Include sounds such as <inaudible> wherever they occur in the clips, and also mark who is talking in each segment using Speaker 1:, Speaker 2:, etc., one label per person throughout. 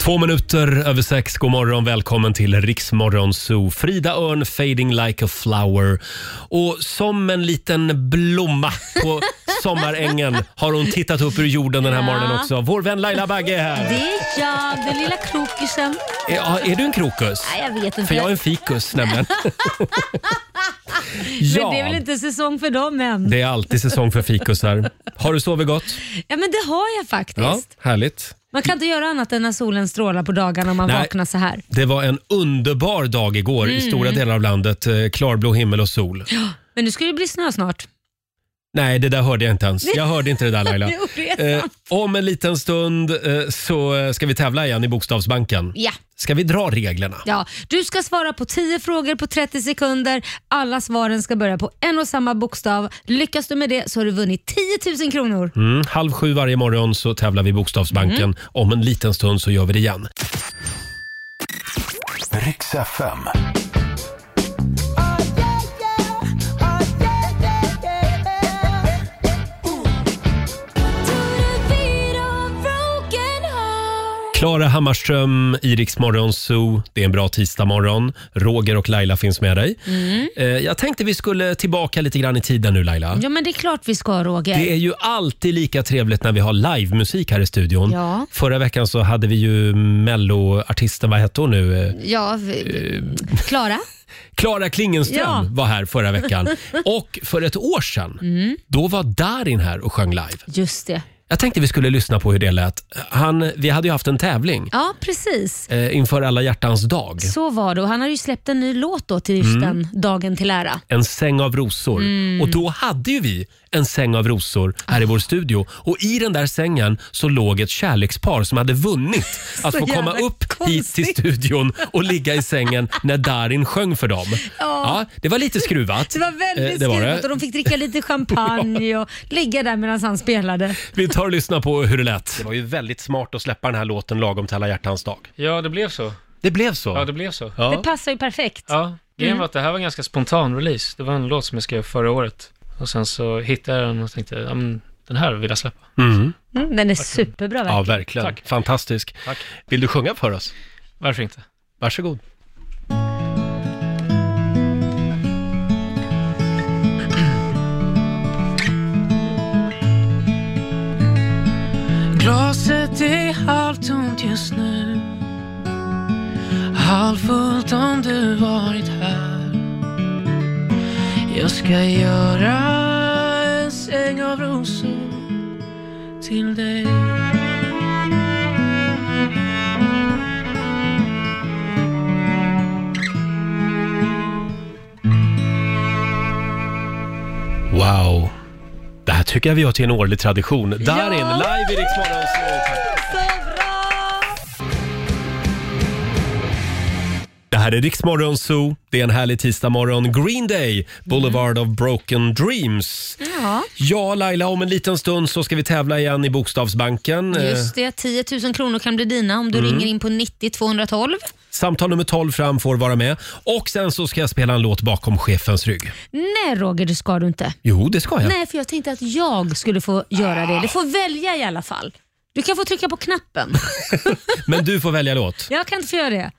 Speaker 1: Två minuter över sex, god morgon, välkommen till Riksmorgon Zoo. Frida Örn, Fading like a flower. Och som en liten blomma på sommarängen har hon tittat upp ur jorden den här
Speaker 2: Ja.
Speaker 1: morgonen också. Vår vän Laila Bagge är här.
Speaker 2: Det är jag, den lilla krokisen.
Speaker 1: Ja, är du en krokus?
Speaker 2: Nej, jag vet inte.
Speaker 1: För jag är en fikus
Speaker 2: <laughs>
Speaker 1: nämligen. ja,
Speaker 2: Men det är väl inte säsong för dem än?
Speaker 1: det är alltid säsong för fikusar. Har du sovit gott?
Speaker 2: Ja, men det har jag faktiskt.
Speaker 1: Ja, härligt.
Speaker 2: Man kan inte göra annat än när solen strålar på dagarna om man
Speaker 1: Nej.
Speaker 2: vaknar så här.
Speaker 1: Det var en underbar dag igår
Speaker 2: Mm.
Speaker 1: i stora delar av landet. Eh, Klarblå himmel och sol.
Speaker 2: Men nu ska det bli snö snart.
Speaker 1: Nej, det där hörde jag inte ens. Jag hörde inte det där Laila.
Speaker 2: <laughs> Jo, det är
Speaker 1: Eh,
Speaker 2: sant.
Speaker 1: om en liten stund eh, så eh, ska vi tävla igen i Bokstavsbanken.
Speaker 2: Ja.
Speaker 1: Ska vi dra reglerna?
Speaker 2: Ja, du ska svara på 10 frågor på 30 sekunder. Alla svaren ska börja på en och samma bokstav. Lyckas du med det så har du vunnit 10 000 kronor.
Speaker 1: Mm, halv sju varje morgon så tävlar vi i Bokstavsbanken.
Speaker 2: Mm.
Speaker 1: Om en liten stund så gör vi det igen.
Speaker 3: Riks FM.
Speaker 1: Klara Hammarström, Iriks Zoo. Det är en bra tisdagmorgon. Roger och Laila finns med dig.
Speaker 2: Mm.
Speaker 1: Eh, Jag tänkte vi skulle tillbaka lite grann i tiden nu Laila.
Speaker 2: Ja, men det är klart vi ska Roger.
Speaker 1: Det är ju alltid lika trevligt när vi har livemusik här i studion.
Speaker 2: Ja.
Speaker 1: Förra veckan så hade vi ju melloartisten, vad hette hon nu? Eh,
Speaker 2: Ja, vi... Klara?
Speaker 1: Klara Klingenström
Speaker 2: Ja.
Speaker 1: var här förra
Speaker 2: <laughs>
Speaker 1: veckan. och för ett år sedan,
Speaker 2: Mm.
Speaker 1: då var Darin här och sjöng live.
Speaker 2: Just det.
Speaker 1: Jag tänkte vi skulle lyssna på hur det lät. Han, vi hade ju haft en tävling
Speaker 2: Ja, precis.
Speaker 1: eh, inför alla hjärtans dag.
Speaker 2: Så var det och han har ju släppt en ny låt då till
Speaker 1: Mm.
Speaker 2: just den dagen till ära.
Speaker 1: en säng av rosor.
Speaker 2: Mm.
Speaker 1: Och då hade ju vi en säng av rosor här i vår studio. Och i den där sängen så låg ett kärlekspar som hade
Speaker 2: <laughs>
Speaker 1: vunnit att
Speaker 2: Så
Speaker 1: få komma
Speaker 2: jävla
Speaker 1: upp hit
Speaker 2: konstigt.
Speaker 1: till studion och ligga i sängen när Darin sjöng för dem. Ja, det var lite skruvat.
Speaker 2: <laughs> Det var
Speaker 1: Eh,
Speaker 2: väldigt
Speaker 1: det var
Speaker 2: skrivet
Speaker 1: det.
Speaker 2: och de fick dricka
Speaker 1: <laughs>
Speaker 2: lite champagne och ligga där medan han spelade.
Speaker 1: Vi tar och lyssnar på hur det lät. Det var ju väldigt smart att släppa den här låten lagom till alla hjärtans dag.
Speaker 4: Ja, det blev så.
Speaker 1: Det blev så.
Speaker 4: Ja, det blev så.
Speaker 1: Ja.
Speaker 2: Det passar ju perfekt.
Speaker 4: Ja, grejen var att det här var en ganska spontan release. Det var en låt som jag skrev förra året. Och sen så hittade jag den och tänkte, ja men den här vill jag släppa.
Speaker 1: Mm.
Speaker 2: Mm, den är superbra
Speaker 1: ja
Speaker 2: verkligen.
Speaker 1: verkligen.
Speaker 4: Tack.
Speaker 1: Fantastisk.
Speaker 4: Tack.
Speaker 1: Vill du sjunga för oss?
Speaker 4: Varför inte?
Speaker 1: Varsågod.
Speaker 5: Glaset är halvtomt just nu Halvfullt om du varit här Jag ska göra en säng av rosor till dig
Speaker 1: Wow. Det här tycker jag vi gör till en årlig tradition. Darin, live i Rix Morgon Zoo. Det här är Rix Morgon Zoo. Det är en härlig tisdagmorgon. Green Day, Boulevard of Broken Dreams.
Speaker 2: Ja,
Speaker 1: Ja, Laila, om en liten stund så ska vi tävla igen i Bokstavsbanken. Eh,
Speaker 2: just det. 10 000 kronor kan bli dina om du
Speaker 1: Mm.
Speaker 2: ringer in på 90 212.
Speaker 1: Samtal nummer 12 fram får vara med. Och sen så ska jag spela en låt bakom chefens rygg.
Speaker 2: Nej Roger, det ska du inte.
Speaker 1: Jo, det ska jag.
Speaker 2: Nej, för jag tänkte att jag skulle få göra det. Du får välja i alla fall. Du kan få trycka på knappen.
Speaker 1: Men du får välja låt.
Speaker 2: Jag kan inte få göra det.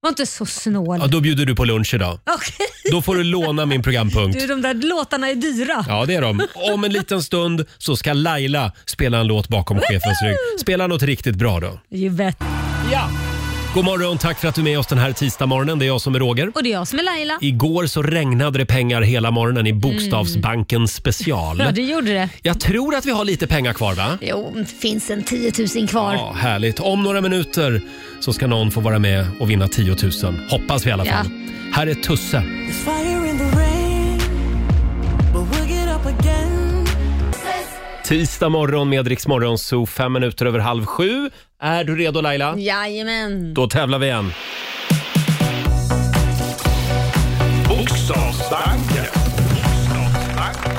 Speaker 2: Var inte så snål.
Speaker 1: Ja, då bjuder du på lunch idag.
Speaker 2: Okej.
Speaker 1: Då får du låna min programpunkt.
Speaker 2: Du, de där låtarna är dyra.
Speaker 1: Ja, det är de. Om en liten stund så ska Laila spela en låt bakom chefens rygg. Spela något riktigt bra då.
Speaker 2: Givet.
Speaker 1: Ja! God morgon, tack för att du är med oss den här tisdagmorgonen. Det är jag som är Roger.
Speaker 2: Och det är jag som är Laila.
Speaker 1: Igår så regnade det pengar hela morgonen i Bokstavsbanken special.
Speaker 2: Mm. Ja, det gjorde det.
Speaker 1: Jag tror att vi har lite pengar kvar va?
Speaker 2: Jo, det finns en 10 000 kvar.
Speaker 1: Ja, härligt. Om några minuter så ska någon få vara med och vinna 10 000. Hoppas vi i alla fall. Här är Tusse. Tisdag morgon med Rix Morgon, så fem minuter över halv sju. Är du redo Laila?
Speaker 2: Jajamän.
Speaker 1: Då tävlar vi igen.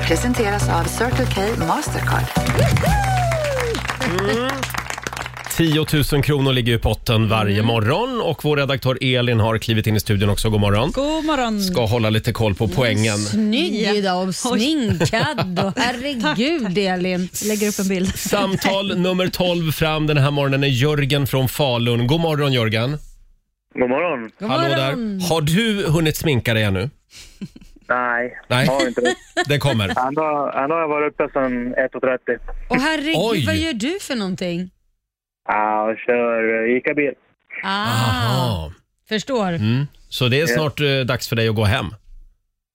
Speaker 6: Presenteras av Circle K Mastercard.
Speaker 1: 10 000 kronor ligger i potten varje morgon och vår redaktör Elin har klivit in i studion också. God morgon.
Speaker 3: God morgon.
Speaker 1: Ska hålla lite koll på poängen.
Speaker 2: Snygg
Speaker 3: Ja.
Speaker 2: idag och
Speaker 3: Oj.
Speaker 2: <laughs> sminkad. Och, herregud Elin.
Speaker 3: Lägger upp en bild.
Speaker 2: <laughs>
Speaker 1: Samtal nummer 12 fram den här morgonen är Jörgen från Falun. God morgon Jörgen.
Speaker 6: God morgon.
Speaker 2: God
Speaker 1: Hallå
Speaker 2: morgon.
Speaker 1: där. Har du hunnit sminka dig ännu?
Speaker 6: Nej,
Speaker 1: Nej.
Speaker 6: har inte det.
Speaker 1: Det kommer.
Speaker 6: Ändå, ändå har jag varit uppe sedan 1.30.
Speaker 2: Och herregud,
Speaker 1: Oj.
Speaker 2: vad gör du för någonting?
Speaker 6: Ja, och kör eh, Ica-bil.
Speaker 2: Ah,
Speaker 1: Aha.
Speaker 2: Förstår.
Speaker 1: Mm. Så det är snart eh, dags för dig att gå hem?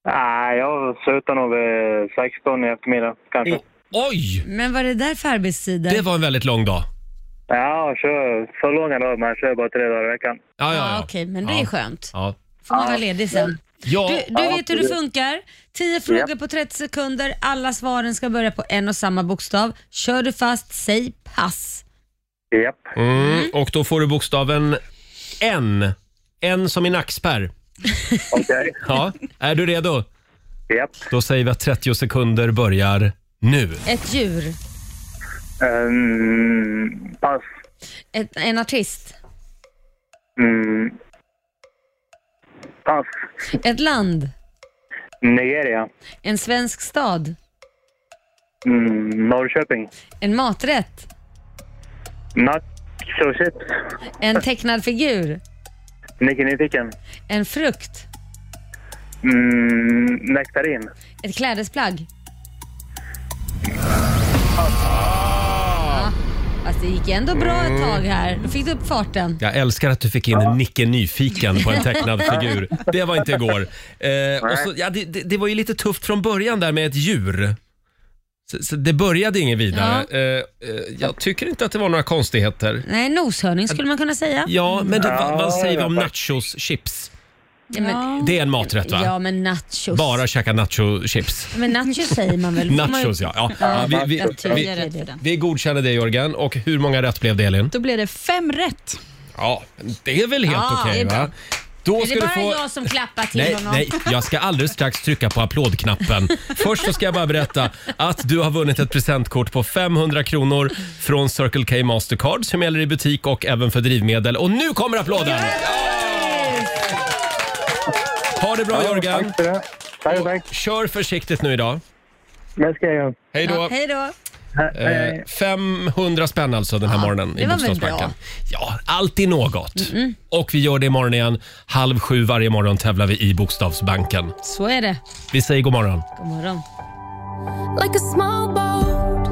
Speaker 6: Nej, jag slutar nog vid 16 i eftermiddag kanske.
Speaker 1: Oj!
Speaker 2: Men vad är det där för arbetstider?
Speaker 1: Det var en väldigt lång dag.
Speaker 6: Ja, jag kör så långa dagar, men jag kör bara tre dagar i veckan.
Speaker 1: Ja, ja,
Speaker 2: Ja,
Speaker 1: ja.
Speaker 2: Ah, Okej, men det
Speaker 1: Ja.
Speaker 2: är skönt.
Speaker 1: ja.
Speaker 2: Får man vara ledig sen.
Speaker 1: ja.
Speaker 2: Du, du vet hur det
Speaker 6: absolut.
Speaker 2: funkar. 10 frågor på 30 sekunder. Alla svaren ska börja på en och samma bokstav. Kör du fast, säg pass.
Speaker 6: Japp.
Speaker 1: Mm. Och då får du bokstaven N. N som i nackspärr.
Speaker 6: Okej.
Speaker 2: <laughs>
Speaker 1: Ja. Är du redo?
Speaker 6: Japp.
Speaker 1: Då säger vi att 30 sekunder börjar nu.
Speaker 2: Ett djur.
Speaker 6: Um, pass.
Speaker 2: Ett, en artist.
Speaker 6: Mm. Pass.
Speaker 2: Ett land.
Speaker 6: Nigeria.
Speaker 2: En svensk stad.
Speaker 6: Mm, Norrköping.
Speaker 2: En maträtt.
Speaker 6: Nacho chips.
Speaker 2: En tecknad figur.
Speaker 6: Nicky Nyfiken.
Speaker 2: En frukt.
Speaker 6: Mm, nektarin.
Speaker 2: Ett klädesplagg.
Speaker 1: Ah.
Speaker 2: Ja, fast det gick ändå bra
Speaker 1: Mm.
Speaker 2: ett tag här. Då fick du upp farten.
Speaker 1: Jag älskar att du fick in Nicke Nyfiken på en
Speaker 2: <laughs>
Speaker 1: tecknad figur. Det var inte igår. Eh, och så, ja, det, det, det var ju lite tufft från början där med ett djur. Så, så det började inget vidare. Eh, eh, jag tycker inte att det var några konstigheter.
Speaker 2: Nej, noshörning skulle man kunna säga.
Speaker 1: Ja, men du, vad, vad säger vi om
Speaker 6: Ja.
Speaker 1: nachos-chips?
Speaker 2: Ja, men,
Speaker 1: Det är en maträtt va?
Speaker 2: ja, men nachos.
Speaker 1: Bara käka nacho-chips.
Speaker 2: Men nachos säger
Speaker 1: <laughs>
Speaker 2: man väl? Får man-
Speaker 1: Nachos ja. ja. ja vi, vi,
Speaker 2: Jag tror
Speaker 1: vi,
Speaker 2: jag är rädd för den.
Speaker 1: vi godkänner det Jörgen. Och hur många rätt blev det Elin?
Speaker 3: Då blir det fem rätt.
Speaker 1: Ja, det är väl helt
Speaker 2: Ja, det
Speaker 1: okej
Speaker 2: är bra.
Speaker 1: va? Då
Speaker 2: Är
Speaker 1: ska
Speaker 2: det
Speaker 1: du
Speaker 2: bara
Speaker 1: få...
Speaker 2: jag som klappar till
Speaker 1: Nej,
Speaker 2: honom?
Speaker 1: nej, jag ska alldeles strax trycka på applådknappen. Först så ska jag bara berätta att du har vunnit ett presentkort på 500 kronor från Circle K Mastercard som gäller i butik och även för drivmedel. Och nu kommer applåden! Ha det bra Jörgen!
Speaker 6: Tack för det. Tack, tack.
Speaker 1: Kör försiktigt nu idag.
Speaker 6: Det ska jag göra.
Speaker 1: Hej då!
Speaker 2: Ja, hej då.
Speaker 1: Eh, 500 spänn alltså den här morgonen i
Speaker 2: det var väl
Speaker 1: Bokstavsbanken.
Speaker 2: bra.
Speaker 1: Ja, alltid något. Och vi gör det imorgon igen. Halv sju varje morgon tävlar vi i Bokstavsbanken.
Speaker 2: Så är det.
Speaker 1: Vi säger god morgon.
Speaker 2: God morgon.
Speaker 7: like a small boat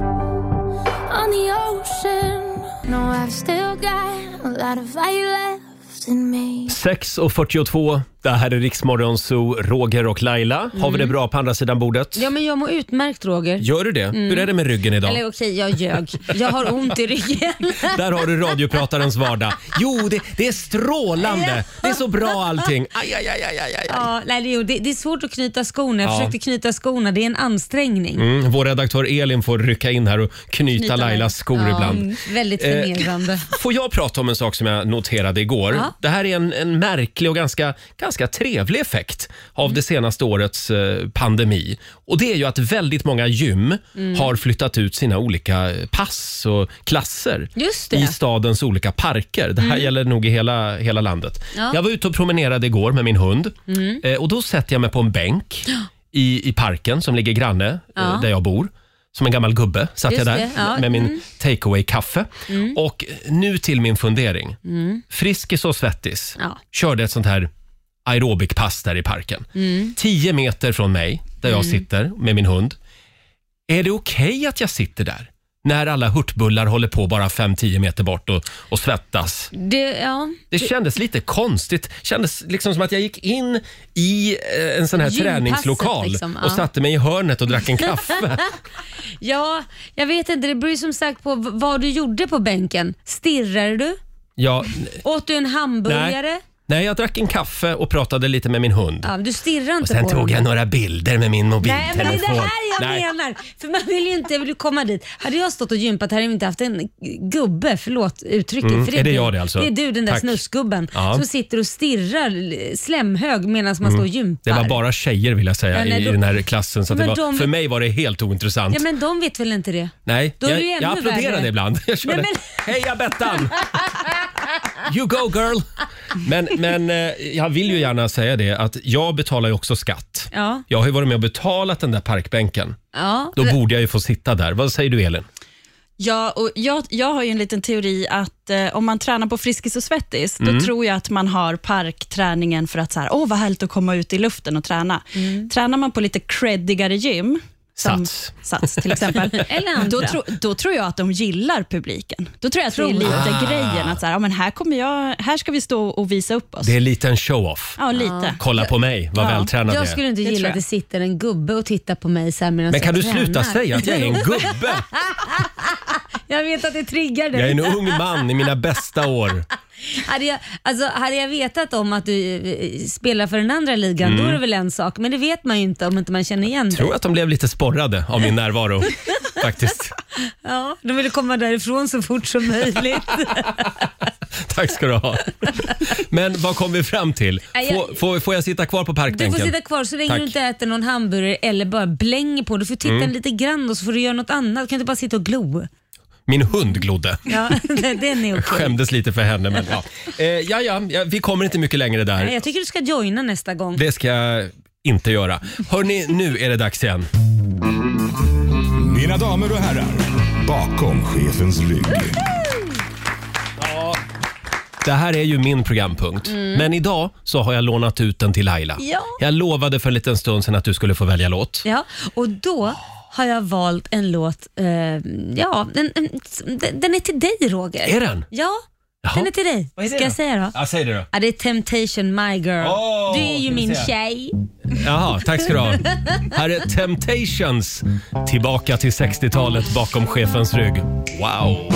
Speaker 7: on the ocean. No, I've still got a lot of fight left in me.
Speaker 1: 6.42, det här är Riksmorgon Zoo, Roger och Laila. Har vi det bra på andra sidan bordet?
Speaker 2: Ja, men jag mår utmärkt Roger.
Speaker 1: Gör du det? Hur är det med ryggen idag?
Speaker 2: Eller okej, jag ljög. Jag har ont
Speaker 1: <laughs>
Speaker 2: i ryggen.
Speaker 1: Där har du radiopratarens vardag. Jo, det, det är strålande. Det är så bra allting. Aj, aj, aj, aj, aj, aj.
Speaker 2: Ja, nej, det, är- det, det är svårt att knyta skorna. Jag
Speaker 1: Ja.
Speaker 2: försökte knyta skorna. Det är en ansträngning.
Speaker 1: Mm, vår redaktör Elin får rycka in här och knyta, Lailas skor
Speaker 2: Ja,
Speaker 1: ibland. Eh,
Speaker 2: mm, Väldigt förnedrande.
Speaker 1: Får jag prata om en sak som jag noterade igår?
Speaker 2: Ja.
Speaker 1: Det här är en, en märklig och ganska, ganska trevlig effekt av det senaste årets eh, pandemi. Och Det är ju att väldigt många gym
Speaker 2: Mm.
Speaker 1: har flyttat ut sina olika pass och klasser
Speaker 2: Just det. Mm.
Speaker 1: i stadens olika parker. Det här gäller nog i hela, hela landet.
Speaker 2: Ja. Mm.
Speaker 1: Jag var ute och promenerade igår med min hund eh, och då sätter jag mig på en bänk i, i parken som ligger granne eh,
Speaker 2: Ja.
Speaker 1: där jag bor. Som en gammal gubbe satt
Speaker 2: Just
Speaker 1: jag där
Speaker 2: det, ja. Mm.
Speaker 1: med min takeaway-kaffe. Och nu till min fundering. Friskis och Svettis
Speaker 2: Mm. Ja.
Speaker 1: körde ett sånt här aerobikpass där i parken.
Speaker 2: Mm.
Speaker 1: 10 meter från mig, där jag sitter med min hund. Är det okej att jag sitter där? När alla hurtbullar håller på bara 5-10 meter bort och, och svettas.
Speaker 2: Det, ja.
Speaker 1: Det kändes lite konstigt. kändes liksom som att jag gick in i eh, en sån här
Speaker 2: Gympasset
Speaker 1: träningslokal
Speaker 2: liksom, ja.
Speaker 1: och satte mig i hörnet och drack en kaffe.
Speaker 2: <laughs> ja, jag vet inte. Det beror ju som sagt på v- vad du gjorde på bänken. Stirrade du?
Speaker 1: Ja,
Speaker 2: Åt du en hamburgare?
Speaker 1: Nej, jag drack en kaffe och pratade lite med min hund.
Speaker 2: Ja, du stirrar
Speaker 1: Och
Speaker 2: inte
Speaker 1: sen
Speaker 2: på dem.
Speaker 1: tog jag några bilder med min
Speaker 2: Nej, men det är
Speaker 1: mobiltelefon.
Speaker 2: det här jag
Speaker 1: Nej.
Speaker 2: menar. För man vill ju inte jag vill ju komma dit. Hade jag stått och gympat hade jag inte haft en gubbe, förlåt uttrycket.
Speaker 1: Mm,
Speaker 2: För
Speaker 1: är det
Speaker 2: du.
Speaker 1: jag det alltså?
Speaker 2: Det är du, den där
Speaker 1: Tack.
Speaker 2: snusgubben
Speaker 1: Ja. Mm.
Speaker 2: som sitter och stirrar l- slemhög medan man står och gympar.
Speaker 1: Det var bara tjejer vill jag säga
Speaker 2: Ja, nej,
Speaker 1: i,
Speaker 2: då-
Speaker 1: i den här klassen. Så att det
Speaker 2: Men
Speaker 1: var,
Speaker 2: de-
Speaker 1: För mig var det helt ointressant.
Speaker 2: Ja, men de vet väl inte det?
Speaker 1: Nej,
Speaker 2: Då är
Speaker 1: jag,
Speaker 2: det ju ännu
Speaker 1: jag applåderade
Speaker 2: värre.
Speaker 1: ibland. Jag körde,
Speaker 2: Nej,
Speaker 1: Heja Bettan! You go girl! Men, men eh, jag vill ju gärna säga det att jag betalar ju också skatt.
Speaker 2: Ja.
Speaker 1: Jag har ju varit med och betalat den där parkbänken.
Speaker 2: ja.
Speaker 1: Då borde jag ju få sitta där. Vad säger du Elin?
Speaker 3: Ja, och jag, jag har ju en liten teori att eh, om man tränar på Friskis och Svettis, då tror jag att man har parkträningen för att så här, åh vad härligt att komma ut i luften och träna. Tränar man på lite creddigare gym, som-
Speaker 1: Sats.
Speaker 3: Sats <laughs> till exempel,
Speaker 2: Eller andra.
Speaker 3: då, tro, då tror jag att de gillar publiken. Då tror jag att det är
Speaker 2: Tror
Speaker 3: lite
Speaker 1: jag.
Speaker 3: grejen, att så här, ja, men här, kommer jag, här ska vi stå och visa upp oss.
Speaker 1: Det är en liten show-off.
Speaker 3: Ja, lite.
Speaker 1: Kolla på mig, vad
Speaker 3: Ja.
Speaker 1: vältränad jag
Speaker 2: Jag
Speaker 1: är.
Speaker 2: skulle inte
Speaker 3: Det tror
Speaker 2: gilla
Speaker 3: jag.
Speaker 2: att det sitter en gubbe och tittar på mig så här medan
Speaker 1: Men kan du
Speaker 2: jag
Speaker 1: sluta
Speaker 2: tränar.
Speaker 1: säga att jag är en gubbe?
Speaker 2: <laughs> Jag vet att det triggar dig.
Speaker 1: Jag är en ung man i mina bästa år.
Speaker 2: Hade jag, alltså, hade jag vetat om att du eh, spelar för den andra ligan, då är det väl en sak. Men det vet man ju inte om inte man känner igen dig.
Speaker 1: Mm. Tror att de blev lite sporrade av min närvaro. Faktiskt.
Speaker 2: Ja, de vill komma därifrån så fort
Speaker 1: <laughs>
Speaker 2: som möjligt.
Speaker 1: Tack ska du ha. Men vad kom vi fram till?
Speaker 2: Nej,
Speaker 1: Får,
Speaker 2: jag-
Speaker 1: får, får jag sitta kvar på
Speaker 2: Du
Speaker 1: parkbänken?
Speaker 2: får sitta kvar så länge
Speaker 1: Tack. Mm.
Speaker 2: du inte äter någon hamburgare eller bara blänger på. Du får titta lite grann och så får du göra något annat. Du kan inte bara sitta och glo.
Speaker 1: Min hund glodde.
Speaker 2: Ja, <laughs> den den är okej.
Speaker 1: Skämdes lite för henne. Men, ja. Eh, ja, ja, ja, vi kommer inte mycket längre
Speaker 2: Nej,
Speaker 1: där.
Speaker 2: Jag tycker du ska joina nästa gång.
Speaker 1: Det ska jag inte göra. Hörni, nu är det dags igen.
Speaker 8: Mina damer och herrar, bakom chefens rygg.
Speaker 1: Det här är ju min programpunkt. Men idag så har jag lånat ut den till Laila.
Speaker 2: Mm. Ja.
Speaker 1: Jag lovade för en liten stund sedan att du skulle få välja låt.
Speaker 2: Ja, och då har jag valt en låt, eh, ja, den, den, den är till dig Roger.
Speaker 1: Är den?
Speaker 2: Ja,
Speaker 1: Jaha.
Speaker 2: den är till dig.
Speaker 1: Vad är det
Speaker 2: Ska jag
Speaker 1: då?
Speaker 2: säga då?
Speaker 1: Ja, säg det då.
Speaker 2: Ja, det är Temptation My Girl.
Speaker 1: Åh,
Speaker 2: du är ju
Speaker 1: ska vi
Speaker 2: min
Speaker 1: se.
Speaker 2: tjej.
Speaker 1: Jaha, tack ska du ha. Här är Temptations. Tillbaka till 60-talet bakom chefens rygg. Wow!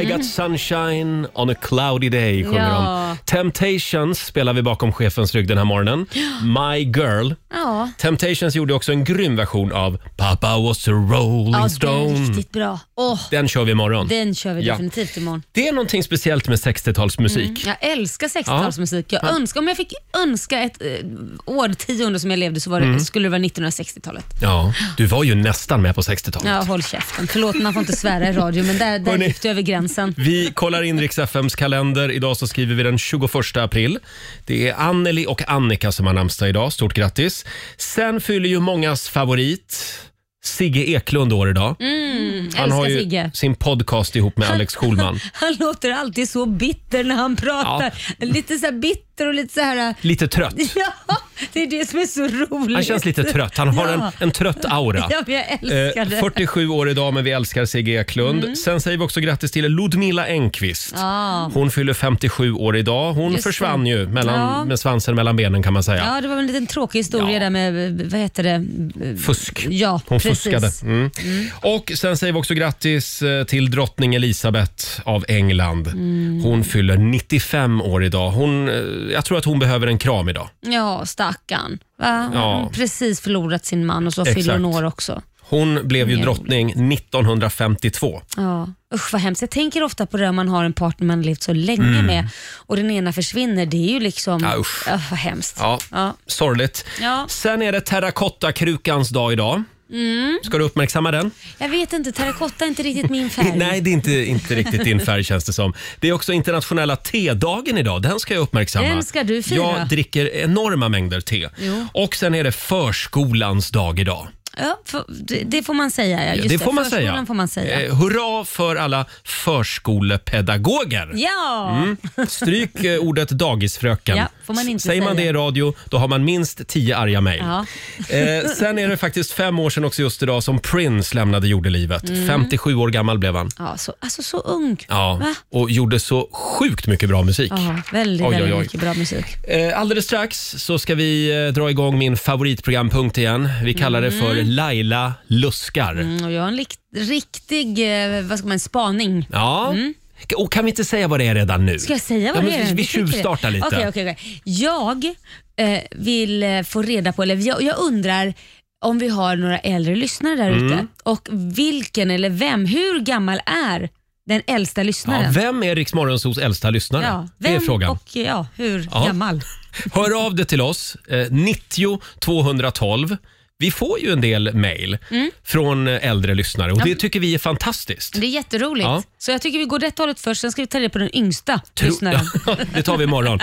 Speaker 1: I got sunshine on a cloudy day sjunger
Speaker 2: Ja.
Speaker 1: de. Temptations spelar vi bakom chefens rygg den här morgonen. My girl.
Speaker 2: Ja.
Speaker 1: Temptations gjorde också en grym version av Papa was a rolling
Speaker 2: Ja, den är
Speaker 1: stone.
Speaker 2: riktigt bra. Åh,
Speaker 1: Den kör vi imorgon.
Speaker 2: den kör vi
Speaker 1: Ja.
Speaker 2: definitivt imorgon.
Speaker 1: Det är någonting speciellt med 60-talsmusik.
Speaker 2: Jag älskar 60-talsmusik. Jag önskar, om jag fick önska ett eh, årtionde som jag levde så var det,
Speaker 1: Mm.
Speaker 2: skulle det vara 1960-talet.
Speaker 1: Ja, du var ju nästan med på 60-talet.
Speaker 2: Ja, håll käften. Förlåt, man får inte svära i radio men där, där
Speaker 1: Hörrni.
Speaker 2: gick du över gränsen.
Speaker 1: Vi kollar in Rix FMs kalender. Idag så skriver vi den 21 april. Det är Anneli och Annika som har namnsdag idag. Stort grattis. Sen fyller ju mångas favorit Sigge Eklund år idag. Han har
Speaker 2: Mm, älskar
Speaker 1: ju
Speaker 2: Sigge.
Speaker 1: sin podcast ihop med Alex Schulman.
Speaker 2: <laughs> Han låter alltid så bitter när han pratar. Lite så här bitter och lite så här... eh,
Speaker 1: Lite trött.
Speaker 2: <laughs> Ja, det är det som är så roligt.
Speaker 1: Han känns lite trött. Han har
Speaker 2: Ja.
Speaker 1: en, en trött aura.
Speaker 2: Ja, men jag älskar det. Mm.
Speaker 1: Eh, 47 år idag, men vi älskar Sigge Eklund. Sen säger vi också grattis till Ludmila Engqvist. Hon fyller 57 år idag. Hon
Speaker 2: Just det.
Speaker 1: försvann ju mellan,
Speaker 2: Ja.
Speaker 1: med svansen mellan benen kan man säga.
Speaker 2: Ja, det var en liten tråkig historia
Speaker 1: Ja.
Speaker 2: där med, eh, vad heter det?
Speaker 1: Fusk.
Speaker 2: Ja,
Speaker 1: Hon
Speaker 2: precis.
Speaker 1: fuskade. Mm. Och sen säger vi också grattis eh, till drottning Elisabeth av England.
Speaker 2: Mm.
Speaker 1: Hon fyller 95 år idag. Hon, eh, jag tror att hon behöver en kram idag.
Speaker 2: Ja, stackarn. Va?
Speaker 1: Ja.
Speaker 2: Hon har precis förlorat sin man och så fyller hon
Speaker 1: Exakt.
Speaker 2: år också.
Speaker 1: Hon blev ju
Speaker 2: Mer
Speaker 1: drottning 1952.
Speaker 2: Ja. Usch vad hemskt. Jag tänker ofta på det om man har en partner man har levt så länge med och den ena försvinner. Det är ju liksom...
Speaker 1: Mm. Ja, usch.
Speaker 2: Öh, vad hemskt.
Speaker 1: Ja,
Speaker 2: Ja.
Speaker 1: sorgligt.
Speaker 2: Ja.
Speaker 1: Sen är det terrakottakrukans dag idag.
Speaker 2: Mm.
Speaker 1: Ska du uppmärksamma den?
Speaker 2: Jag vet inte, terrakotta är inte
Speaker 1: <laughs>
Speaker 2: riktigt min färg.
Speaker 1: Nej, det är inte, inte riktigt din
Speaker 2: <laughs>
Speaker 1: färg känns det som. Det är också internationella tedagen idag. Den ska jag uppmärksamma.
Speaker 2: Den ska du fira.
Speaker 1: Jag dricker enorma mängder te.
Speaker 2: Jo.
Speaker 1: Och sen är det förskolans dag idag.
Speaker 2: Ja, för, det, det får man säga. Ja, just
Speaker 1: det får man
Speaker 2: Förskolan
Speaker 1: säga.
Speaker 2: får man säga.
Speaker 1: Eh, hurra för alla förskolepedagoger.
Speaker 2: <laughs> Ja!
Speaker 1: mm. Stryk eh, ordet dagisfröken.
Speaker 2: Ja, får man inte
Speaker 1: Säger man
Speaker 2: säga.
Speaker 1: det i radio, då har man minst tio arga mejl.
Speaker 2: Ja.
Speaker 1: Eh, sen är det faktiskt fem år sedan också just idag som Prince lämnade jordelivet.
Speaker 2: Mm.
Speaker 1: 57 år gammal blev han.
Speaker 2: ja så, alltså så ung.
Speaker 1: Ja,
Speaker 2: Va?
Speaker 1: och gjorde så sjukt mycket bra musik.
Speaker 2: Ja,
Speaker 1: Oj,
Speaker 2: väldigt,
Speaker 1: oj,
Speaker 2: väldigt
Speaker 1: oj.
Speaker 2: mycket bra musik.
Speaker 1: Eh, Alldeles strax så ska vi eh, dra igång min favoritprogrampunkt igen. Vi kallar det för Laila luskar.
Speaker 2: Mm, och jag har en lik, riktig eh, vad ska man, spaning.
Speaker 1: Ja. Och kan vi inte säga vad det är redan nu?
Speaker 2: Mm. Ska jag säga vad
Speaker 1: ja,
Speaker 2: det
Speaker 1: men
Speaker 2: är?
Speaker 1: vi- Vi
Speaker 2: Jag tycker det.
Speaker 1: tjuvstartar lite.
Speaker 2: Okej, okej, okej. Jag eh, vill eh, få reda på, eller jag, jag undrar om vi har några äldre lyssnare där
Speaker 1: Mm.
Speaker 2: ute och vilken eller vem, hur gammal är den äldsta
Speaker 1: Ja,
Speaker 2: lyssnaren?
Speaker 1: vem är Rix Morgonzos äldsta lyssnare?
Speaker 2: Ja,
Speaker 1: det är
Speaker 2: vem
Speaker 1: frågan.
Speaker 2: och eh, ja, hur
Speaker 1: Ja.
Speaker 2: gammal?
Speaker 1: Hör av dig till oss, eh, 90 212. Vi får ju en del mejl
Speaker 2: Mm.
Speaker 1: från eh, äldre lyssnare och det tycker vi är fantastiskt.
Speaker 2: Det är jätteroligt.
Speaker 1: Ja.
Speaker 2: Så jag tycker vi går rätt hållet först, sen ska vi ta reda på den yngsta
Speaker 1: Tro-
Speaker 2: lyssnaren.
Speaker 1: <laughs> Ja, det tar vi
Speaker 2: <laughs>
Speaker 1: imorgon.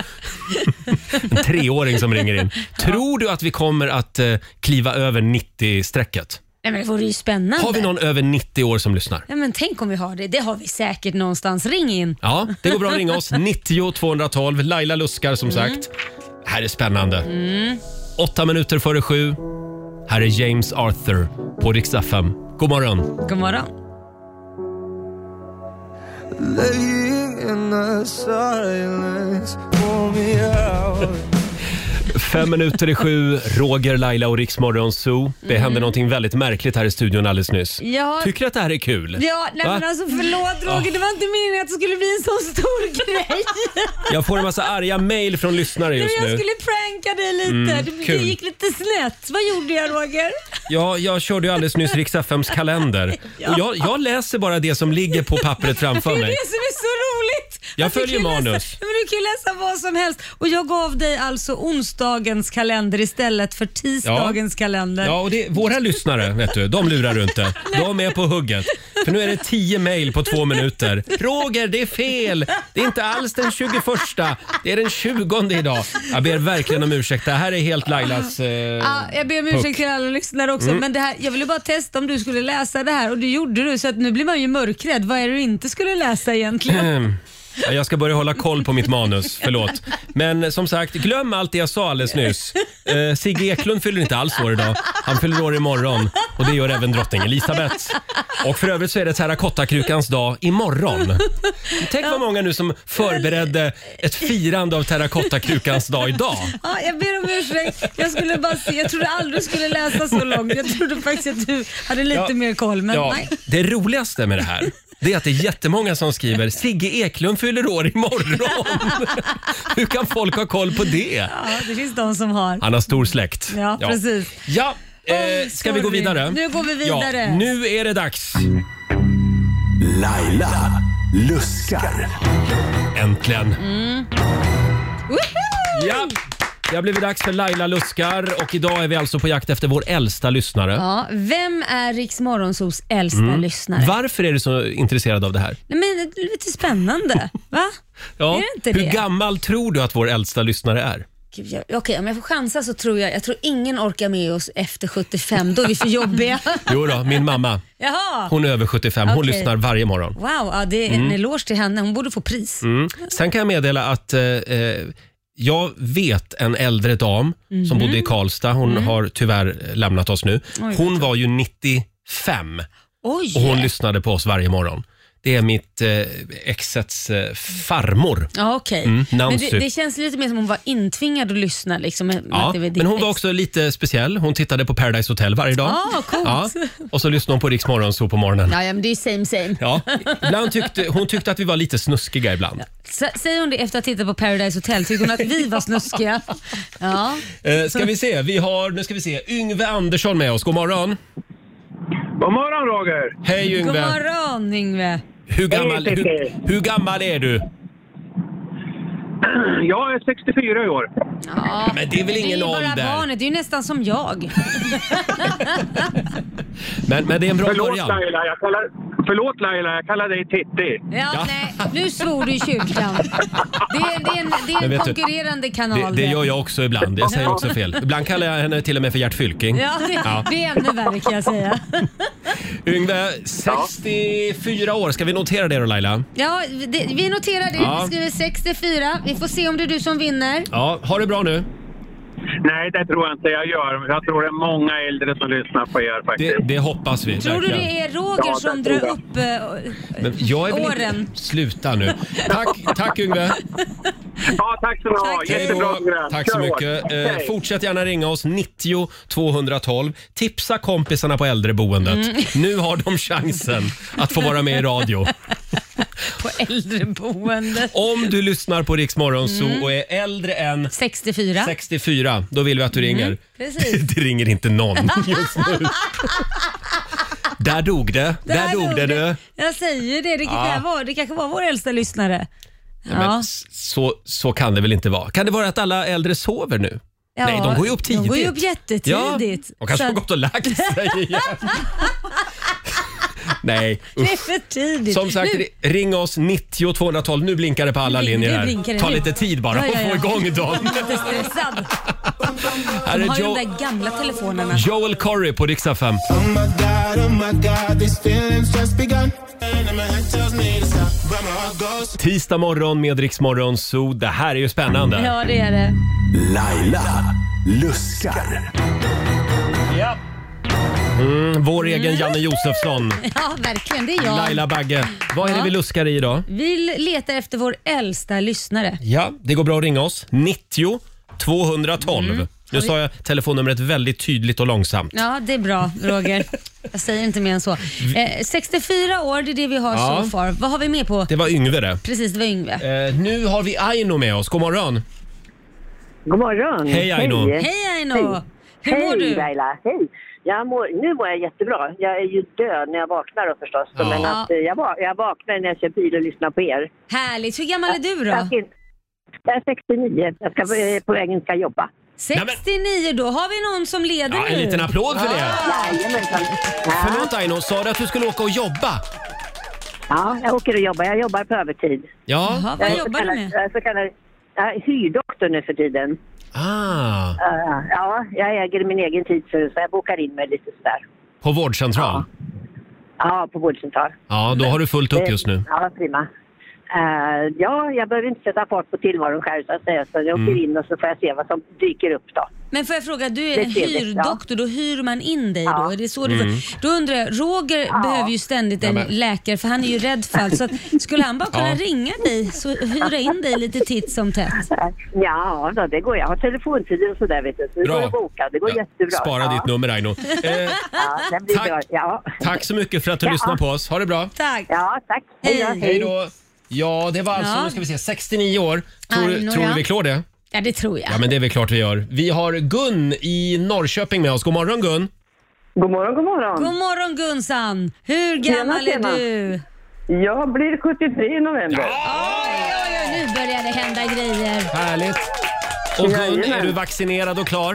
Speaker 1: En treåring som ringer in. Tror du att vi kommer att eh, kliva över 90-strecket?
Speaker 2: Nej, men det vore ju spännande.
Speaker 1: Har vi någon över 90 år som lyssnar?
Speaker 2: Nej, men tänk om vi har det. Det har vi säkert någonstans. Ring in.
Speaker 1: Ja, det går bra att ringa
Speaker 2: <laughs>
Speaker 1: oss. 90 212. Laila luskar som
Speaker 2: Mm.
Speaker 1: sagt. Det här är spännande. Åtta minuter före sju. Här är James Arthur på Rix FM. God morgon.
Speaker 2: God morgon.
Speaker 1: Fem minuter i sju. Roger, Laila och Rix Morgon Zoo. Det hände någonting väldigt märkligt här i studion alldeles nyss.
Speaker 2: Mm. Ja,
Speaker 1: Tycker du att det här är kul?
Speaker 2: ja nej,
Speaker 1: Va?
Speaker 2: men alltså förlåt Roger, det var inte meningen att det skulle bli en så
Speaker 1: <laughs>
Speaker 2: stor grej.
Speaker 1: Jag får en massa arga mejl från lyssnare just
Speaker 2: jag
Speaker 1: nu. Mm,
Speaker 2: skulle pranka dig lite. det, det
Speaker 1: kul.
Speaker 2: gick lite snett. Vad gjorde jag Roger?
Speaker 1: Ja, jag körde ju alldeles nyss Rix FMs kalender. Och jag, jag läser bara det som ligger på pappret framför
Speaker 2: <laughs> Det är
Speaker 1: mig.
Speaker 2: det som är så roligt.
Speaker 1: Jag
Speaker 2: Att du
Speaker 1: följer
Speaker 2: kan
Speaker 1: manus.
Speaker 2: Läsa, men du kan ju läsa vad som helst. Och jag gav dig alltså onsdagens kalender istället för tisdagens kalender.
Speaker 1: Ja, och det, våra lyssnare, vet du, de lurar du inte. De är på hugget. För nu är det tio mejl på två minuter. Roger, det är fel! Det är inte alls den 21. Det är den 20 idag. Jag ber verkligen om ursäkt. Det här är helt Lailas... Eh,
Speaker 2: Ja, jag ber om
Speaker 1: Puck. Mm.
Speaker 2: ursäkt till alla lyssnare också, men det här, jag ville bara testa om du skulle läsa det här och det gjorde du så att nu blir man ju mörkrädd. Vad är det du inte skulle läsa egentligen?
Speaker 1: ehm, ja, jag ska börja hålla koll på mitt manus. Förlåt. Men eh, som sagt, glöm allt det jag sa alldeles nyss. Eh, Sigge Eklund fyller inte alls år idag. Han fyller år imorgon. Och det gör även drottning Elisabeth. Och för övrigt så är det terrakottakrukans dag imorgon. Tänk vad många nu som förberedde ett firande av terrakottakrukans dag idag.
Speaker 2: Ja, jag ber om ursäkt. Jag skulle bara se. Jag trodde aldrig du skulle läsa så långt. Jag trodde faktiskt att du hade lite
Speaker 1: Ja.
Speaker 2: mer koll, men
Speaker 1: Ja,
Speaker 2: nej.
Speaker 1: det roligaste med det här det är att det är jättemånga som skriver “Sigge Eklund fyller år imorgon”. Hur kan folk ha koll på det?
Speaker 2: Ja, det finns de som har.
Speaker 1: Han har stor släkt.
Speaker 2: Ja, precis.
Speaker 1: Ja, eh,
Speaker 2: Oj,
Speaker 1: ska vi gå
Speaker 2: sorry.
Speaker 1: vidare?
Speaker 2: Nu går vi vidare.
Speaker 1: Ja, nu är det dags.
Speaker 8: Laila luskar.
Speaker 1: Äntligen.
Speaker 2: Mm. Woho!
Speaker 1: Ja. Det har blivit dags för Laila luskar och idag är vi alltså på jakt efter vår äldsta lyssnare.
Speaker 2: Ja, vem är Riks Morgonzos äldsta
Speaker 1: Mm.
Speaker 2: lyssnare?
Speaker 1: Varför är du så intresserad av det här?
Speaker 2: Nej, men det är lite spännande. Va?
Speaker 1: Ja.
Speaker 2: Är det inte
Speaker 1: Hur
Speaker 2: det?
Speaker 1: gammal tror du att vår äldsta lyssnare är?
Speaker 2: Gud, jag- Okej, om jag får chansa så tror jag, jag tror ingen orkar med oss efter 75, då är vi för jobbiga. <laughs>
Speaker 1: Jo då, min mamma.
Speaker 2: Jaha!
Speaker 1: Hon är över 75. Hon
Speaker 2: Okej.
Speaker 1: lyssnar varje morgon.
Speaker 2: Wow, ja, det är en eloge till henne. Hon borde få pris.
Speaker 1: Mm. Sen kan jag meddela att eh, eh, jag vet en äldre dam som
Speaker 2: Mhm.
Speaker 1: bodde i Karlstad. Hon
Speaker 2: Mm.
Speaker 1: har tyvärr lämnat oss nu. Hon var ju 95
Speaker 2: Oj!
Speaker 1: och hon lyssnade på oss varje morgon. Det är mitt eh, exets eh, farmor.
Speaker 2: Ja, okej.
Speaker 1: Mm,
Speaker 2: Men
Speaker 1: Nancy.
Speaker 2: det, det känns lite mer som hon var intvingad att lyssna. Liksom, med- med
Speaker 1: Ja,
Speaker 2: att det ditt
Speaker 1: men hon var
Speaker 2: ex.
Speaker 1: också lite speciell. Hon tittade på Paradise Hotel varje dag.
Speaker 2: Ah, coolt.
Speaker 1: Ja, och så lyssnade hon på Rix Morgonzoo på morgonen.
Speaker 2: Ja, ja, men det är ju same same.
Speaker 1: Ja, ibland tyckte, hon tyckte att vi var lite snuskiga ibland.
Speaker 2: S- Säger hon det efter att ha tittat på Paradise Hotel? Tycker hon att vi
Speaker 1: <laughs>
Speaker 2: var snuskiga? Ja.
Speaker 1: Eh, ska vi se, vi har, nu ska vi se, Yngve Andersson med oss. God morgon.
Speaker 6: God morgon, Roger!
Speaker 1: Hej Yngve.
Speaker 2: God morgon Yngve.
Speaker 1: Hur gammal,
Speaker 6: Hej,
Speaker 1: hur,
Speaker 6: Titti.
Speaker 1: hur gammal är du?
Speaker 6: Jag är 64 i år.
Speaker 2: Ja.
Speaker 1: Men det är väl
Speaker 2: Det är
Speaker 1: ingen
Speaker 2: ju bara
Speaker 1: ålder?
Speaker 2: barnet, det är ju nästan som jag.
Speaker 1: Men, men det är en bra
Speaker 6: Förlåt
Speaker 1: början.
Speaker 6: Laila, jag kallar, förlåt Laila, jag kallar dig Titti.
Speaker 2: Ja,
Speaker 1: Ja.
Speaker 2: nej. Nu svor du i kyrkan. Det är, det är en, det
Speaker 1: Men
Speaker 2: är en
Speaker 1: vet du,
Speaker 2: konkurrerande
Speaker 1: Det,
Speaker 2: kanal.
Speaker 1: det gör jag också ibland. Jag säger också fel. Ibland kallar jag henne till och med för Gert Fylking.
Speaker 2: Ja, det, det är ännu värre kan jag säga.
Speaker 1: Yngve, 64 år. Ska vi notera det då Laila?
Speaker 2: Ja, det, vi noterar det.
Speaker 1: Ja.
Speaker 2: Vi skriver 64. Vi får se om det är du som vinner.
Speaker 1: Ja, ha det bra nu.
Speaker 6: Nej, det tror jag inte jag gör. Jag tror det är många äldre som lyssnar på er faktiskt.
Speaker 1: Det, det hoppas vi.
Speaker 2: Tror du
Speaker 1: verkligen.
Speaker 2: det är Roger
Speaker 6: Ja, det
Speaker 2: som
Speaker 6: tror
Speaker 2: drar
Speaker 6: jag.
Speaker 2: upp... eh,
Speaker 1: Men jag är väl
Speaker 2: Åren.
Speaker 1: Inte... Sluta nu. Tack, tack Yngve.
Speaker 6: Ja, tack ska ni ha.
Speaker 2: Tack.
Speaker 1: Hej
Speaker 6: Jättebra
Speaker 1: då.
Speaker 6: program.
Speaker 1: Tack så
Speaker 6: Kör hårt.
Speaker 1: mycket. Eh,
Speaker 6: Hej.
Speaker 1: fortsätt gärna ringa oss, 90 212. Tipsa kompisarna på äldreboendet.
Speaker 2: Mm.
Speaker 1: Nu har de chansen att få vara med i radio.
Speaker 2: på äldreboende.
Speaker 1: Om du lyssnar på Rix Morgon Zoo
Speaker 2: Mm.
Speaker 1: och är äldre än
Speaker 2: 64.
Speaker 1: 64, då vill vi att du ringer.
Speaker 2: Mm, precis.
Speaker 1: <laughs> Det ringer inte någon just nu. Där dog det. Där, dog det, du.
Speaker 2: Jag säger det. Det kanske,
Speaker 1: Ja.
Speaker 2: var, det kanske var vår äldsta lyssnare. Ja.
Speaker 1: Men s- så, så kan det väl inte vara? Kan det vara att alla äldre sover nu?
Speaker 2: Ja,
Speaker 1: Nej, de går ju upp tidigt.
Speaker 2: De går ju upp jättetidigt.
Speaker 1: Ja, de kanske
Speaker 2: Så
Speaker 1: har
Speaker 2: att
Speaker 1: gått och lagt
Speaker 2: <laughs>
Speaker 1: sig igen. Nej,
Speaker 2: det
Speaker 1: usch.
Speaker 2: är för tidigt.
Speaker 1: Som sagt,
Speaker 2: Typ nu,
Speaker 1: ri- ring oss 90 212. Nu blinkar det på alla
Speaker 2: Nu blin-
Speaker 1: linjer
Speaker 2: nu blinkar
Speaker 1: här.
Speaker 2: det.
Speaker 1: Ta
Speaker 2: Nu-
Speaker 1: lite tid bara
Speaker 2: Ja, ja,
Speaker 1: att få
Speaker 2: ja.
Speaker 1: igång
Speaker 2: <laughs>
Speaker 1: dem.
Speaker 2: jag är jättestressad.
Speaker 1: Här
Speaker 2: De har
Speaker 1: är
Speaker 2: ju
Speaker 1: jo-
Speaker 2: de där gamla telefonerna.
Speaker 1: Joel Corry på riksdag 5.
Speaker 9: Oh my god, oh my god, these feelings just begun. And my head tells me to stop, but my heart goes.
Speaker 1: Tisdag morgon med Rix Morgon Zoo. Det här är ju spännande.
Speaker 2: Ja, det är det.
Speaker 8: Laila luskar.
Speaker 1: Mm, Vår egen Janne Josefsson,
Speaker 2: Ja, verkligen. Det är jag.
Speaker 1: Laila Bagge. Vad är det
Speaker 2: Ja.
Speaker 1: vi luskar i idag?
Speaker 2: Vi letar efter vår äldsta lyssnare.
Speaker 1: Ja, det går bra att ringa oss. 90 212. Nu sa jag telefonnumret väldigt tydligt och långsamt.
Speaker 2: Mm. Ja, det är bra, Roger. Jag säger inte mer än så. Eh, 64 år, det är det vi har
Speaker 1: Ja.
Speaker 2: so far. Vad har vi med på?
Speaker 1: Det var Yngve det.
Speaker 2: Precis, det var Yngve.
Speaker 1: Eh, nu har vi Aino med oss. God morgon.
Speaker 10: God morgon!
Speaker 1: Hej, Aino.
Speaker 2: Hej Aino! Hur mår
Speaker 10: Hej
Speaker 2: du?
Speaker 10: Laila! Hej! Jag mår, nu mår jag jättebra. Jag är ju död när jag vaknar då förstås.
Speaker 1: Ja.
Speaker 10: Men att, eh, jag, va, jag vaknar när jag kör bil och lyssnar på er.
Speaker 2: Härligt. Hur gammal är du
Speaker 10: Jag,
Speaker 2: då?
Speaker 10: ska in- jag är 69. Jag ska, eh, på vägen ska jobba.
Speaker 2: 69, då har vi någon som leder
Speaker 1: Ja,
Speaker 2: nu.
Speaker 1: en liten applåd för det.
Speaker 2: Ah.
Speaker 10: Jajamensan! Ja,
Speaker 1: Förlåt Aino, sa du att du skulle åka och jobba?
Speaker 10: ja, jag åker och jobbar. Jag jobbar på övertid.
Speaker 1: Ja.
Speaker 2: Jaha,
Speaker 10: Jag är
Speaker 2: vad
Speaker 10: så
Speaker 2: jobbar du
Speaker 10: kallad-
Speaker 2: med?
Speaker 10: Jag är så kallad jag är hyrdoktor nu för tiden.
Speaker 1: Ah,
Speaker 10: Eh, ja, jag äger min egen tid så, så jag bokar in mig lite sådär.
Speaker 1: på vårdcentral?
Speaker 10: Ja, på vårdcentral.
Speaker 1: Ja, då har du fullt upp just nu.
Speaker 10: Ja, prima. Eh, ja, jag behöver inte sätta fart på tillvaron själv så att säga. Så jag åker in och så får jag se vad som dyker upp då.
Speaker 2: Men får jag fråga, du är
Speaker 10: Det
Speaker 2: en
Speaker 10: är trevligt,
Speaker 2: hyrdoktor, då hyr man in dig då?
Speaker 10: Ja.
Speaker 2: Är det så du,
Speaker 1: Mm.
Speaker 2: Då undrar jag, Roger behöver ju ständigt en läkare för han är ju rädd för allt. Så att, skulle han bara kunna
Speaker 1: Ja.
Speaker 2: ringa dig så hyra in dig lite titt som tätt?
Speaker 10: Ja, då, det går. Jag har telefontider och sådär vet du. Så det
Speaker 1: Bra.
Speaker 10: går att boka. Det går jättebra.
Speaker 1: Spara
Speaker 10: ja.
Speaker 1: ditt nummer
Speaker 2: <laughs>
Speaker 1: Aino. Eh,
Speaker 10: Ja, det blir
Speaker 1: Tack.
Speaker 10: bra. Ja.
Speaker 1: tack så mycket för att du
Speaker 10: Ja.
Speaker 1: lyssnade på oss. Ha det bra.
Speaker 2: Tack!
Speaker 10: ja, tack. Hej då.
Speaker 2: Hej.
Speaker 1: Hej då. Ja, det var alltså,
Speaker 2: Ja.
Speaker 1: nu ska vi se, 69 år. Tror, du-
Speaker 2: Aino,
Speaker 1: tror du
Speaker 2: ja.
Speaker 1: vi klår det?
Speaker 2: Ja, det tror jag.
Speaker 1: Ja, men det är väl klart vi gör. Vi har Gun i Norrköping med oss. God morgon Gun.
Speaker 10: God morgon, god morgon.
Speaker 1: Mm.
Speaker 2: God morgon Gunsan! Hur gammal
Speaker 10: tjena.
Speaker 2: är du?
Speaker 10: Jag blir 73 i november.
Speaker 2: Oj, oj, nu börjar det hända grejer.
Speaker 1: Härligt. Och Gun, är
Speaker 10: Jajamän.
Speaker 1: du vaccinerad och klar?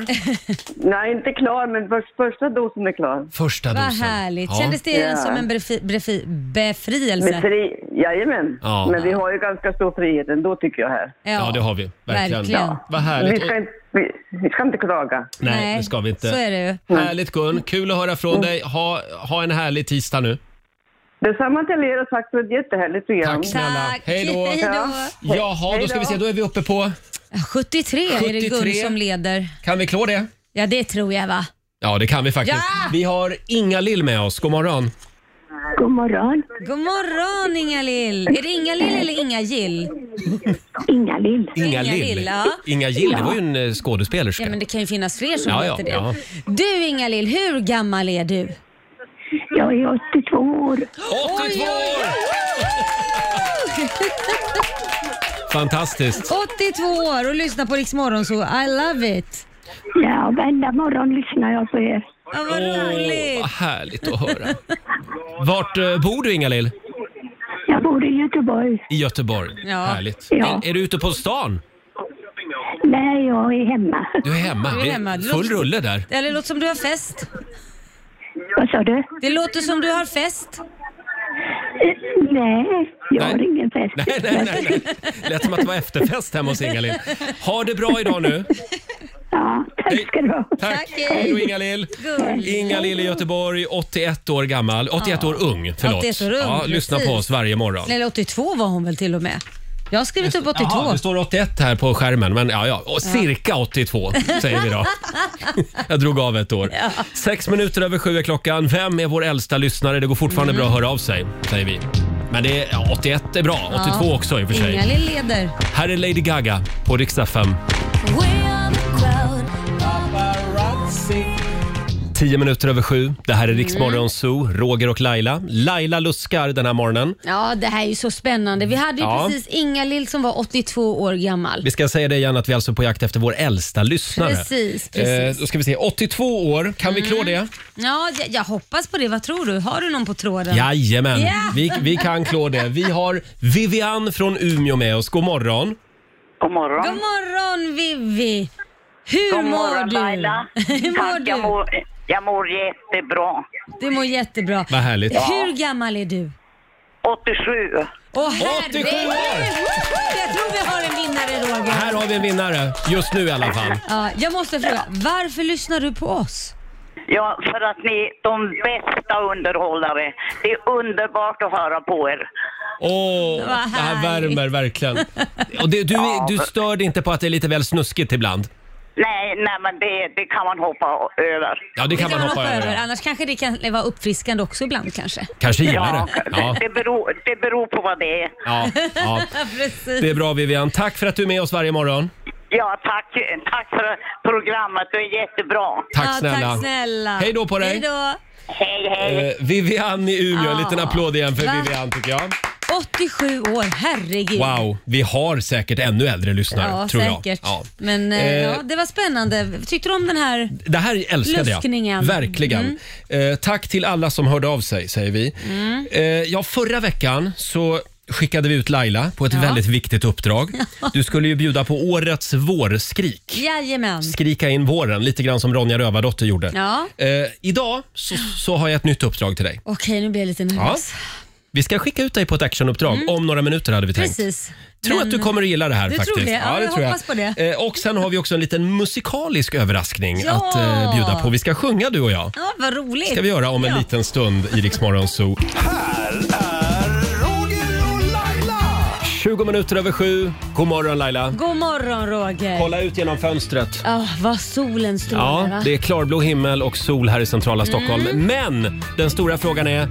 Speaker 10: Nej, inte klar, men första dosen är klar.
Speaker 1: Första
Speaker 2: Vad
Speaker 1: dosen.
Speaker 2: härligt.
Speaker 1: Ja.
Speaker 2: Kändes det
Speaker 10: Ja.
Speaker 2: som en befi, befi, befrielse?
Speaker 10: fri... Jajamän.
Speaker 1: Ja. Men vi
Speaker 10: har ju ganska stor frihet ändå tycker jag här.
Speaker 1: Ja, det har vi. Verkligen.
Speaker 2: Verkligen.
Speaker 1: Vad härligt. Och,
Speaker 10: inte, vi ska inte klaga.
Speaker 1: nej, det ska vi inte.
Speaker 2: Så är det ju.
Speaker 1: Härligt Gun, kul att höra från dig. Ha, ha en härlig tisdag nu.
Speaker 10: Detsamma till er och tack för ett jättehärligt program.
Speaker 1: Tack snälla.
Speaker 2: Tack.
Speaker 1: Hej då.
Speaker 2: <laughs> Hej då.
Speaker 1: Jaha, då ska vi se, då är vi uppe på...
Speaker 2: 73, är det Gun
Speaker 1: 73.
Speaker 2: som leder.
Speaker 1: Kan vi klå det?
Speaker 2: Ja, det tror jag va?
Speaker 1: Ja, det kan vi faktiskt.
Speaker 2: Ja!
Speaker 1: Vi har Inga-Lill med oss. God morgon.
Speaker 10: God morgon,
Speaker 2: God morgon Inga-Lill! Är det Inga-Lill eller Inga-Gill?
Speaker 10: Inga-Lill.
Speaker 2: Inga-Lill, ja.
Speaker 1: Inga-Lill, det var ju en eh, skådespelerska.
Speaker 2: Ja, men det kan ju finnas fler som
Speaker 1: Ja, ja,
Speaker 2: heter det.
Speaker 1: ja.
Speaker 2: Du Inga-Lill, hur gammal är du?
Speaker 1: 82
Speaker 2: Oj, oj,
Speaker 1: år! <laughs> Fantastiskt.
Speaker 2: 82 år och lyssnar på Rix Morgon, så I love it!
Speaker 10: Ja, varenda morgon lyssnar jag på er.
Speaker 2: Ja, vad
Speaker 1: Åh,
Speaker 2: roligt!
Speaker 1: vad härligt att höra. Vart eh, bor du Inga-Lill?
Speaker 10: Jag bor i Göteborg.
Speaker 1: I Göteborg.
Speaker 2: Ja.
Speaker 1: Härligt.
Speaker 10: Ja.
Speaker 1: Är, är du ute på stan?
Speaker 10: Nej, jag är hemma.
Speaker 1: Du är hemma.
Speaker 2: Du är
Speaker 1: Det är
Speaker 2: hemma. Det
Speaker 1: Full
Speaker 2: låter-
Speaker 1: rulle där. <laughs>
Speaker 2: Eller det låter som du har fest.
Speaker 11: Vad sa du?
Speaker 2: Det låter som du har fest.
Speaker 11: Eh, Nej, jag har
Speaker 1: Nej.
Speaker 11: ingen fest.
Speaker 1: Nej, nej, nej, nej. Lät som att det var efterfest hemma hos Inga-Lill. Ha det bra idag nu.
Speaker 11: Ja, tack ska du ha.
Speaker 1: Tack. Hej då Inga-Lill. Inga-Lill i Göteborg, 81 år gammal. 81
Speaker 2: Mm. Ja.
Speaker 1: år ung, förlåt.
Speaker 2: 81 år ung,
Speaker 1: ja, lyssna på
Speaker 2: precis.
Speaker 1: oss varje morgon.
Speaker 2: Eller 82 var hon väl till och med? Jag har skrivit upp 82.
Speaker 1: Jaha, det står 81 här på skärmen, men ja, ja. Och cirka 82 säger vi
Speaker 2: <laughs>
Speaker 1: då. Jag drog av ett år. Sex minuter över sju är klockan. Vem är vår äldsta lyssnare? Det går fortfarande bra att höra av sig, säger vi. Men det är, ja, 81 är bra, 82
Speaker 2: Mm. Ja.
Speaker 1: också i och för sig.
Speaker 2: Inga-Lill leder.
Speaker 1: Här är Lady Gaga på riksdag 5. Tio minuter över sju. Det här är Riksmorgon
Speaker 2: Mm.
Speaker 1: Zoo, Roger och Laila. Laila luskar den här morgonen.
Speaker 2: Ja, det här är ju så spännande. Vi hade ju
Speaker 1: Ja.
Speaker 2: precis Inga-Lill som var 82 år gammal.
Speaker 1: Vi ska säga det igen att vi är alltså på jakt efter vår äldsta lyssnare.
Speaker 2: Precis, precis.
Speaker 1: Eh, då ska vi se, 82 år. Kan vi klå det?
Speaker 2: Ja, jag, jag hoppas på det. Vad tror du? Har du någon på tråden?
Speaker 1: Jajamän,
Speaker 2: Ja.
Speaker 1: vi, vi kan klå det. Vi har Vivian från Umeå med oss. God morgon.
Speaker 12: God morgon.
Speaker 2: God morgon Vivi! Hur
Speaker 12: God
Speaker 2: mår
Speaker 12: morgon,
Speaker 2: du?
Speaker 12: Laila.
Speaker 2: <laughs> Hur mår
Speaker 12: Tack, jag
Speaker 2: du?
Speaker 12: mår, jag mår jättebra.
Speaker 2: Du mår jättebra.
Speaker 1: Vad härligt. Ja.
Speaker 2: Hur gammal är du?
Speaker 12: 87.
Speaker 2: Åh
Speaker 1: 87 år!
Speaker 2: herregud! Jag tror vi har en vinnare Roger.
Speaker 1: Här har vi en vinnare, just nu i alla fall.
Speaker 2: Ja, jag måste fråga, varför lyssnar du på oss?
Speaker 12: Ja, för att ni är de bästa underhållare. Det är underbart att höra på er.
Speaker 1: Åh,
Speaker 12: Vad
Speaker 1: det här
Speaker 12: härligt.
Speaker 1: värmer verkligen. Och det, du,
Speaker 12: Ja,
Speaker 1: du
Speaker 12: men-
Speaker 1: stör dig inte på att det är lite väl snuskigt ibland?
Speaker 12: Nej, nej men det, det kan man hoppa över.
Speaker 1: Ja, det kan man hoppa över. ja.
Speaker 2: Annars kanske det kan vara uppfriskande också ibland kanske.
Speaker 1: Kanske gillar det.
Speaker 12: Ja,
Speaker 1: Ja.
Speaker 12: det, det, beror, det beror på vad det är.
Speaker 1: Ja, ja.
Speaker 2: Precis.
Speaker 1: Det är bra Vivian. Tack för att du är med oss varje morgon.
Speaker 12: Ja, tack, tack för programmet. Det är jättebra.
Speaker 1: Tack Ja, snälla. tack snälla. Hej då på dig. Hej
Speaker 2: då.
Speaker 12: Hej, hej.
Speaker 1: Eh, Vivian i Umeå, en liten
Speaker 2: Ja.
Speaker 1: applåd igen för
Speaker 2: Va?
Speaker 1: Vivian tycker jag.
Speaker 2: 87 år, herregud.
Speaker 1: Wow, vi har säkert ännu äldre lyssnare
Speaker 2: Ja,
Speaker 1: tror jag.
Speaker 2: säkert.
Speaker 1: Ja.
Speaker 2: Men eh,
Speaker 1: Eh.
Speaker 2: ja, det var spännande. Tyckte du om den här?
Speaker 1: Det här älskade
Speaker 2: Luskningen.
Speaker 1: jag. Verkligen. Eh, tack till alla som hörde av sig, säger vi.
Speaker 2: Mm.
Speaker 1: Eh, ja, förra veckan så skickade vi ut Laila på ett väldigt viktigt uppdrag. Du skulle ju bjuda på årets vårskrik.
Speaker 2: Jajamän.
Speaker 1: Skrika in våren, lite grann som Ronja Rövardotter gjorde.
Speaker 2: Ja.
Speaker 1: Eh, idag så, så har jag ett nytt uppdrag till dig.
Speaker 2: Okej, nu blir jag lite
Speaker 1: Ja.
Speaker 2: nervös.
Speaker 1: Vi ska skicka ut dig på ett actionuppdrag om några minuter hade vi tänkt.
Speaker 2: Mm. Precis.
Speaker 1: Tror
Speaker 2: Men-
Speaker 1: att du kommer att gilla det här
Speaker 2: Du tror
Speaker 1: faktiskt.
Speaker 2: det? Ja, jag hoppas på det.
Speaker 1: Eh, och sen har vi också en liten musikalisk överraskning
Speaker 2: Ja!
Speaker 1: att eh, bjuda på. Vi ska sjunga du och jag.
Speaker 2: Ja, vad roligt.
Speaker 1: ska vi göra om en
Speaker 2: ja.
Speaker 1: liten stund i Rix Morgon Zoo. 20 minuter över sju. God morgon Laila.
Speaker 2: God morgon Roger.
Speaker 1: Kolla ut genom fönstret.
Speaker 2: Ah, vad solen strålar
Speaker 1: Ja,
Speaker 2: va?
Speaker 1: det är klarblå himmel och sol här i centrala Stockholm.
Speaker 2: Mm.
Speaker 1: Men den stora frågan är,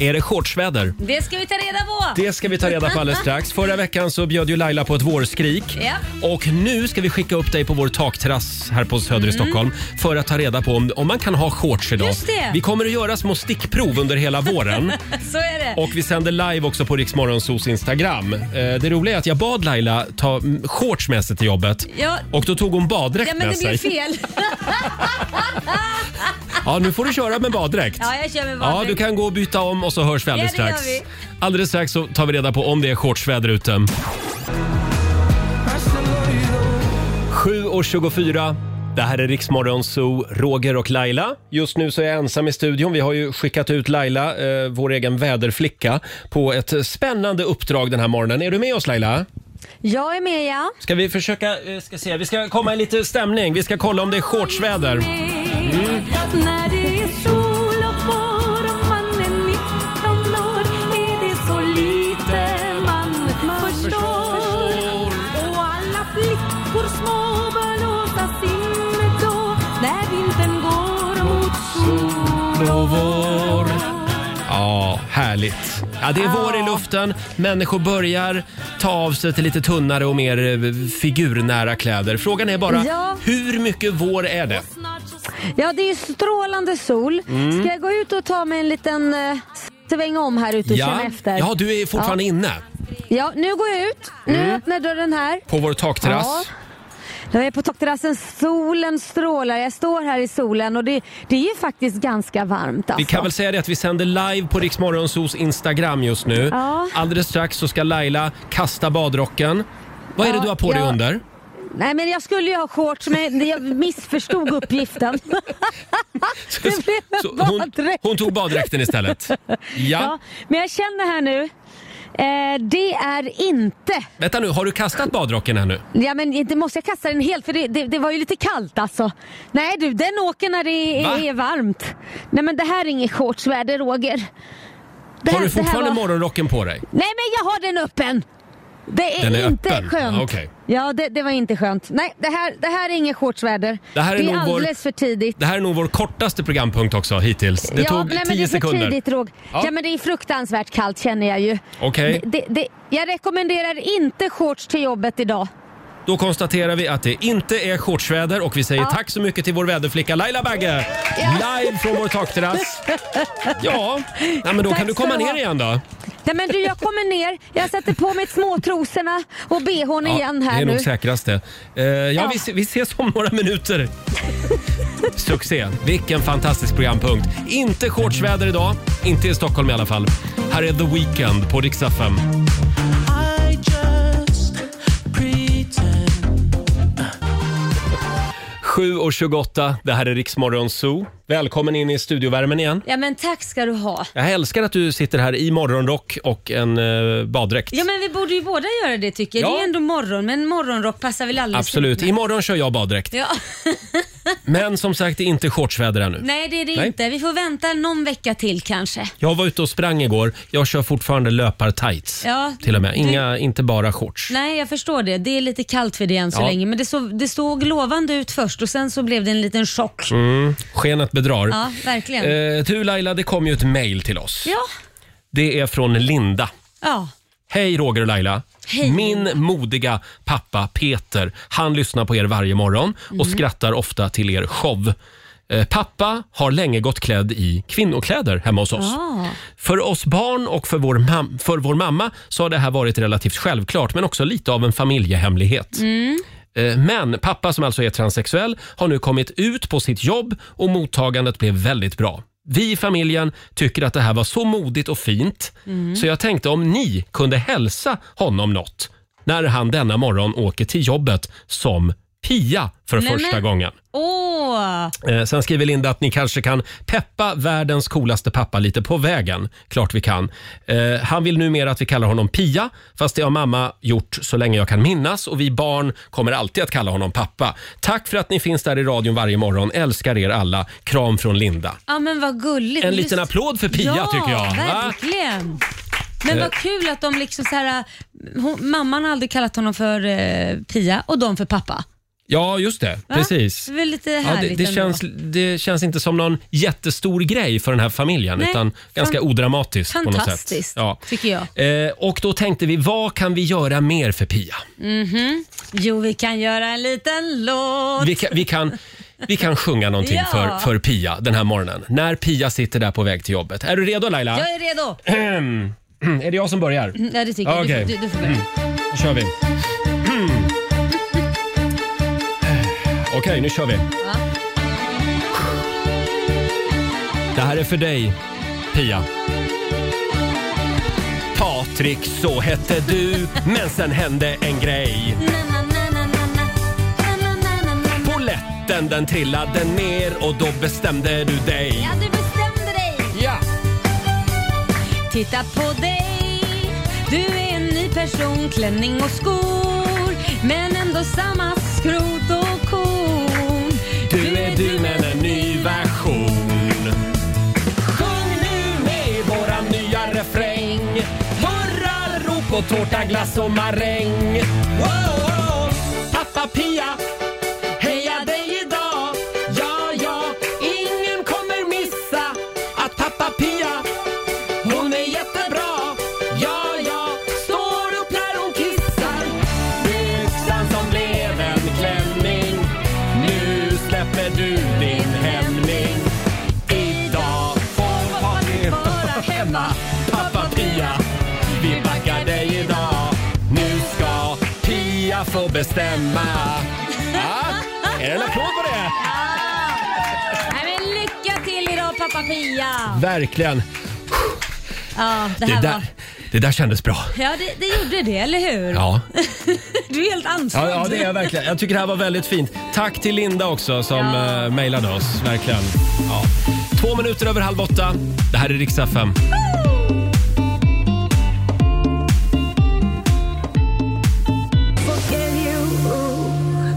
Speaker 1: är det shortsväder?
Speaker 2: det ska vi ta reda på.
Speaker 1: Det ska vi ta reda på alldeles strax. Förra veckan så bjöd ju Laila på ett vårskrik.
Speaker 2: Ja.
Speaker 1: Och nu ska vi skicka upp dig på vår takterrass här på Söder i
Speaker 2: Mm.
Speaker 1: Stockholm för att ta reda på om, om man kan ha shorts idag.
Speaker 2: Just det.
Speaker 1: Vi kommer att göra små stickprov under hela
Speaker 2: <laughs>
Speaker 1: våren.
Speaker 2: Så är det.
Speaker 1: Och vi sänder live också på Riksmorgonsos Instagram. Eh, Det roliga är att jag bad Laila ta mm, shorts med sig till jobbet.
Speaker 2: Ja.
Speaker 1: Och då tog hon baddräkt
Speaker 2: ja, men
Speaker 1: med
Speaker 2: det blev
Speaker 1: sig.
Speaker 2: fel.
Speaker 1: Ja, nu får du köra med baddräkt.
Speaker 2: ja, jag kör med
Speaker 1: Ja,
Speaker 2: baddräkt.
Speaker 1: du kan gå och byta om och så hörs vi alldeles
Speaker 2: Ja, det gör
Speaker 1: strax.
Speaker 2: vi.
Speaker 1: Alldeles strax så tar vi reda på om det är shortsväder ute. 7.24. Det här är Riksmorgon Zoo, Roger och Laila. Just nu så är jag ensam i studion. Vi har ju skickat ut Laila, eh, vår egen väderflicka, på ett spännande uppdrag den här morgonen. Är du med oss Laila?
Speaker 2: Jag är med ja.
Speaker 1: Ska vi försöka, eh, ska se, vi ska komma i lite stämning. Vi ska kolla om det är shortsväder. Mm.
Speaker 7: När det är sol och vår och man är 19 år är det så lite man förstår. Och alla flickor små bör låta sinnet då när vintern går mot sol och vår.
Speaker 1: Ja, härligt. Ja, det är vår i luften. Människor börjar ta av sig till lite tunnare och mer eh, figurnära kläder. Frågan är bara,
Speaker 2: Ja.
Speaker 1: hur mycket vår är det?
Speaker 2: Ja, det är ju strålande sol.
Speaker 1: Mm.
Speaker 2: Ska jag gå ut och ta mig en liten eh, sväng om här ute och känna efter?
Speaker 1: ja, du är fortfarande
Speaker 2: ja.
Speaker 1: inne
Speaker 2: Ja, nu går jag ut. Nu
Speaker 1: Mm.
Speaker 2: öppnar dörren här.
Speaker 1: på vår takterrass.
Speaker 2: Ja. Jag är på takterrassen, solen strålar. Jag står här i solen och det, det är ju faktiskt ganska varmt. Alltså.
Speaker 1: Vi kan väl säga det att vi sänder live på Rix Morgonzos Instagram just nu.
Speaker 2: Ja.
Speaker 1: Alldeles strax så ska Laila kasta badrocken. Vad är det
Speaker 2: Ja,
Speaker 1: du har på dig
Speaker 2: jag-
Speaker 1: under? <laughs>
Speaker 2: Nej men jag skulle ju ha shorts men jag missförstod uppgiften. det blev... <laughs>
Speaker 1: Så hon, hon tog baddräkten istället. Ja.
Speaker 2: Ja, men jag känner här nu, eh, det är inte...
Speaker 1: Vänta nu, har du kastat badrocken här nu?
Speaker 2: Ja men inte måste jag kasta den helt för det, det, det var ju lite kallt alltså. Nej du, den åker när det är,
Speaker 1: Va?
Speaker 2: är varmt. Nej men det här är inget shortsväder Roger. Det
Speaker 1: Har
Speaker 2: här-
Speaker 1: du
Speaker 2: det här
Speaker 1: fortfarande
Speaker 2: var-
Speaker 1: morgonrocken på dig?
Speaker 2: Nej men jag har den öppen! Det är,
Speaker 1: Den är
Speaker 2: inte
Speaker 1: öppen.
Speaker 2: skönt.
Speaker 1: Ja, okej.
Speaker 2: Ja, det, det var inte skönt. Nej, det här, det här är inget shortsväder.
Speaker 1: Det här är
Speaker 2: det är
Speaker 1: nog vår-
Speaker 2: alldeles för tidigt.
Speaker 1: Det här är nog vår kortaste programpunkt också hittills. Det tog
Speaker 2: nej, men det
Speaker 1: 10
Speaker 2: är för
Speaker 1: sekunder.
Speaker 2: tidigt Rog. Ja.
Speaker 1: Ja.
Speaker 2: men det är fruktansvärt kallt känner jag ju.
Speaker 1: Okej.
Speaker 2: Det, det, det, jag rekommenderar inte shorts till jobbet idag.
Speaker 1: Då konstaterar vi att det inte är shortsväder och vi säger
Speaker 2: Ja.
Speaker 1: tack så mycket till vår väderflicka Laila Bagge! Live från vår takterrass. Ja, nej, men då
Speaker 2: Tack
Speaker 1: kan du
Speaker 2: ska
Speaker 1: komma
Speaker 2: du
Speaker 1: ner
Speaker 2: ha.
Speaker 1: igen då.
Speaker 2: Nej men du, jag kommer ner, jag sätter på mig småtrosorna och bhn
Speaker 1: Ja,
Speaker 2: igen här
Speaker 1: det är
Speaker 2: nu.
Speaker 1: nog säkrast det. Eh, ja,
Speaker 2: Ja.
Speaker 1: Vi, se- vi ses om några minuter. Succé! Vilken fantastisk programpunkt. Inte shortsväder idag, inte i Stockholm i alla fall. Här är The Weeknd på Rix FM.
Speaker 5: I just pretend
Speaker 1: 7.28, det här är Riksmorgon Zoo. Välkommen in i studiovärmen igen.
Speaker 2: Ja men tack ska du ha.
Speaker 1: Jag älskar att du sitter här i morgonrock och en eh, baddräkt.
Speaker 2: Ja men vi borde ju båda göra det tycker jag.
Speaker 1: Ja.
Speaker 2: Det är ändå morgon, men morgonrock passar väl alldeles
Speaker 1: Absolut.
Speaker 2: utmärkt.
Speaker 1: Imorgon kör jag baddräkt. <laughs>
Speaker 2: Ja.
Speaker 1: Men som sagt, det är inte shortsväder ännu.
Speaker 2: Nej det är det
Speaker 1: Nej.
Speaker 2: inte. Vi får vänta någon vecka till kanske.
Speaker 1: Jag var ute och sprang igår. Jag kör fortfarande löpartights.
Speaker 2: Ja,
Speaker 1: Till och med.
Speaker 2: du-
Speaker 1: Inga, inte bara shorts.
Speaker 2: Nej, jag förstår det. Det är lite kallt för det än så
Speaker 1: Ja.
Speaker 2: länge. Men det, såg det såg lovande ut först och sen så blev det en liten chock.
Speaker 1: Mm, skenet bedrar.
Speaker 2: Ja, verkligen.
Speaker 1: Eh, du Laila, det kom ju ett mejl till oss.
Speaker 2: Ja.
Speaker 1: Det är från Linda.
Speaker 2: ja.
Speaker 1: Hej Roger och Laila. Min modiga pappa Peter, han lyssnar på er varje morgon och
Speaker 13: Mm.
Speaker 1: skrattar ofta till er show. Eh, Pappa har länge gått klädd i kvinnokläder hemma hos oss.
Speaker 13: Ah.
Speaker 1: För oss barn och för vår, mam- för vår mamma så har det här varit relativt självklart men också lite av en familjehemlighet.
Speaker 2: Mm.
Speaker 1: Eh, Men pappa som alltså är transsexuell har nu kommit ut på sitt jobb och mottagandet blev väldigt bra. Vi i familjen tycker att det här var så modigt och fint
Speaker 13: Mm.
Speaker 1: så jag tänkte om ni kunde hälsa honom något när han denna morgon åker till jobbet som Pia för
Speaker 2: Nej,
Speaker 1: första
Speaker 2: men-
Speaker 1: gången.
Speaker 2: Åh!
Speaker 1: Eh, Sen skriver Linda att ni kanske kan peppa världens coolaste pappa lite på vägen. Klart vi kan. Eh, Han vill numera att vi kallar honom Pia, fast det har mamma gjort så länge jag kan minnas och vi barn kommer alltid att kalla honom pappa. Tack för att ni finns där i radion varje morgon. Älskar er alla. Kram från Linda.
Speaker 2: Ja men vad gulligt.
Speaker 1: En
Speaker 2: Just-
Speaker 1: liten applåd för Pia
Speaker 2: ja,
Speaker 1: tycker jag. Va?
Speaker 2: verkligen. Men
Speaker 1: Eh.
Speaker 2: vad kul att de liksom så här, hon, mamman har aldrig kallat honom för eh, Pia och de för pappa.
Speaker 1: Ja, just det.
Speaker 2: Va?
Speaker 1: Precis.
Speaker 2: Det är väl lite
Speaker 1: Ja, det,
Speaker 2: härligt
Speaker 1: det,
Speaker 2: ändå.
Speaker 1: känns, det känns inte som någon jättestor grej för den här familjen
Speaker 2: Nej,
Speaker 1: utan
Speaker 2: fan-
Speaker 1: ganska odramatiskt på något sätt.
Speaker 2: Fantastiskt, tycker jag.
Speaker 1: Eh, och då tänkte vi, vad kan vi göra mer för Pia?
Speaker 2: Mhm. Jo, vi kan göra en liten låt.
Speaker 1: Vi kan, vi kan, vi kan sjunga någonting
Speaker 2: Ja.
Speaker 1: för, för Pia den här morgonen. När Pia sitter där på väg till jobbet. Är du redo Laila?
Speaker 2: Jag är
Speaker 1: <clears throat>
Speaker 2: redo.
Speaker 1: är det jag som börjar?
Speaker 2: Mm, Ja, det tycker jag.
Speaker 1: Okej.
Speaker 2: Du, får- du, du får börja.
Speaker 1: Mm. Då kör vi. Okej, nu kör vi. Det här är för dig, Pia. Patrik, så hette du, men sen hände en grej. Poletten den trillade ner och då bestämde du dig.
Speaker 2: du bestämde dig.
Speaker 1: Ja.
Speaker 2: Titta på dig. Du är en ny person, klänning och skor. Men ändå samma skrot och korn.
Speaker 1: Du är du men en ny version. Sjung nu med våran nya refräng. Hurra, rop och tårta, glass och maräng. Wow, wow. Pappa Pia, heja dig idag. Ja, ja, ingen kommer missa att pappa Pia, hon är jättebra. Ja, ja, står upp när hon kissar. Byxan som blev en klänning. Nu släpper du din hämning. Idag får party vara hemma. Pappa Pia, vi backar dig idag. Nu ska Pia få bestämma. Ja, är det en applåd på det?
Speaker 2: Nej, men lycka till idag pappa Pia.
Speaker 1: Verkligen.
Speaker 2: Ja, det
Speaker 1: Det
Speaker 2: här
Speaker 1: där,
Speaker 2: var...
Speaker 1: Det där kändes bra.
Speaker 2: Ja, det, det gjorde det, eller hur?
Speaker 1: Ja.
Speaker 2: <laughs> Du är helt andfådd.
Speaker 1: Ja, ja, det är jag verkligen. Jag tycker det här var väldigt fint. Tack till Linda också som eh, mejlade oss. Verkligen. Ja. Två minuter över halv åtta. Det här är Rix FM.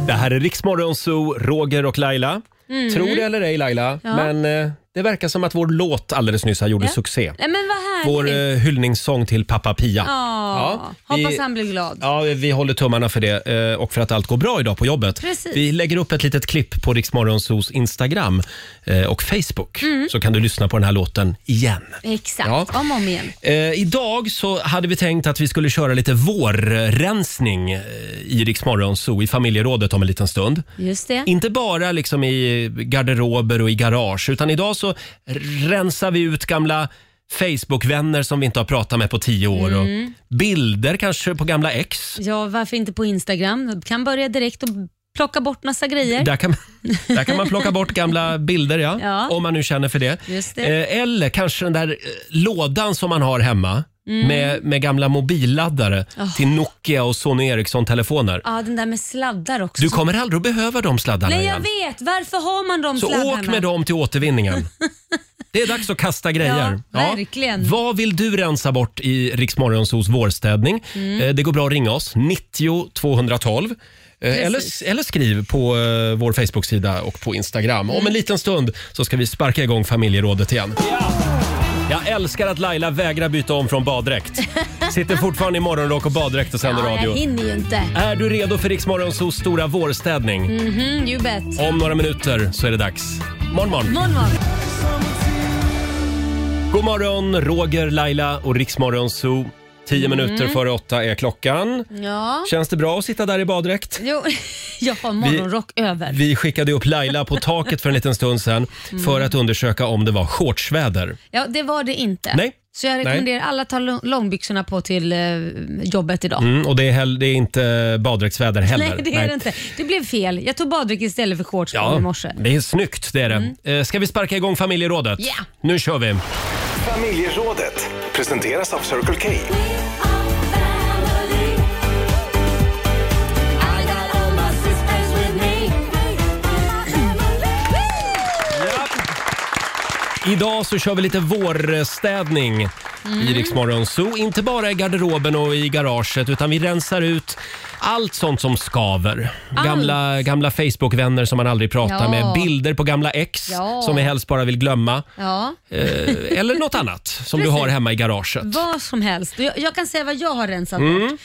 Speaker 1: Det här är Riksmorgon Zoo, Roger och Laila.
Speaker 2: Mm.
Speaker 1: Tror det eller ej Laila,
Speaker 2: Ja.
Speaker 1: men eh, det verkar som att vår låt alldeles nyss här gjorde
Speaker 2: Ja.
Speaker 1: succé.
Speaker 2: Nej, men vad härligt.
Speaker 1: Vår eh, hyllningssång till pappa Pia.
Speaker 2: Ja.
Speaker 1: vi-
Speaker 2: Hoppas han blir glad.
Speaker 1: Ja, vi håller tummarna för det eh, och för att allt går bra idag på jobbet.
Speaker 2: Precis.
Speaker 1: Vi lägger upp ett litet klipp på Riksmorgonsos Instagram eh, och Facebook
Speaker 2: Mm.
Speaker 1: så kan du lyssna på den här låten igen.
Speaker 2: Exakt,
Speaker 1: Ja.
Speaker 2: om och om igen.
Speaker 1: Eh, idag så hade vi tänkt att vi skulle köra lite vårrensning eh, i Riksmorgonso i familjerådet om en liten stund.
Speaker 2: Just det.
Speaker 1: Inte bara liksom i garderober och i garage, utan idag så rensar vi ut gamla Facebook-vänner som vi inte har pratat med på tio år.
Speaker 2: Mm.
Speaker 1: Och bilder kanske på gamla ex.
Speaker 2: Ja, varför inte på Instagram? Du kan börja direkt och plocka bort massa grejer.
Speaker 1: Där kan,
Speaker 2: <laughs>
Speaker 1: man, där kan man plocka bort gamla bilder, ja,
Speaker 2: Ja.
Speaker 1: om man nu känner för det.
Speaker 2: Just det.
Speaker 1: Eh, Eller kanske den där eh, lådan som man har hemma
Speaker 2: Mm.
Speaker 1: med, med gamla mobilladdare
Speaker 2: Oh.
Speaker 1: till Nokia och Sony Ericsson-telefoner.
Speaker 2: Ja, den där med sladdar också.
Speaker 1: Du kommer aldrig att behöva de sladdarna
Speaker 2: Ah. Nej, jag
Speaker 1: igen.
Speaker 2: vet. Varför har man de
Speaker 1: Så
Speaker 2: sladdarna?
Speaker 1: åk med dem till
Speaker 2: <laughs>
Speaker 1: återvinningen. Det är dags att kasta grejer.
Speaker 2: Ja, verkligen.
Speaker 1: Vad vill du rensa bort i Riksmorgonsos vårstädning?
Speaker 2: Mm.
Speaker 1: Eh, Det går bra att ringa oss, 90 212. Eh, Eller,
Speaker 2: Precis.
Speaker 1: eller skriv på eh, vår Facebook-sida och på Instagram.
Speaker 2: Mm.
Speaker 1: Om en liten stund så ska vi sparka igång familjerådet igen. Jag älskar att Laila vägrar byta om från baddräkt.
Speaker 2: <laughs>
Speaker 1: Sitter fortfarande i morgonrock och baddräkt och sänder
Speaker 2: Ja, jag
Speaker 1: radio.
Speaker 2: hinner ju inte.
Speaker 1: Är du redo för Riksmorgonsos stora vårstädning?
Speaker 2: Mhm, you bet.
Speaker 1: Om några minuter så är det dags. Morgon, morgon.
Speaker 2: Morgon, morgon.
Speaker 1: God morgon, Roger, Laila och Riksmorgon Zoo. Tio
Speaker 2: Mm.
Speaker 1: minuter före åtta är klockan.
Speaker 2: Ja.
Speaker 1: Känns det bra att sitta där i baddräkt?
Speaker 2: Jo, <laughs> jag har morgonrock över.
Speaker 1: Vi skickade upp Laila på taket för en liten stund sedan
Speaker 2: Mm.
Speaker 1: för att undersöka om det var shortsväder.
Speaker 2: Ja, det var det inte.
Speaker 1: Nej.
Speaker 2: Så jag rekommenderar alla att ta lång- långbyxorna på till eh, jobbet idag.
Speaker 1: Mm, och det är, hell- det är inte baddräktsväder heller.
Speaker 2: <laughs> Nej, det är det inte. Det blev fel. Jag tog baddräkt istället för shorts på i
Speaker 1: Ja,
Speaker 2: morse.
Speaker 1: det är snyggt. Det är det.
Speaker 2: Mm.
Speaker 1: Eh, Ska vi sparka igång familjerådet?
Speaker 2: Ja.
Speaker 1: Nu kör vi!
Speaker 8: Familjerådet presenteras av Circle K.
Speaker 1: Idag så kör vi lite vårstädning
Speaker 2: Mm.
Speaker 1: i Rix Morgon Zoo. Inte bara i garderoben och i garaget utan vi rensar ut allt sånt som skaver.
Speaker 2: Allt.
Speaker 1: Gamla, gamla Facebook-vänner som man aldrig pratar
Speaker 2: Ja.
Speaker 1: med, bilder på gamla ex
Speaker 2: Ja.
Speaker 1: som vi helst bara vill glömma.
Speaker 2: Ja.
Speaker 1: Eh, eller
Speaker 2: <laughs>
Speaker 1: något annat som du
Speaker 2: Precis.
Speaker 1: har hemma i garaget.
Speaker 2: Vad som helst. Jag, jag kan säga vad jag har rensat bort.
Speaker 1: Mm.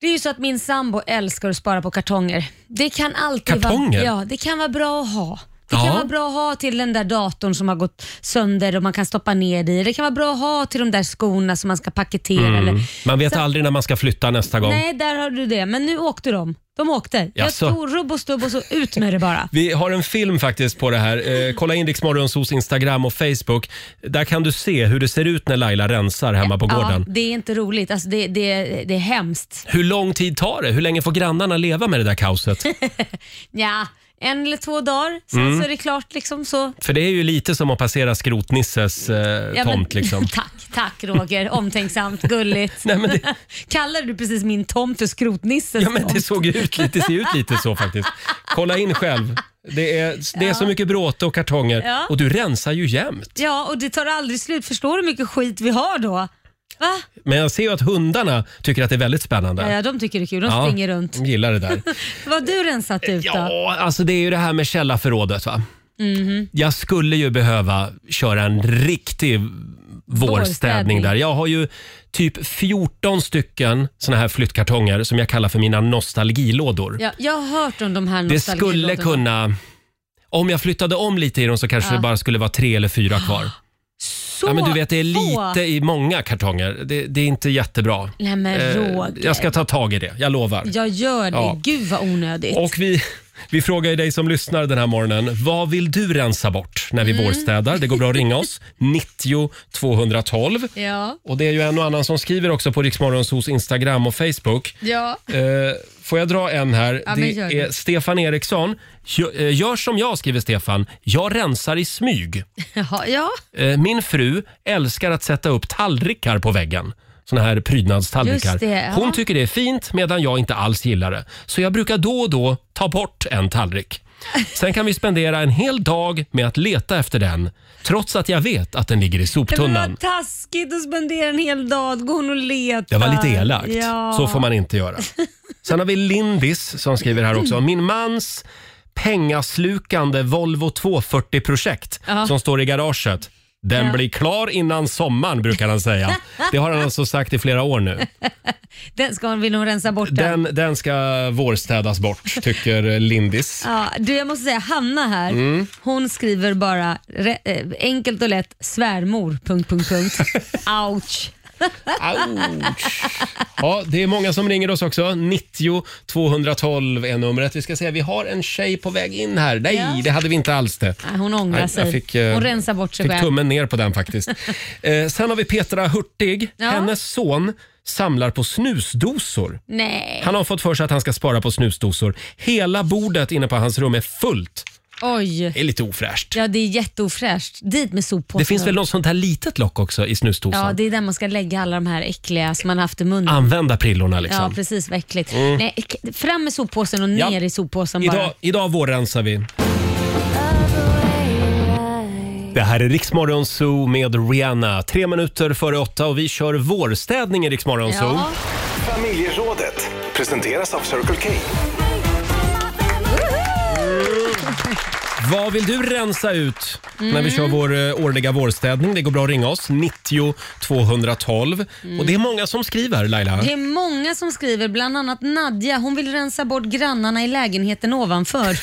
Speaker 2: Det är ju så att min sambo älskar att spara på kartonger. Det kan alltid
Speaker 1: Kartonger?
Speaker 2: Vara, ja, det kan vara bra att ha. Det kan
Speaker 1: Ja.
Speaker 2: vara bra att ha till den där datorn som har gått sönder och man kan stoppa ner det i. Det kan vara bra att ha till de där skorna som man ska paketera.
Speaker 1: Mm.
Speaker 2: Eller.
Speaker 1: Man vet
Speaker 2: Så-
Speaker 1: aldrig när man ska flytta nästa gång.
Speaker 2: Nej, där har du det. Men nu åkte de. De åkte. Jag
Speaker 1: Jaså?
Speaker 2: tog rubb och stubb och så ut med det bara.
Speaker 1: Vi har en film faktiskt på det här. Eh, kolla in Rix Morgonzos Instagram och Facebook. Där kan du se hur det ser ut när Laila rensar hemma <laughs> på gården.
Speaker 2: Ja, det är inte roligt. Alltså, det, det, det är hemskt.
Speaker 1: Hur lång tid tar det? Hur länge får grannarna leva med det där
Speaker 2: <laughs>
Speaker 1: kaoset?
Speaker 2: Ja, en eller två dagar, sen
Speaker 1: Mm.
Speaker 2: så är det klart. Liksom, så.
Speaker 1: För det är ju lite som att passera skrotnisses eh,
Speaker 2: Ja, men-
Speaker 1: tomt
Speaker 2: <laughs>
Speaker 1: liksom.
Speaker 2: tack, tack Roger. Omtänksamt,
Speaker 1: <laughs>
Speaker 2: gulligt.
Speaker 1: Nej, men
Speaker 2: <laughs> Kallar du precis min tomt för skrotnissens
Speaker 1: Ja, men det
Speaker 2: tomt?
Speaker 1: såg ju ut lite, ser ut lite så faktiskt. Kolla in själv. Det är, det är så mycket bråte och kartonger
Speaker 2: Ja.
Speaker 1: och du rensar ju jämt.
Speaker 2: <laughs> Ja, och det tar aldrig slut. Förstår du hur mycket skit vi har då? Va?
Speaker 1: Men jag ser ju att hundarna tycker att det är väldigt spännande.
Speaker 2: Ja, de tycker det är kul. De
Speaker 1: Ja,
Speaker 2: springer runt.
Speaker 1: De gillar det där.
Speaker 2: Vad har du rensat ut då?
Speaker 1: Ja, alltså det är ju det här med källarförrådet va.
Speaker 2: Mhm.
Speaker 1: Jag skulle ju behöva köra en riktig vårstädning
Speaker 2: Vårstädning.
Speaker 1: där. Jag har ju typ 14 stycken såna här flyttkartonger som jag kallar för mina nostalgilådor.
Speaker 2: Ja, jag har hört om de här
Speaker 1: det skulle
Speaker 2: nostalgilådorna.
Speaker 1: kunna... Om jag flyttade om lite i dem så kanske
Speaker 2: Ja.
Speaker 1: det bara skulle vara tre eller fyra
Speaker 2: <gasps>
Speaker 1: kvar.
Speaker 2: Så
Speaker 1: ja, men du vet, det är
Speaker 2: få.
Speaker 1: lite i många kartonger. Det, det är inte jättebra.
Speaker 2: Nej men
Speaker 1: Eh,
Speaker 2: Roger.
Speaker 1: jag ska ta tag i det, jag lovar.
Speaker 2: Jag gör det.
Speaker 1: Ja.
Speaker 2: Gud vad onödigt.
Speaker 1: Och vi, vi frågar ju dig som lyssnar den här morgonen. Vad vill du rensa bort när vi
Speaker 2: Mm.
Speaker 1: vårstädar? Det går bra att ringa
Speaker 2: <laughs>
Speaker 1: oss. 90 212.
Speaker 2: Ja.
Speaker 1: Och det är ju en och annan som skriver också på Riksmorgonsos Instagram och Facebook.
Speaker 2: Ja.
Speaker 1: Eh, får jag dra en här?
Speaker 2: Ja, men
Speaker 1: det
Speaker 2: gör
Speaker 1: är
Speaker 2: det.
Speaker 1: Stefan Eriksson. Gö- eh, Gör som jag, skriver Stefan. Jag rensar i smyg.
Speaker 2: Jaha, ja.
Speaker 1: Eh, Min fru älskar att sätta upp tallrikar på väggen. såna här prydnadstallrikar.
Speaker 2: Just det, ja.
Speaker 1: Hon tycker det är fint medan jag inte alls gillar det. Så jag brukar då och då ta bort en tallrik. Sen kan vi spendera en hel dag med att leta efter den trots att jag vet att den ligger i
Speaker 2: Men
Speaker 1: soptunnan.
Speaker 2: vad taskigt att spendera en hel dag, att gå hon och leta.
Speaker 1: Det var lite elakt.
Speaker 2: Ja.
Speaker 1: Så får man inte
Speaker 2: <laughs>
Speaker 1: göra. Sen har vi Lindis som skriver här också. Min mans pengaslukande Volvo 240-projekt
Speaker 2: Ja.
Speaker 1: som står i garaget. Den
Speaker 2: Ja.
Speaker 1: blir klar innan sommaren brukar han
Speaker 2: <laughs>
Speaker 1: säga. Det har han alltså sagt i flera år nu.
Speaker 2: Den ska hon, vill hon rensa bort den.
Speaker 1: Den, den ska vårstädas bort, tycker Lindis.
Speaker 2: Ja, du, jag måste säga Hanna här,
Speaker 1: Mm.
Speaker 2: hon skriver bara re, eh, enkelt och lätt svärmor... Punkt,
Speaker 1: <laughs>
Speaker 2: punkt, punkt. Ouch.
Speaker 1: Ja, det är många som ringer oss också. 90 212 är numret. Vi ska se, vi har en tjej på väg in här. Nej,
Speaker 2: Ja.
Speaker 1: det hade vi inte alls det.
Speaker 2: Nej, Hon ångrar
Speaker 1: Nej, jag
Speaker 2: sig.
Speaker 1: fick, eh,
Speaker 2: hon rensar bort sig
Speaker 1: Fick
Speaker 2: själv.
Speaker 1: tummen ner på den
Speaker 2: <laughs>
Speaker 1: faktiskt. eh, sen har vi Petra Hurtig.
Speaker 2: Ja.
Speaker 1: Hennes son samlar på snusdosor.
Speaker 2: Nej.
Speaker 1: Han har fått för sig att han ska spara på snusdosor. Hela bordet inne på hans rum är fullt.
Speaker 2: Oj.
Speaker 1: Det är lite ofräscht.
Speaker 2: Ja, det är jätteofräscht. Dit med soppåsen.
Speaker 1: Det finns väl något sånt här litet lock också i snusdosan?
Speaker 2: Ja, det är där man ska lägga alla de här äckliga som man haft i munnen.
Speaker 1: Använda prillorna liksom.
Speaker 2: Ja, precis. Vad äckligt.
Speaker 1: Mm.
Speaker 2: Nej, k- fram med soppåsen och
Speaker 1: Ja.
Speaker 2: ner i soppåsen bara.
Speaker 1: Idag, idag vårrensar vi. Det här är Riksmorgon Zoo med Rihanna. Tre minuter före åtta och vi kör vårstädning i Riksmorgon Zoo.
Speaker 8: Familjerådet presenteras av Circle K.
Speaker 1: Vad vill du rensa ut när vi
Speaker 8: Mm.
Speaker 1: kör vår eh, årliga vårstädning? Det går bra att ringa oss, 90 212. Och det är många som skriver, Laila.
Speaker 2: Mm. Det är många som skriver, bland annat Nadja. Hon vill rensa bort grannarna i lägenheten ovanför.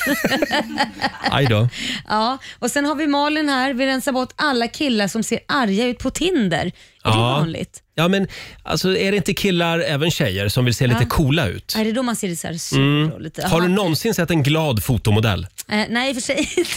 Speaker 1: Aj då.
Speaker 2: ja, och sen har vi Malin här, vill rensa bort alla killar som ser arga ut på Tinder. Är det vanligt?
Speaker 1: Ja, men alltså, är det inte killar, även tjejer, som vill se lite
Speaker 2: Ja.
Speaker 1: coola ut?
Speaker 2: Är det då man ser det så här sur
Speaker 1: Mm.
Speaker 2: och lite...
Speaker 1: Har du
Speaker 2: Jaha.
Speaker 1: någonsin sett en glad fotomodell?
Speaker 2: Eh, nej, i och för sig inte.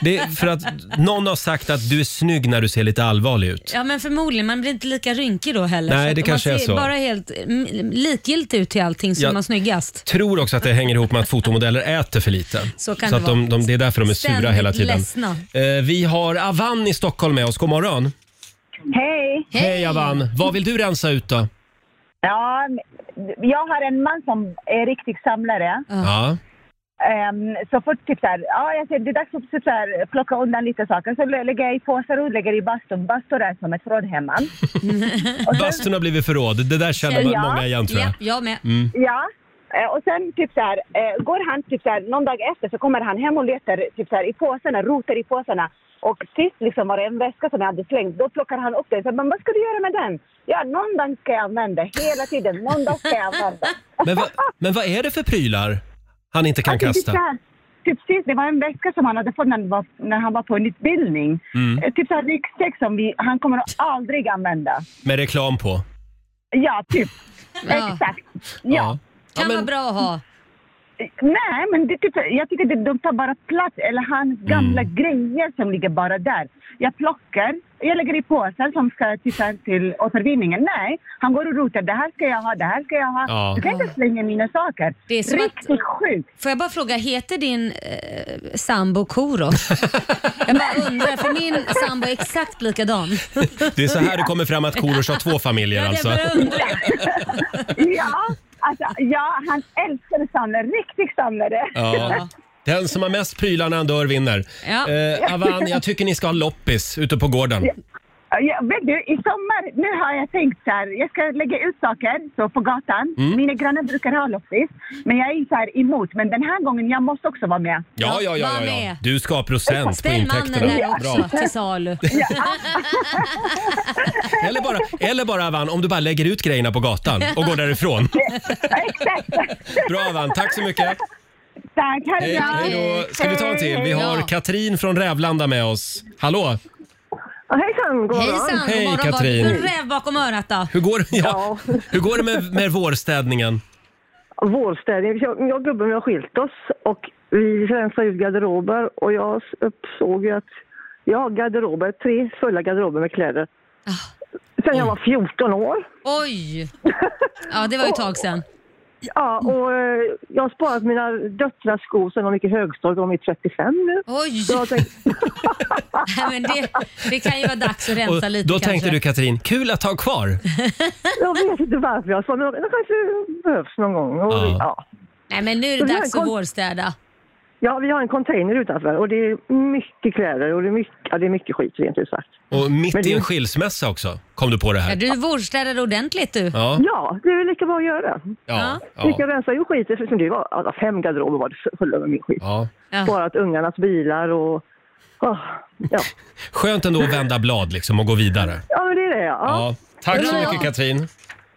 Speaker 1: Det är för att någon har sagt att du är snygg när du ser lite allvarlig ut.
Speaker 2: Ja, men förmodligen. Man blir inte lika rynkig då heller.
Speaker 1: Nej,
Speaker 2: Så att
Speaker 1: det
Speaker 2: om
Speaker 1: kanske är
Speaker 2: man
Speaker 1: så.
Speaker 2: bara helt mm, likgiltig ut till allting så
Speaker 1: Ja.
Speaker 2: är man snyggast.
Speaker 1: Tror också att det hänger ihop med att fotomodeller äter för lite.
Speaker 2: Så kan
Speaker 1: så
Speaker 2: det
Speaker 1: att de,
Speaker 2: vara.
Speaker 1: de, det är därför de är sura
Speaker 2: Ständigt
Speaker 1: hela tiden.
Speaker 2: ledsna.
Speaker 1: Eh, vi har Avan i Stockholm med oss. God morgon.
Speaker 13: Hej!
Speaker 1: Hej, Avan. Vad vill du rensa ut då?
Speaker 13: Ja, jag har en man som är riktig samlare.
Speaker 1: Ja.
Speaker 13: Ehm, så fort typ så här, ja, jag säger, det är dags att typ så här, plocka undan lite saker. Så lä- lägger jag i påsar och lägger i bastun. Bastu är som ett förråd hemma.
Speaker 1: Bastun har blivit förråd. Det där känner man,
Speaker 13: Ja.
Speaker 1: många igen tror jag.
Speaker 2: jag med.
Speaker 1: Mm.
Speaker 13: Ja. Eh, Och sen typ så här, eh, går han typ så här, någon dag efter så kommer han hem och letar typ så här, i påsarna, rotar i påsarna. Och sist liksom var det en väska som jag hade slängt. Då plockar han upp den. Så, men vad ska du göra med den? Ja, någon dag ska jag använda. Hela tiden. Någon dag ska jag använda.
Speaker 1: <laughs> Men, va, men vad är det för prylar han inte kan
Speaker 13: Alltså,
Speaker 1: kasta?
Speaker 13: Typ, så här, typ sist, det var en väska som han hade fått när han var, när han var på en utbildning.
Speaker 1: Mm.
Speaker 13: Eh, Typ så här ryggsäck som vi, han kommer att aldrig använda.
Speaker 1: Med reklam på.
Speaker 13: Ja, typ.
Speaker 2: Ja.
Speaker 13: Exakt. Ja.
Speaker 2: Kan vara bra att ha.
Speaker 13: Nej, men det, är typ, så- jag tycker det, de tar bara plats. Eller hans gamla grejer som ligger bara där. Jag plockar, jag lägger i påsar som ska till, så här till återvinningen. Nej, han går och rotar. Det här ska jag ha, det här ska jag ha.
Speaker 2: Ja.
Speaker 13: Du kan inte slänga mina saker.
Speaker 2: Det är som
Speaker 13: Riktigt
Speaker 2: att,
Speaker 13: sjukt.
Speaker 2: Får jag bara fråga, heter din eh, sambo
Speaker 1: <laughs>
Speaker 2: Korosh? jag bara undrar, för min sambo är exakt likadan.
Speaker 1: Det är så här det kommer fram att Korosh har två familjer
Speaker 2: Ja, det
Speaker 1: alltså.
Speaker 2: bara undrar.
Speaker 13: Ja, alltså, ja han älskade samlare. Riktig samlare.
Speaker 1: Ja. Den som har mest prylar när han dör vinner.
Speaker 13: Ja.
Speaker 1: Eh, Avan, jag tycker ni ska ha loppis ute på gården.
Speaker 13: Ja, vet du, i sommar, nu har jag tänkt så här, jag ska lägga ut saker så på gatan.
Speaker 1: Mm.
Speaker 13: Mina grannar brukar ha loppis, men jag är så här emot. Men den här gången, jag måste också vara med.
Speaker 1: Ja, ja, ja,
Speaker 13: var
Speaker 1: ja, ja.
Speaker 13: med.
Speaker 1: Du ska ha procent på
Speaker 13: Ställ mannen
Speaker 1: intäkterna.
Speaker 13: där också.
Speaker 1: Bra.
Speaker 2: Till salu.
Speaker 1: Eller bara, eller bara Avan, om du bara lägger ut grejerna på gatan och går därifrån. Bra Avan, tack så mycket.
Speaker 13: Tack, ha det
Speaker 1: Hej,
Speaker 13: bra.
Speaker 1: hej då. Ska vi ta en till? Vi har Katrin från Rävlanda med oss. Hallå!
Speaker 14: Hejsan, god
Speaker 2: Hejsan, god
Speaker 1: Hej,
Speaker 2: morgon. Vad har du
Speaker 1: Katrin.
Speaker 2: för räv bakom örat då?
Speaker 1: Hur går, <laughs> ja, hur går det med, med vårstädningen?
Speaker 14: <laughs> Vårstädning. Jag, jag och gubben vi har skilt oss och vi rensade ut garderober och jag s- uppsåg ju att jag har garderober, tre fulla garderober med kläder.
Speaker 1: Ah. Mm.
Speaker 14: Sen jag var 14 år.
Speaker 2: Oj! Ja, det var ju ett tag sedan.
Speaker 14: Ja,
Speaker 1: Mm.
Speaker 14: och eh, jag har sparat mina döttrars skor sedan de gick i högstadiet. De är 35 nu.
Speaker 2: Oj! <laughs>
Speaker 14: Så jag tänkte,
Speaker 2: Nej, men det, det kan ju vara dags att rensa
Speaker 1: Och
Speaker 2: lite
Speaker 1: då
Speaker 2: kanske.
Speaker 1: tänkte du Katrin, kul att ha kvar.
Speaker 14: jag vet inte varför jag sa men det kanske behövs någon gång. Och,
Speaker 1: Ja.
Speaker 14: ja.
Speaker 2: Nej, men nu är det
Speaker 14: Så vi har
Speaker 2: dags
Speaker 14: en
Speaker 2: att
Speaker 14: kon-
Speaker 2: vårstäda.
Speaker 14: ja, vi har en container utanför och det är mycket kläder och det är mycket, ja, det är mycket skit rent ut sagt.
Speaker 1: Och mitt
Speaker 14: Men
Speaker 1: i en
Speaker 14: det-
Speaker 1: skilsmässa också kom du på det
Speaker 2: Ja,
Speaker 1: här.
Speaker 2: du vårstädade ordentligt du.
Speaker 1: Ja.
Speaker 14: Ja, det är väl lika bra att göra det.
Speaker 1: Ja,
Speaker 14: Ja. Jag
Speaker 1: ja.
Speaker 14: rensade ju skiten, för det var alla fem garderober var det fulla med min skit.
Speaker 1: Ja.
Speaker 14: Sparat ungarnas bilar och... åh, ja.
Speaker 1: Skönt ändå att vända blad liksom och gå vidare.
Speaker 14: ja, men det är det ja.
Speaker 1: Ja. Tack så
Speaker 14: Ja.
Speaker 1: mycket Katrin.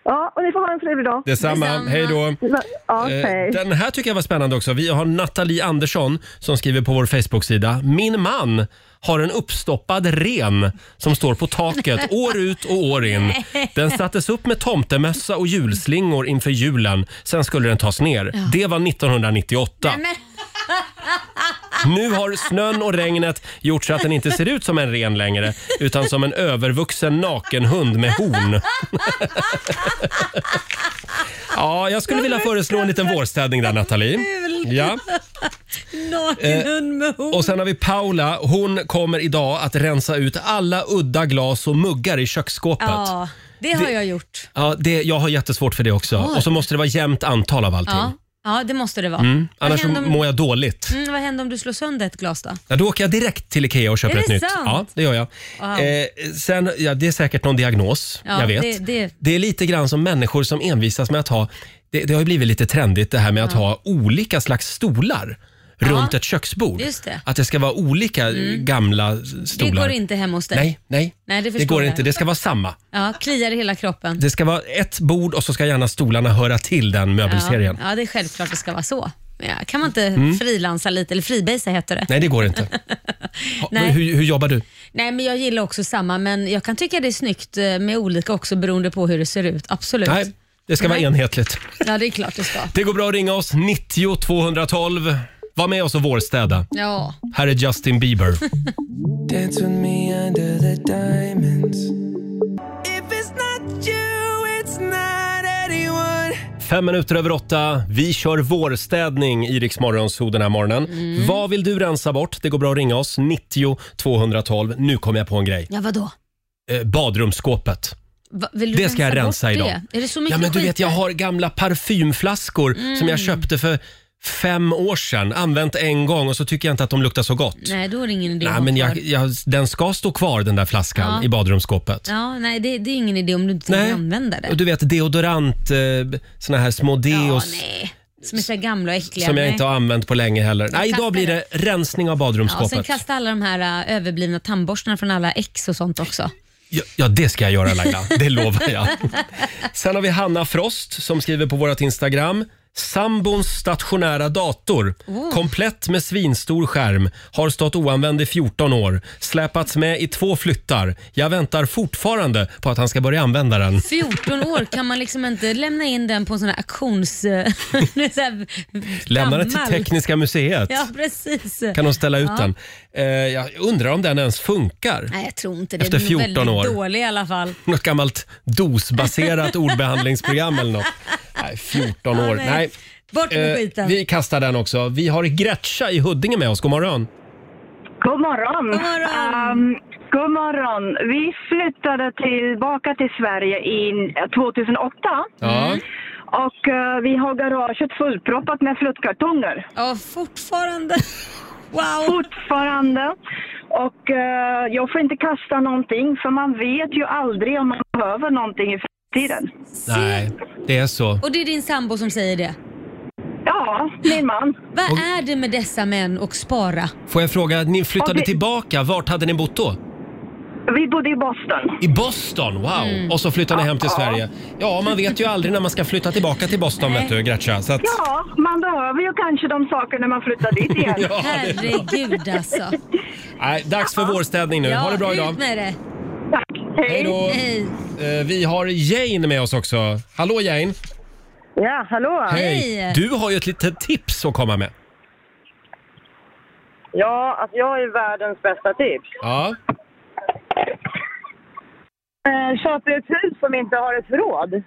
Speaker 14: Ja, och ni får ha en trevlig dag.
Speaker 1: Detsamma. Detsamma. Hej då.
Speaker 14: Ja,
Speaker 1: Eh,
Speaker 14: hej.
Speaker 1: Den här tycker jag var spännande också. Vi har Nathalie Andersson som skriver på vår Facebook-sida. Min man har en uppstoppad ren som står på taket år ut och år in. Den sattes upp med tomtemössa och julslingor inför julen. Sen skulle den tas ner.
Speaker 2: Ja.
Speaker 1: Det var 1998.
Speaker 2: Nej, men, <laughs>
Speaker 1: Nu har snön och regnet gjort så att den inte ser ut som en ren längre utan som en övervuxen nakenhund med horn. Ja, jag skulle vilja föreslå en liten vårstädning där, Nathalie.
Speaker 2: Kul.
Speaker 1: Ja.
Speaker 2: Naken
Speaker 1: Eh,
Speaker 2: hund med horn.
Speaker 1: Och sen har vi Paula. Hon kommer idag att rensa ut alla udda glas och muggar i köksskåpet.
Speaker 2: Ja, det har
Speaker 1: Det-
Speaker 2: jag gjort.
Speaker 1: Ja, det, jag har jättesvårt för det också.
Speaker 2: Oj.
Speaker 1: Och så måste det vara jämnt antal av allting.
Speaker 2: Ja, ja, det måste det vara.
Speaker 1: Mm.
Speaker 2: Vad
Speaker 1: Annars så
Speaker 2: händer om-
Speaker 1: mår jag dåligt.
Speaker 2: Mm, vad händer om du slår sönder ett glas då?
Speaker 1: Ja, då åker jag direkt till Ikea och köper
Speaker 2: Är
Speaker 1: ett
Speaker 2: det
Speaker 1: nytt.
Speaker 2: sant?
Speaker 1: Ja, det gör jag.
Speaker 2: Wow.
Speaker 1: Eh, sen, ja, det är säkert någon diagnos,
Speaker 2: Ja,
Speaker 1: jag vet.
Speaker 2: det- det-
Speaker 1: är lite grann som människor som envisas med att ha, det, det har ju blivit lite trendigt det här med att
Speaker 2: Ja.
Speaker 1: ha olika slags stolar runt ett köksbord.
Speaker 2: Just det.
Speaker 1: Att det ska vara olika
Speaker 2: Mm.
Speaker 1: gamla
Speaker 2: Det
Speaker 1: stolar.
Speaker 2: går inte hem hos dig.
Speaker 1: Nej, nej.
Speaker 2: Nej, det
Speaker 1: det
Speaker 2: förstår
Speaker 1: går
Speaker 2: jag.
Speaker 1: inte. Det ska vara samma.
Speaker 2: Ja, kliar i hela kroppen.
Speaker 1: Det ska vara ett bord och så ska gärna stolarna höra till den möbelserien.
Speaker 2: Ja, ja, det är självklart det ska vara så. Men ja, kan man inte
Speaker 1: Mm.
Speaker 2: frilansa lite, eller freebasea heter det.
Speaker 1: Nej, det går
Speaker 2: <laughs>
Speaker 1: inte. Ha,
Speaker 2: Nej.
Speaker 1: Hur, hur jobbar du?
Speaker 2: Nej, men jag gillar också samma, men jag kan tycka det är snyggt eh, med olika också beroende på hur det ser ut. Absolut.
Speaker 1: Nej, det ska
Speaker 2: Nej.
Speaker 1: vara enhetligt.
Speaker 2: Ja, det är klart det ska.
Speaker 1: Det går bra att ringa oss, 90 212. Var med oss och vårstäda.
Speaker 2: Ja.
Speaker 1: Här är Justin Bieber.
Speaker 5: Dance with me under the diamonds.
Speaker 1: Fem minuter över åtta. Vi kör vårstädning i Rix Morgonzoo den här morgonen. Vad vill du rensa bort? Det går bra att ringa oss, 90 212. Nu kom jag på en grej.
Speaker 2: Ja, vadå?
Speaker 1: Eh, badrumsskåpet.
Speaker 2: Va, vill du
Speaker 1: Det ska jag
Speaker 2: bort
Speaker 1: rensa idag.
Speaker 2: Det? Är det så mycket
Speaker 1: Ja, men du
Speaker 2: skit
Speaker 1: vet, jag
Speaker 2: där?
Speaker 1: har gamla parfymflaskor som jag
Speaker 2: Mm.
Speaker 1: köpte för fem år sedan. Använt en gång och så tycker jag inte att de luktar så gott.
Speaker 2: Nej, då är det ingen idé att
Speaker 1: Nej,
Speaker 2: ha
Speaker 1: men jag,
Speaker 2: kvar.
Speaker 1: jag, den ska stå kvar den där flaskan
Speaker 2: Ja.
Speaker 1: i badrumsskåpet.
Speaker 2: Ja, nej, det, det är ingen idé om du inte
Speaker 1: Nej.
Speaker 2: tänker använda det.
Speaker 1: Och du vet deodorant, eh, såna här små deos
Speaker 2: Som är så här gamla och äckliga.
Speaker 1: som jag
Speaker 2: Nej.
Speaker 1: inte har använt på länge heller. Nej,
Speaker 2: kastar
Speaker 1: idag blir det rensning av
Speaker 2: Ja, sen
Speaker 1: badrumsskåpet. Ja,
Speaker 2: kasta alla de här äh, överblivna tandborstarna från alla ex och sånt också.
Speaker 1: ja, det ska jag göra Laila, det lovar jag. Sen har vi Hanna Frost som skriver på vårt Instagram. Sambons stationära dator,
Speaker 2: Oh.
Speaker 1: komplett med svinstor skärm, har stått oanvänd i 14 år, släpats med i två flyttar. Jag väntar fortfarande på att han ska börja använda den.
Speaker 2: 14 år kan man liksom inte lämna in den på en sån här auktions... eh, <laughs> så här
Speaker 1: Lämna den till
Speaker 2: gammal.
Speaker 1: Tekniska museet.
Speaker 2: Ja, precis.
Speaker 1: Kan de ställa ut
Speaker 2: Ja.
Speaker 1: den? Eh, jag undrar om den ens funkar.
Speaker 2: Nej, jag tror inte det.
Speaker 1: Efter
Speaker 2: Den är nog
Speaker 1: 14
Speaker 2: väldigt
Speaker 1: år.
Speaker 2: dålig i alla fall.
Speaker 1: Något gammalt
Speaker 2: <laughs>
Speaker 1: DOS-baserat ordbehandlingsprogram eller något. Nej, 14 år.
Speaker 2: nej.
Speaker 1: nej.
Speaker 2: Bort med
Speaker 1: Eh,
Speaker 2: skiten.
Speaker 1: Vi kastar den också. Vi har Gretcha i Huddinge med oss. God morgon.
Speaker 15: God morgon! God morgon. god morgon! Vi flyttade tillbaka till Sverige i 2008.
Speaker 1: Ja.
Speaker 15: Och eh, vi har garaget fullproppat med flyttkartonger.
Speaker 2: Ja, fortfarande. Wow!
Speaker 15: Fortfarande. Och eh, jag får inte kasta någonting för man vet ju aldrig om man behöver någonting i framtiden.
Speaker 1: Nej, det är så.
Speaker 2: Och det är din sambo som säger det?
Speaker 15: Ja, min man.
Speaker 2: Vad är det med dessa män och spara?
Speaker 1: Får jag fråga, ni flyttade
Speaker 2: Och vi-
Speaker 1: tillbaka. Vart hade ni bott då?
Speaker 15: Vi bodde i Boston.
Speaker 1: I Boston? Wow!
Speaker 15: Mm.
Speaker 1: Och så flyttade ni
Speaker 15: Ja,
Speaker 1: hem till
Speaker 15: ja.
Speaker 1: Sverige. Ja, man vet ju aldrig när man ska flytta tillbaka till Boston,
Speaker 15: Nej.
Speaker 1: vet du, Gretcha. Så att...
Speaker 15: Ja, man behöver ju kanske de sakerna när man flyttar dit igen.
Speaker 1: Ja, det är bra.
Speaker 2: Herregud alltså.
Speaker 1: Nej, dags för vårstädning nu. ha det bra idag.
Speaker 2: Ut med det.
Speaker 15: Tack.
Speaker 1: Hej då.
Speaker 2: Hej.
Speaker 1: Eh, Vi har Jane med oss också. Hallå Jane!
Speaker 16: Ja, hallå!
Speaker 1: Du har ju ett litet tips att komma med.
Speaker 16: Ja, alltså jag är världens bästa tips.
Speaker 1: Ja.
Speaker 16: Eh, köper ett hus som inte har ett förråd.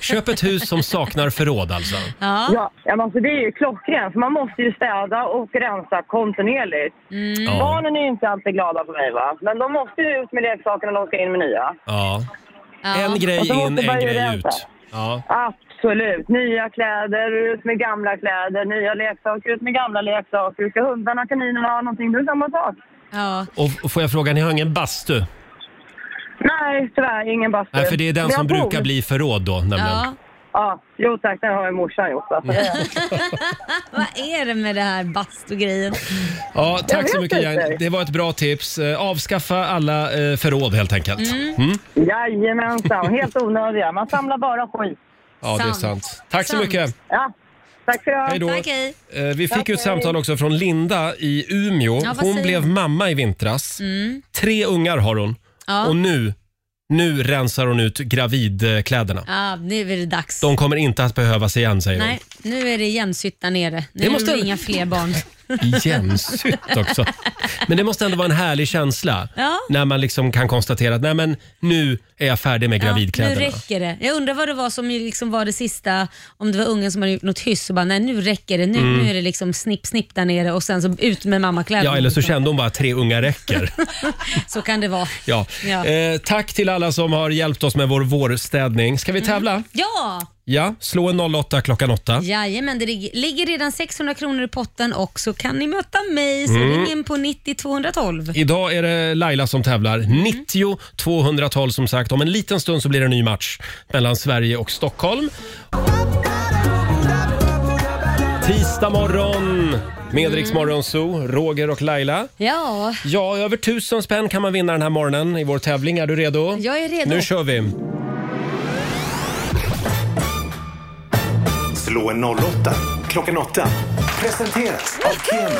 Speaker 1: Köp ett hus som saknar förråd alltså.
Speaker 2: Ja.
Speaker 16: Ja, men alltså det är ju klockrent. för Man måste ju städa och rensa kontinuerligt.
Speaker 1: Ja.
Speaker 16: Barnen är ju inte alltid glada på mig, va? men de måste ju ut med leksakerna när de ska in med nya.
Speaker 1: Ja. En
Speaker 16: Och
Speaker 1: grej
Speaker 16: så
Speaker 1: in,
Speaker 16: måste man
Speaker 1: en
Speaker 16: ju
Speaker 1: grej
Speaker 16: rensa.
Speaker 1: ut. Ja.
Speaker 16: Absolut. Nya kläder, ut med gamla kläder, nya leksaker, ut med gamla leksaker. Ska hundarna, kaninerna ha någonting? Det är samma sak.
Speaker 2: Ja.
Speaker 1: Och och får jag fråga, ni har ingen bastu?
Speaker 16: Nej, tyvärr ingen bastu.
Speaker 1: Nej, för det är den
Speaker 16: Men jag
Speaker 1: som
Speaker 16: bor.
Speaker 1: brukar bli förråd då nämligen.
Speaker 16: Ja, jo tack, den har ju morsan gjort. Alltså.
Speaker 2: Vad är det med det här bastugrejen?
Speaker 1: Ja,
Speaker 2: Jag
Speaker 1: tack
Speaker 2: vet
Speaker 1: så mycket
Speaker 2: inte.
Speaker 1: Jan. Det var ett bra tips. Eh, Avskaffa alla eh, förråd helt enkelt.
Speaker 16: Mm.
Speaker 1: Mm.
Speaker 16: Jajamensan, helt onödiga. Man samlar bara skit.
Speaker 1: Ja, det är sant. Tack så mycket.
Speaker 16: Ja, tack för
Speaker 1: Hej då.
Speaker 16: det.
Speaker 1: Tack, Eh, Vi fick
Speaker 16: Tack,
Speaker 1: ju ett
Speaker 16: hej.
Speaker 1: samtal också från Linda i Umeå.
Speaker 2: Ja, vad
Speaker 1: Hon
Speaker 2: säger
Speaker 1: blev
Speaker 2: hon?
Speaker 1: mamma i vintras.
Speaker 2: Mm.
Speaker 1: Tre ungar har hon
Speaker 2: Ja.
Speaker 1: och nu, nu rensar hon ut gravidkläderna.
Speaker 2: Ja, nu är det dags.
Speaker 1: De kommer inte att behövas igen säger hon.
Speaker 2: Nej, nu är det igensytt där nere. Nu
Speaker 1: Det
Speaker 2: det
Speaker 1: måste-
Speaker 2: måste... inga
Speaker 1: <laughs>
Speaker 2: fler barn.
Speaker 1: Igensytt också. Men det måste ändå vara en härlig känsla
Speaker 2: Ja.
Speaker 1: när man liksom kan konstatera att nej, men nu är jag färdig med
Speaker 2: nu
Speaker 1: gravidkläderna.
Speaker 2: räcker det. Jag undrar vad det var som ju liksom var det sista, om det var ungen som hade gjort något hyss och bara nej nu räcker det, nu,
Speaker 1: Mm.
Speaker 2: nu är det liksom snipp snipp där nere och sen så ut med mammakläder.
Speaker 1: Ja, eller så kände hon bara att tre unga
Speaker 2: <laughs>
Speaker 1: räcker.
Speaker 2: Så kan det vara.
Speaker 1: Ja.
Speaker 2: Ja.
Speaker 1: Eh, tack till alla som har hjälpt oss med vår vårstädning. Ska vi
Speaker 2: Mm.
Speaker 1: tävla?
Speaker 2: Ja!
Speaker 1: Ja, slå en 08 klockan 8.
Speaker 2: Jajamän, det lig- ligger redan 600 kronor i potten och så kan ni möta mig. Så
Speaker 1: Mm.
Speaker 2: ring in på 90 212.
Speaker 1: Idag är det Laila som tävlar.
Speaker 2: Mm.
Speaker 1: 90 212 som sagt. Om en liten stund så blir det en ny match mellan Sverige och Stockholm. Tisdag morgon med Rix
Speaker 2: Mm.
Speaker 1: Morgon Zoo, Roger och Laila.
Speaker 2: Ja,
Speaker 1: Ja, över tusen spänn kan man vinna den här morgonen i vår tävling. Är du redo?
Speaker 2: Jag är redo.
Speaker 1: Nu kör vi.
Speaker 8: Slå en 08 klockan 8. Presenteras av Keno.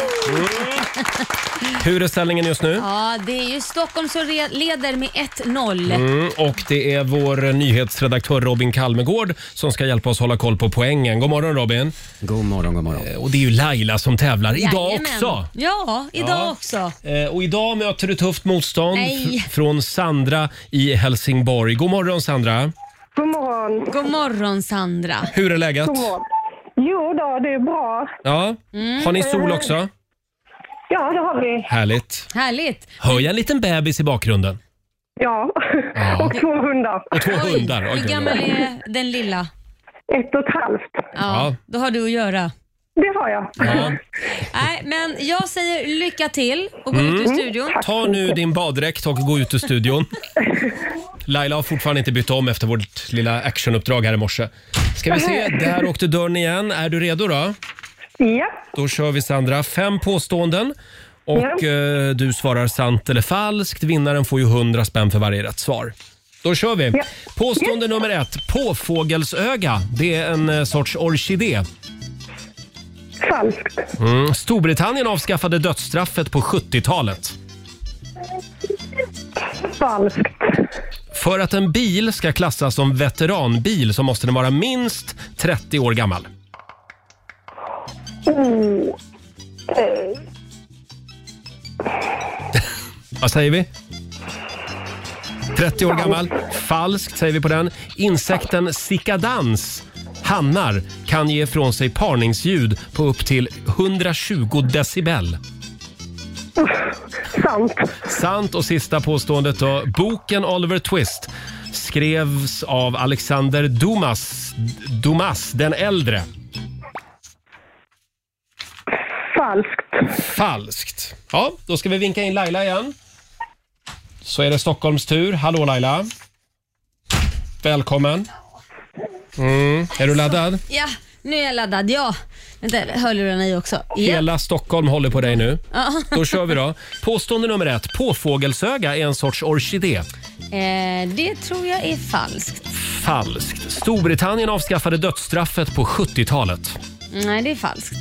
Speaker 1: Hur är ställningen just nu?
Speaker 2: ja det är ju Stockholm som re- leder med 1-0.
Speaker 1: Mm, och det är vår nyhetsredaktör Robin Kalmegård som ska hjälpa oss hålla koll på poängen. God morgon Robin! God morgon, god morgon. Och det är ju Laila som tävlar idag
Speaker 2: Jajamän.
Speaker 1: också.
Speaker 2: Ja, idag
Speaker 1: Ja.
Speaker 2: också.
Speaker 1: Eh, Och idag möter du tufft motstånd
Speaker 2: Nej.
Speaker 1: f- från Sandra i Helsingborg. God morgon Sandra!
Speaker 2: God morgon. God morgon Sandra.
Speaker 1: Hur är läget?
Speaker 2: Jo då, det är bra.
Speaker 1: Ja.
Speaker 2: Mm.
Speaker 1: Har ni sol också?
Speaker 2: Ja, det har vi.
Speaker 1: Härligt.
Speaker 2: Härligt.
Speaker 1: Hör jag en liten bebis i bakgrunden?
Speaker 2: Ja,
Speaker 1: Ja.
Speaker 2: två hundar.
Speaker 1: Och två hundar. Oj,
Speaker 2: Hur
Speaker 1: oj,
Speaker 2: gammal
Speaker 1: oj.
Speaker 2: är den lilla?
Speaker 13: Ett och ett halvt.
Speaker 2: Ja,
Speaker 1: Ja.
Speaker 2: Då har du att göra.
Speaker 13: Det har jag.
Speaker 1: Ja.
Speaker 2: Nej, men jag säger lycka till och gå ut ur
Speaker 1: Mm.
Speaker 2: studion.
Speaker 1: Ta nu din baddräkt och gå ut ur
Speaker 2: <laughs>
Speaker 1: studion. Laila har fortfarande inte bytt om efter vårt lilla actionuppdrag här i morse. Ska vi se, där åkte dörren igen. Är du redo då?
Speaker 13: Ja.
Speaker 1: Då kör vi Sandra. Fem påståenden och
Speaker 13: Ja.
Speaker 1: eh, du svarar sant eller falskt. Vinnaren får ju 100 spänn för varje rätt svar. Då kör vi. Påstående nummer ett. Påfågelsöga, det är en eh, sorts orkidé.
Speaker 13: Falskt.
Speaker 1: Mm. Storbritannien avskaffade dödsstraffet på 70-talet.
Speaker 13: Falskt.
Speaker 1: För att en bil ska klassas som veteranbil så måste den vara minst 30 år gammal.
Speaker 13: Mm. Eh,
Speaker 1: <laughs> Vad säger vi? 30 år gammal. Falskt säger vi på den. Insekten cikadans, hannar, kan ge ifrån sig parningsljud på upp till 120 decibel.
Speaker 13: Sant.
Speaker 1: Sant och sista påståendet då. Boken Oliver Twist skrevs av Alexander Dumas, Dumas den äldre.
Speaker 13: Falskt.
Speaker 1: Falskt. Ja, då ska vi vinka in Laila igen. Så är det Stockholms tur. Hallå Laila. Välkommen. Mm. Är du laddad?
Speaker 2: Ja, nu är jag laddad. Ja. Vänta, hörlurarna i också. Ja.
Speaker 1: Hela Stockholm håller på dig nu.
Speaker 2: Ja.
Speaker 1: Då kör vi då. Påstående nummer ett. Påfågelsöga är en sorts orkidé.
Speaker 2: Eh, det tror jag är falskt.
Speaker 1: Falskt. Storbritannien avskaffade dödsstraffet på 70-talet.
Speaker 2: Nej, det är falskt.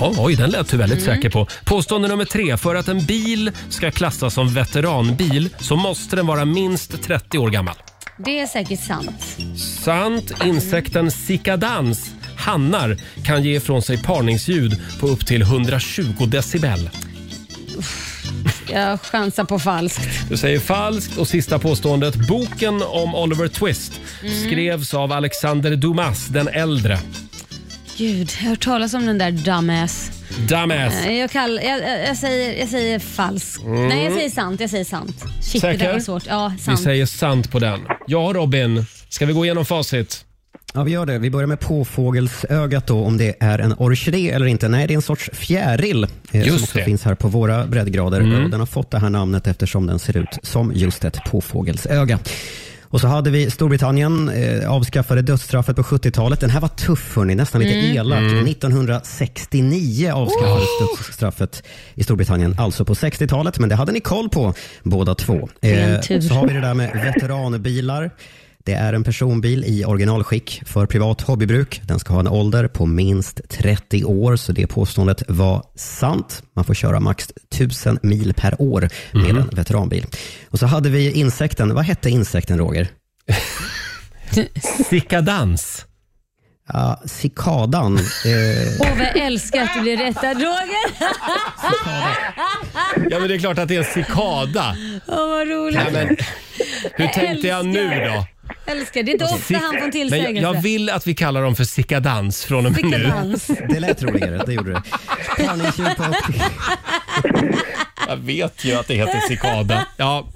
Speaker 1: Ja, oj, den lät du väldigt
Speaker 2: Mm.
Speaker 1: säker på. Påstående nummer tre. För att en bil ska klassas som veteranbil så måste den vara minst 30 år gammal.
Speaker 2: Det är säkert sant.
Speaker 1: Sant. Insekten cikadans, hannar, kan ge ifrån sig parningsljud på upp till 120 decibel.
Speaker 2: Jag chansar på falskt.
Speaker 1: Du säger falskt och sista påståendet. Boken om Oliver Twist
Speaker 2: Mm.
Speaker 1: skrevs av Alexander Dumas den äldre.
Speaker 2: Gud, jag har hört talas om den där dumbass.
Speaker 1: Dumas.
Speaker 2: Eh, Jag, kall, jag, jag, jag, säger, jag säger falskt.
Speaker 1: Mm.
Speaker 2: Nej, jag säger sant. Jag säger sant. Shit, det
Speaker 1: Säker?
Speaker 2: där var svårt. Ja,
Speaker 1: Vi
Speaker 2: sant.
Speaker 1: säger sant på den. Ja, Robin. Ska vi gå igenom facit?
Speaker 17: Ja, vi gör det. Vi börjar med påfågelsögat då, om det är en orkidé eller inte. Nej, det är en sorts fjäril eh, som
Speaker 1: Just
Speaker 17: också
Speaker 1: det.
Speaker 17: finns här på våra breddgrader.
Speaker 1: Mm.
Speaker 17: Och den har fått det här namnet eftersom den ser ut som just ett påfågelsöga. Och så hade vi Storbritannien, eh, avskaffade dödsstraffet på 70-talet. Den här var tuff hörni, nästan lite
Speaker 18: Mm.
Speaker 17: elak.
Speaker 18: Mm.
Speaker 17: 1969 avskaffades dödsstraffet i Storbritannien, alltså på 60-talet. Men det hade ni koll på båda två.
Speaker 18: Ren tur.
Speaker 17: så har vi det där med veteranbilar. Det är en personbil i originalskick för privat hobbybruk. Den ska ha en ålder på minst 30 år, så det påståendet var sant. Man får köra max 1000 mil per år med
Speaker 18: Mhm.
Speaker 17: en veteranbil. Och så hade vi insekten. Vad hette insekten, Roger?
Speaker 1: Cikadans.
Speaker 17: Ja, cikadan. Ah, Eh,
Speaker 2: Åh, vad jag älskar att du blir rättad, Roger.
Speaker 1: Ja, men det är klart att det är en cikada.
Speaker 2: Åh, vad roligt.
Speaker 1: Nej, men, hur
Speaker 2: Jag
Speaker 1: tänkte jag nu
Speaker 2: älskar.
Speaker 1: då?
Speaker 2: Älskar. Det är inte ofta han får en
Speaker 1: Men jag,
Speaker 2: tillsägelse.
Speaker 1: jag vill att vi kallar dem för cikadans från och med nu.
Speaker 2: Cikadans.
Speaker 17: Det lät roligare, det gjorde det.
Speaker 1: Jag vet ju att det heter cikada. Ja.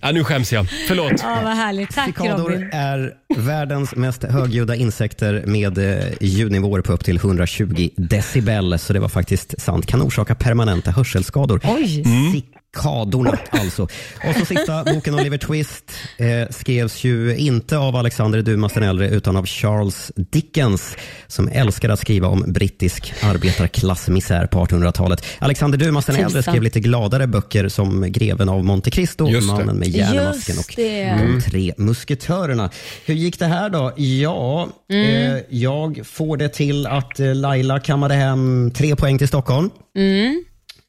Speaker 1: ja, nu skäms jag. Förlåt.
Speaker 2: Ja, vad härligt. Tack
Speaker 17: Cikador
Speaker 2: Robin.
Speaker 17: är världens mest högljudda insekter med eh, ljudnivåer på upp till 120 decibel, så det var faktiskt sant. Kan orsaka permanenta hörselskador.
Speaker 1: Mm,
Speaker 2: Oj.
Speaker 17: Cikadorna
Speaker 18: Mm.
Speaker 17: alltså. Och så sista boken Oliver Twist eh, skrevs ju inte av Alexander Dumas den äldre utan av Charles Dickens som älskade att skriva om brittisk arbetarklassmisär på 1800-talet. Alexander Dumas den äldre
Speaker 18: Tusan.
Speaker 17: skrev lite gladare böcker som Greven av Monte Cristo,
Speaker 18: Just det.
Speaker 17: Mannen med järnmasken
Speaker 18: Just
Speaker 17: och
Speaker 18: det. Mm.
Speaker 17: De tre musketörerna. Hur gick det här då? Ja,
Speaker 18: Mm.
Speaker 17: eh, jag får det till att eh, Laila kammade hem tre poäng till Stockholm.
Speaker 2: Mm.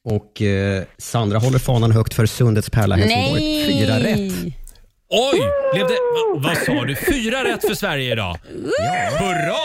Speaker 17: Och eh, Sandra håller fanan högt för Sundets pärla Helsingborg.
Speaker 2: Nej.
Speaker 17: Fyra rätt.
Speaker 1: Oj! Blev det, va, vad sa du? Fyra rätt för Sverige idag. Hurra!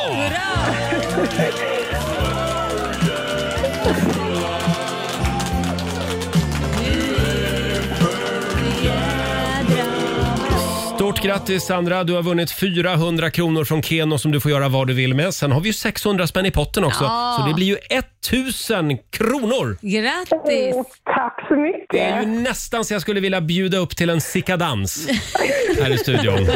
Speaker 1: Stort grattis Sandra, du har vunnit 400 kronor från Keno som du får göra vad du vill med. Sen har vi ju 600 spänn i potten också,
Speaker 2: Ja.
Speaker 1: så det blir ju 1000 kronor!
Speaker 2: Grattis!
Speaker 1: tack så mycket! Det är ju nästan så jag skulle vilja bjuda upp till en
Speaker 2: <laughs>
Speaker 1: sickadans här i studion.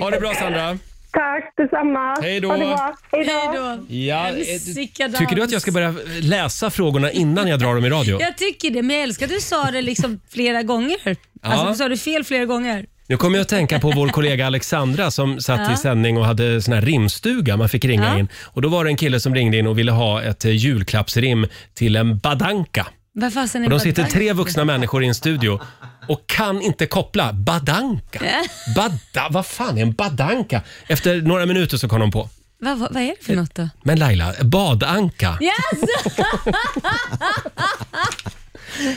Speaker 1: Ha det bra Sandra!
Speaker 19: Tack detsamma.
Speaker 1: Hej då.
Speaker 19: Ha det bra. Hej då.
Speaker 1: Ja,
Speaker 2: En
Speaker 1: eh,
Speaker 2: sickadans.
Speaker 1: tycker du att jag ska börja läsa frågorna innan jag drar dem i radio?
Speaker 2: Jag tycker det, men jag älskar att du sa det liksom flera gånger. Alltså,
Speaker 1: Ja.
Speaker 2: du sa det fel flera gånger.
Speaker 1: Nu kommer jag att tänka på vår kollega Alexandra som satt
Speaker 2: Ja.
Speaker 1: i sändning och hade sån här rimstuga man fick ringa
Speaker 2: Ja.
Speaker 1: in. Och Då var det en kille som ringde in och ville ha ett eh, julklappsrim till en badanka.
Speaker 2: Vad fasen är
Speaker 1: Och de sitter
Speaker 2: badanka?
Speaker 1: tre vuxna människor i en studio och kan inte koppla badanka. Bada, vad fan är en badanka? Efter några minuter så kom de på.
Speaker 2: Vad, vad, vad är det för något då?
Speaker 1: Men Laila, badanka.
Speaker 2: Yes!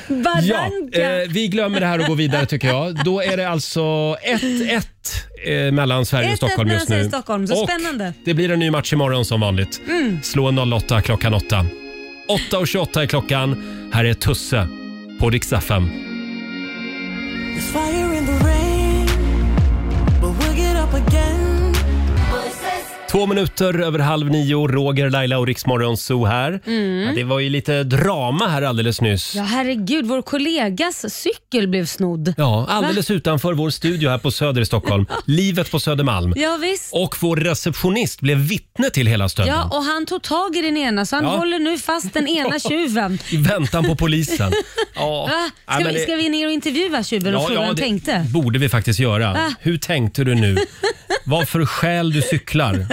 Speaker 2: Badanka!
Speaker 1: eh, vi glömmer det här och går vidare tycker jag. Då är det alltså 1-1 eh, mellan Sverige och
Speaker 2: 1-1
Speaker 1: Stockholm
Speaker 2: mellan
Speaker 1: just
Speaker 2: Sverige
Speaker 1: nu.
Speaker 2: och Stockholm, så
Speaker 1: och
Speaker 2: spännande.
Speaker 1: Det blir en ny match imorgon som vanligt.
Speaker 2: Mm.
Speaker 1: Slå en 08 klockan 8. 8.28 är klockan. Här är Tusse på Rix FM.
Speaker 7: There's fire in the rain, but we'll get up again.
Speaker 1: Två minuter över halv nio, Roger, Laila och Riksmorgon Zoo här.
Speaker 2: Mm.
Speaker 1: Ja, det var ju lite drama här alldeles nyss.
Speaker 2: Ja, herregud. Vår kollegas cykel blev snodd.
Speaker 1: Ja, alldeles
Speaker 2: Va?
Speaker 1: utanför vår studio här på Söder i Stockholm. Livet på Södermalm.
Speaker 2: Ja, visst.
Speaker 1: Och vår receptionist blev vittne till hela stölden.
Speaker 2: Ja, och han tog tag i den ena så han
Speaker 1: Ja.
Speaker 2: håller nu fast
Speaker 1: <laughs>
Speaker 2: den ena tjuven.
Speaker 1: I väntan på
Speaker 2: <laughs>
Speaker 1: polisen. Ja.
Speaker 2: Va?
Speaker 1: Ja,
Speaker 2: Ska,
Speaker 1: men
Speaker 2: vi,
Speaker 1: det-
Speaker 2: ska vi ner och intervjua tjuven och fråga hur han
Speaker 1: det
Speaker 2: tänkte?
Speaker 1: borde vi faktiskt göra.
Speaker 2: Va?
Speaker 1: Hur tänkte du
Speaker 2: <laughs>
Speaker 1: nu? Vad för skäl du cyklar?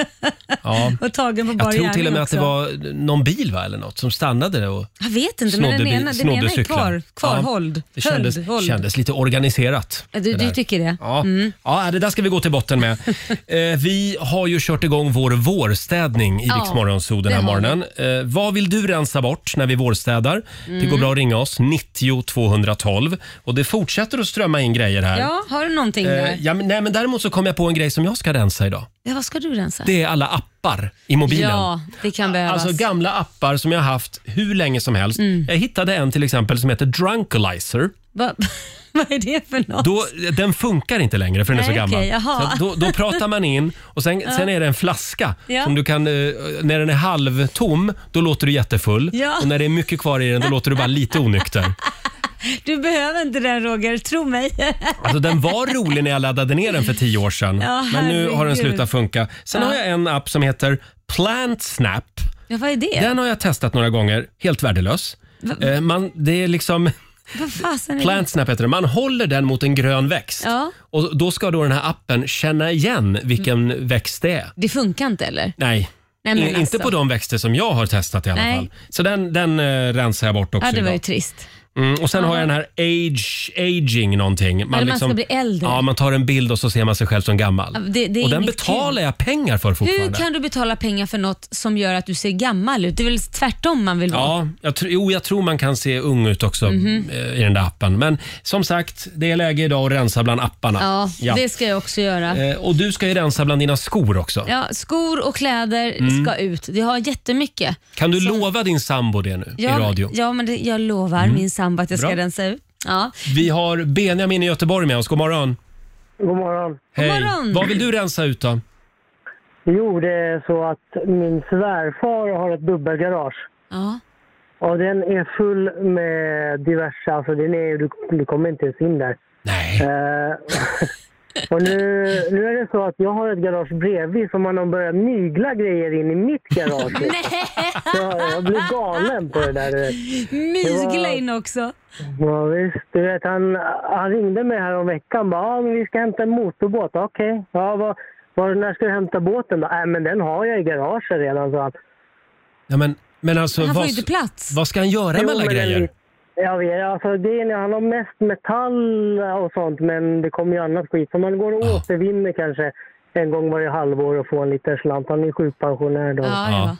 Speaker 1: Ja.
Speaker 2: Och tagen på bar
Speaker 1: Jag tror till och
Speaker 2: gärning
Speaker 1: med
Speaker 2: också.
Speaker 1: att det var någon bil va, eller något som stannade där och
Speaker 2: Jag vet inte,
Speaker 1: snodde,
Speaker 2: men den
Speaker 1: bil-
Speaker 2: ena, den
Speaker 1: snodde
Speaker 2: ena är
Speaker 1: cyklar.
Speaker 2: kvar, kvarhålld.
Speaker 1: Ja, det
Speaker 2: Höll,
Speaker 1: kändes,
Speaker 2: håll.
Speaker 1: kändes lite organiserat.
Speaker 2: Ja, Du,
Speaker 1: det
Speaker 2: du
Speaker 1: där.
Speaker 2: tycker Mm. det?
Speaker 1: Ja. ja, det där ska vi gå till botten
Speaker 2: <laughs>
Speaker 1: med. eh, vi har ju kört igång vår vårstädning i
Speaker 2: Ja,
Speaker 1: Rix Morgonzoo den
Speaker 2: det
Speaker 1: här
Speaker 2: har vi.
Speaker 1: morgonen. Eh, vad vill du rensa bort när vi vårstädar? Det går
Speaker 2: Mm.
Speaker 1: bra att ringa oss, 90 212. Och det fortsätter att strömma in grejer här.
Speaker 2: Ja, har du någonting
Speaker 1: Eh,
Speaker 2: där?
Speaker 1: ja, men, nej, men däremot så kom jag på en grej som jag ska rensa idag.
Speaker 2: Ja, vad ska du rensa?
Speaker 1: Det är alla appar i mobilen.
Speaker 2: Ja, det kan behövas.
Speaker 1: Alltså gamla appar som jag har haft hur länge som helst.
Speaker 2: Mm.
Speaker 1: Jag hittade en till exempel som heter Drunkalizer.
Speaker 2: Va, <laughs> vad är det för något?
Speaker 1: Då, den funkar inte längre för den är så
Speaker 2: Nej,
Speaker 1: gammal.
Speaker 2: okej,
Speaker 1: så
Speaker 2: jaha.
Speaker 1: att då, då pratar man in och sen,
Speaker 2: Ja.
Speaker 1: sen är det en flaska
Speaker 2: Ja.
Speaker 1: som du kan, eh, när den är halvtom, då låter du jättefull.
Speaker 2: Ja.
Speaker 1: Och när det är mycket kvar i den, då låter du bara lite onykter.
Speaker 2: Du behöver inte den Roger, tro mig. <laughs>
Speaker 1: Alltså den var rolig när jag laddade ner den för tio år sedan.
Speaker 2: Ja,
Speaker 1: men nu har den
Speaker 2: herregud.
Speaker 1: slutat funka. Sen
Speaker 2: Ja.
Speaker 1: har jag en app som heter Plant Snap.
Speaker 2: Ja, vad är det?
Speaker 1: Den har jag testat några gånger. Helt värdelös. Eh, Man, det är liksom...
Speaker 2: Vad fasen är
Speaker 1: Plant Snap heter det. Man håller den mot en grön växt.
Speaker 2: det? Mm. Ja.
Speaker 1: Och då ska då den här appen känna igen vilken växt det är.
Speaker 2: Det funkar inte eller?
Speaker 1: Nej.
Speaker 2: Nej, Mm. men
Speaker 1: In- Eh, Inte
Speaker 2: alltså.
Speaker 1: på de växter som jag har testat i alla
Speaker 2: Nej.
Speaker 1: fall. Så den, den eh, rensar jag bort också
Speaker 2: Ja, det var
Speaker 1: idag.
Speaker 2: ju trist.
Speaker 1: Mm, och sen har jag den här age, aging någonting. liksom-
Speaker 2: Eller man ska bli äldre.
Speaker 1: Ja, man tar en bild och så ser man sig själv som gammal.
Speaker 2: Ja, det- det är
Speaker 1: och den
Speaker 2: inget
Speaker 1: betalar jag pengar för fortfarande.
Speaker 2: Hur kan du betala pengar för något som gör att du ser gammal ut? Det är väl tvärtom man vill vara?
Speaker 1: Ja, jag tr- jo, jag tror man kan se ung ut också
Speaker 2: Mhm.
Speaker 1: eh, i den där appen. Men som sagt, det är läge idag att rensa bland apparna.
Speaker 2: Ja,
Speaker 1: Ja.
Speaker 2: det ska jag också göra.
Speaker 1: Eh, Och du ska ju rensa bland dina skor också.
Speaker 2: Ja, skor och kläder
Speaker 1: Mm.
Speaker 2: ska ut. Det har jättemycket.
Speaker 1: Kan du lova din sambo det nu
Speaker 2: Ja,
Speaker 1: i radio?
Speaker 2: ja men det, jag lovar
Speaker 1: Mm.
Speaker 2: min sambo att jag ska
Speaker 1: Bra.
Speaker 2: rensa ut. Ja.
Speaker 1: Vi har Benjamin i Göteborg med oss. God morgon.
Speaker 18: God morgon.
Speaker 1: Hej.
Speaker 2: morgon.
Speaker 1: Vad vill du rensa ut då?
Speaker 18: Jo, det är så att min svärfar har ett dubbelgarage.
Speaker 2: Ja. <laughs>
Speaker 18: Och den är full med diverse, alltså den är, du, du kommer inte ens in där.
Speaker 1: Nej.
Speaker 18: Eh, <laughs> och nu, nu är det så att jag har ett garage bredvid som man har börjat mygla grejer in i mitt garage. Så jag blir galen på det där. du vet. Det
Speaker 2: Mysgla
Speaker 18: var-
Speaker 2: in också.
Speaker 18: Ja, visst. Du vet, han, han ringde mig här om veckan. Bara, ja, men vi ska hämta en motorbåt. Okej. Ja, vad, vad, när ska du hämta båten då? Nej, men den har jag i garaget redan, sa han.
Speaker 1: Ja, men, men alltså,
Speaker 18: Han får
Speaker 1: vad,
Speaker 18: ju inte
Speaker 2: plats.
Speaker 1: Vad ska han göra
Speaker 18: Jo,
Speaker 1: med alla
Speaker 18: men den
Speaker 1: grejer?
Speaker 18: är- Jag vet, alltså grejen är han har mest metall och sånt, men det kommer ju annat skit. Så man går och återvinner kanske en gång varje halvår och får en liten slant. Han är sjukpensionär då.
Speaker 2: Ja, ja.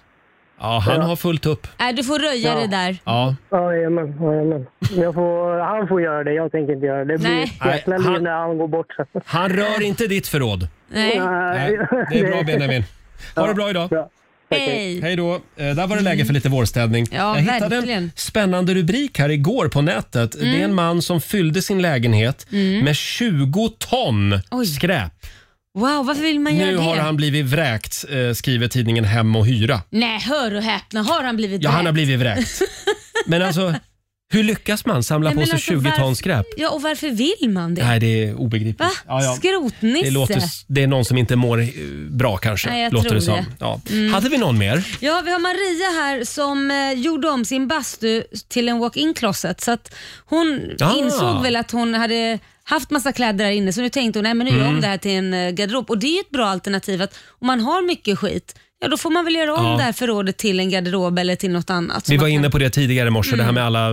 Speaker 1: Ja, han har fullt upp.
Speaker 2: Nej, du får röja
Speaker 18: Ja.
Speaker 2: det där.
Speaker 1: Ja.
Speaker 18: Jajamän, jajamän. Jag får, han får göra det, jag tänker inte göra det. Det blir
Speaker 2: Nej.
Speaker 18: ett jäkla
Speaker 1: Nej, han-
Speaker 18: liv när han går bort <laughs> sen.
Speaker 1: Han rör inte ditt förråd.
Speaker 2: Nej.
Speaker 1: Nej, det är bra Benjamin. Ha det bra idag.
Speaker 2: Hej.
Speaker 1: Hej då. Eh, Där var det läge för lite vårstädning.
Speaker 2: Ja,
Speaker 1: Jag hittade en
Speaker 2: verkligen.
Speaker 1: spännande rubrik här igår på nätet. Det är en man som fyllde sin lägenhet
Speaker 2: Mm.
Speaker 1: med 20 ton skräp.
Speaker 2: Wow, varför vill man göra
Speaker 1: Nu
Speaker 2: det?
Speaker 1: har han blivit vräkt, eh, skriver tidningen Hem och Hyra.
Speaker 2: Nej, hör och häpna. Har han blivit
Speaker 1: Ja, han har
Speaker 2: vräkt?
Speaker 1: blivit vräkt. Men alltså, hur lyckas man samla
Speaker 2: Nej,
Speaker 1: på
Speaker 2: men
Speaker 1: sig
Speaker 2: alltså,
Speaker 1: 20 ton
Speaker 2: varför-
Speaker 1: skräp?
Speaker 2: Ja, och varför vill man det?
Speaker 1: Nej, det är obegripligt.
Speaker 2: Va?
Speaker 1: Ja, ja.
Speaker 2: Skrotnisse?
Speaker 1: Det, låter, det är någon som inte mår eh, bra kanske.
Speaker 2: Nej, jag
Speaker 1: låter
Speaker 2: tror
Speaker 1: det som.
Speaker 2: det.
Speaker 1: Ja.
Speaker 2: Mm.
Speaker 1: Hade vi någon mer?
Speaker 2: Ja, vi har Maria här som eh, gjorde om sin bastu till en walk-in closet. Så att hon
Speaker 1: Ah.
Speaker 2: insåg väl att hon hade haft massa kläder där inne så nu tänkte hon nej men nu gör jag
Speaker 1: Mm.
Speaker 2: om det här till en eh, garderob. Och det är ju ett bra alternativ att om man har mycket skit, ja då får man väl göra om
Speaker 1: Ja.
Speaker 2: det här förrådet till en garderob eller till något annat. som
Speaker 1: Vi
Speaker 2: man
Speaker 1: var
Speaker 2: kan-
Speaker 1: inne på det tidigare i morse, det här
Speaker 2: Mm.
Speaker 1: med alla,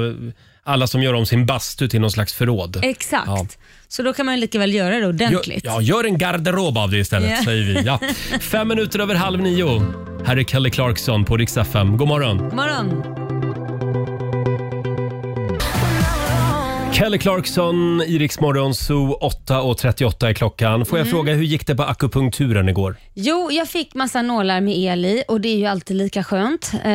Speaker 1: alla som gör om sin bastu till någon slags förråd.
Speaker 2: Exakt.
Speaker 1: Ja.
Speaker 2: Så då kan man ju lika väl göra det
Speaker 1: Gör,
Speaker 2: ordentligt.
Speaker 1: ja, gör en garderob av det istället,
Speaker 2: Ja.
Speaker 1: säger vi.
Speaker 2: <laughs>
Speaker 1: Ja. Fem minuter över halv nio. Här är Kelly Clarkson på Rix FM. God morgon.
Speaker 2: God morgon.
Speaker 1: Kelly Clarkson, i Rix Morgon Zoo, 8.38 är klockan. Får jag
Speaker 2: Mm.
Speaker 1: fråga, hur gick det på akupunkturen igår?
Speaker 2: Jo, jag fick massa nålar med el i och det är ju alltid lika skönt. Eh,
Speaker 1: Det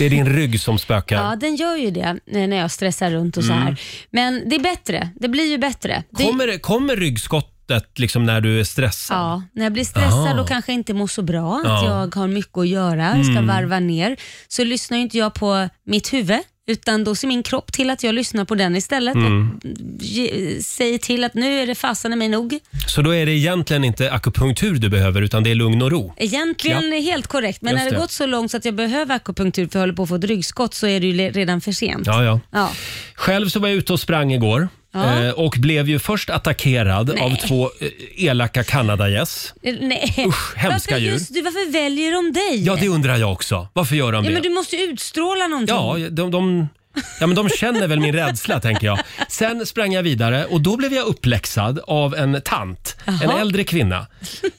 Speaker 1: är din rygg som spökar.
Speaker 2: Ja, den gör ju det eh, när jag stressar runt och så
Speaker 1: Mm.
Speaker 2: här. Men det är bättre. Det blir ju bättre. Det,
Speaker 1: Kommer, kommer ryggskottet liksom när du är stressad?
Speaker 2: Ja, när jag blir stressad
Speaker 1: Aha.
Speaker 2: och kanske inte mår så bra, att
Speaker 1: Ja.
Speaker 2: jag har mycket att göra, jag ska
Speaker 1: Mm.
Speaker 2: varva ner, så lyssnar ju inte jag på mitt huvud, utan då ser min kropp till att jag lyssnar på den istället.
Speaker 1: Mm.
Speaker 2: Och ge, säger till att nu är det fasen i mig nog.
Speaker 1: Så då är det egentligen inte akupunktur du behöver, utan det är lugn och ro?
Speaker 2: Egentligen är helt korrekt, men
Speaker 1: Just
Speaker 2: när det
Speaker 1: det.
Speaker 2: gått så långt så att jag behöver akupunktur för jag håller på att få ett ryggskott så är det ju le- redan för sent.
Speaker 1: Ja, ja.
Speaker 2: Ja.
Speaker 1: Själv så var jag ute och sprang igår
Speaker 2: Ja.
Speaker 1: eh, och blev ju först attackerad
Speaker 2: Nej.
Speaker 1: av två eh, elaka kanadagäss.
Speaker 2: Eh, Nej. Usch,
Speaker 1: hemska
Speaker 2: varför
Speaker 1: djur.
Speaker 2: Just, du, varför väljer de dig?
Speaker 1: Ja, det undrar jag också. Varför gör de
Speaker 2: Ja,
Speaker 1: det?
Speaker 2: men du måste ju utstråla någonting.
Speaker 1: Ja, de, de, ja, men de känner väl min
Speaker 2: <laughs>
Speaker 1: rädsla, tänker jag. Sen sprang jag vidare och då blev jag uppläxad av en tant, en
Speaker 2: Jaha.
Speaker 1: äldre kvinna.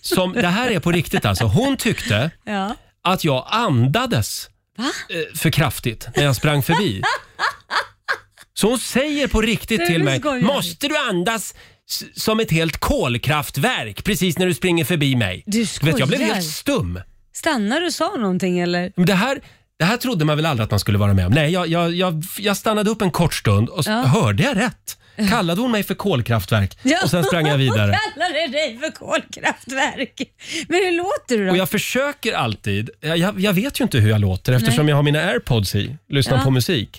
Speaker 1: Som, det här är på riktigt alltså. Hon tyckte
Speaker 2: Ja.
Speaker 1: att jag andades
Speaker 2: Va?
Speaker 1: eh, för kraftigt när jag sprang förbi. Så hon säger på
Speaker 2: Nej,
Speaker 1: riktigt
Speaker 2: men
Speaker 1: till mig,
Speaker 2: skojar du?
Speaker 1: måste du andas s- som ett helt kolkraftverk precis när du springer förbi mig?
Speaker 2: Du
Speaker 1: Vet, jag blev
Speaker 2: skojar.
Speaker 1: helt stum.
Speaker 2: Stannade du och sa någonting eller?
Speaker 1: Men det, här, det här trodde man väl aldrig att man skulle vara med om. Nej, jag, jag, jag, jag stannade upp en kort stund och s-
Speaker 2: Ja.
Speaker 1: hörde jag rätt? Kallade hon mig för kolkraftverk? Och sen sprang jag
Speaker 2: <laughs>
Speaker 1: vidare.
Speaker 2: Hon kallade dig för kolkraftverk. Men hur låter du då?
Speaker 1: Och jag försöker alltid. Jag- Jag, jag vet ju inte hur jag låter eftersom
Speaker 2: Nej.
Speaker 1: jag har mina airpods i. Lyssnar
Speaker 2: Ja.
Speaker 1: på musik.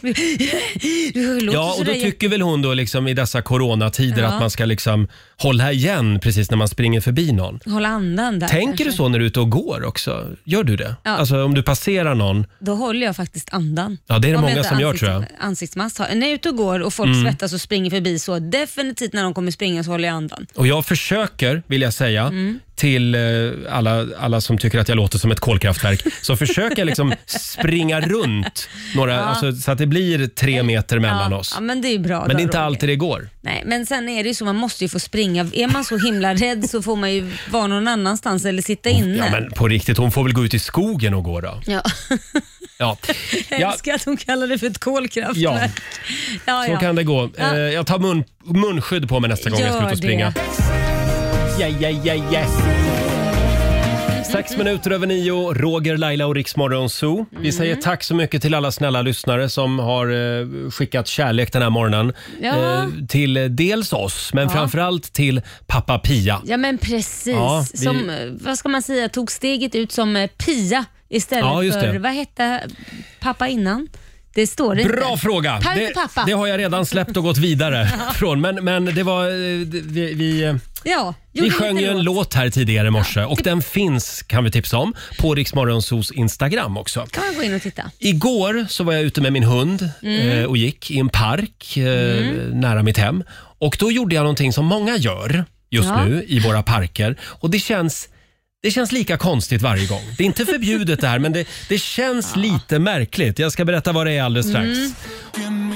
Speaker 2: Du låter
Speaker 1: Ja, och då
Speaker 2: sådär jätte-
Speaker 1: tycker väl hon då liksom i dessa coronatider
Speaker 2: Ja.
Speaker 1: att man ska liksom hålla igen precis när man springer förbi någon.
Speaker 2: Håll andan där.
Speaker 1: Tänker du
Speaker 2: kanske.
Speaker 1: så när du är ute och går också? Gör du det?
Speaker 2: Ja.
Speaker 1: Alltså om du passerar någon.
Speaker 2: Då håller jag faktiskt andan.
Speaker 1: Ja, det är det
Speaker 2: Om
Speaker 1: många
Speaker 2: inte
Speaker 1: som gör,
Speaker 2: ansikts-
Speaker 1: tror jag.
Speaker 2: Ansiktsmask har. När jag är ute och går och folk
Speaker 1: Mm.
Speaker 2: svettas och springer förbi så definitivt när de kommer springa så håller jag andan.
Speaker 1: Och jag försöker, vill jag säga,
Speaker 2: Mm.
Speaker 1: till eh, alla, alla som tycker att jag låter som ett kolkraftverk, så försöker jag liksom springa runt några,
Speaker 2: Ja.
Speaker 1: alltså, så att det blir tre meter mellan
Speaker 2: ja,
Speaker 1: oss.
Speaker 2: Ja, men det är ju bra.
Speaker 1: Men
Speaker 2: då,
Speaker 1: det är inte
Speaker 2: Roger.
Speaker 1: alltid det går.
Speaker 2: Nej, men sen är det ju så, man måste ju få springa. Är man så himla rädd så får man ju vara någon annanstans eller sitta inne.
Speaker 1: Oh, Ja, men på riktigt, hon får väl gå ut i skogen och gå då.
Speaker 2: Ja.
Speaker 1: Ja,
Speaker 2: <laughs> Jag
Speaker 1: Ja.
Speaker 2: älskar att hon kallar det för ett kolkraftverk. Ja, <laughs> ja.
Speaker 1: så kan det gå.
Speaker 2: Ja.
Speaker 1: Eh, Jag tar mun, munskydd på mig nästa gång jag ska ut och springa. Ja, ja, ja, ja. Sex minuter över nio, Roger, Laila och Riksmorgon Zoo.
Speaker 2: Mm.
Speaker 1: Vi säger tack så mycket till alla snälla lyssnare som har eh, skickat kärlek den här morgonen.
Speaker 2: Ja.
Speaker 1: till eh, dels oss, men
Speaker 2: Ja.
Speaker 1: framförallt till pappa Pia.
Speaker 2: Ja men precis.
Speaker 1: Ja, vi-
Speaker 2: Som, eh, vad ska man säga, tog steget ut som eh, Pia istället
Speaker 1: Ja, just
Speaker 2: för,
Speaker 1: det.
Speaker 2: vad hette pappa innan? Det står inte.
Speaker 1: Bra fråga!
Speaker 2: Tack
Speaker 1: Det,
Speaker 2: pappa.
Speaker 1: det har jag redan släppt och gått
Speaker 2: <laughs>
Speaker 1: vidare
Speaker 2: Ja.
Speaker 1: från. Men, men det var... eh, det- Vi, vi, eh,
Speaker 2: Ja,
Speaker 1: Vi
Speaker 2: gjorde
Speaker 1: sjöng
Speaker 2: lite
Speaker 1: ju en låt här tidigare i morse och den finns, kan vi tipsa om, på Riksmorgonsos Instagram också.
Speaker 2: kan man gå in och titta.
Speaker 1: Igår så var jag ute med min hund
Speaker 2: Mm.
Speaker 1: eh, och gick i en park eh, nära mitt hem. Och då gjorde jag någonting som många gör just
Speaker 2: Ja.
Speaker 1: nu i våra parker. Och det känns, det känns lika konstigt varje gång. Det är inte förbjudet det här, men det, det känns lite märkligt. Jag ska berätta vad det är alldeles strax.
Speaker 2: Mm.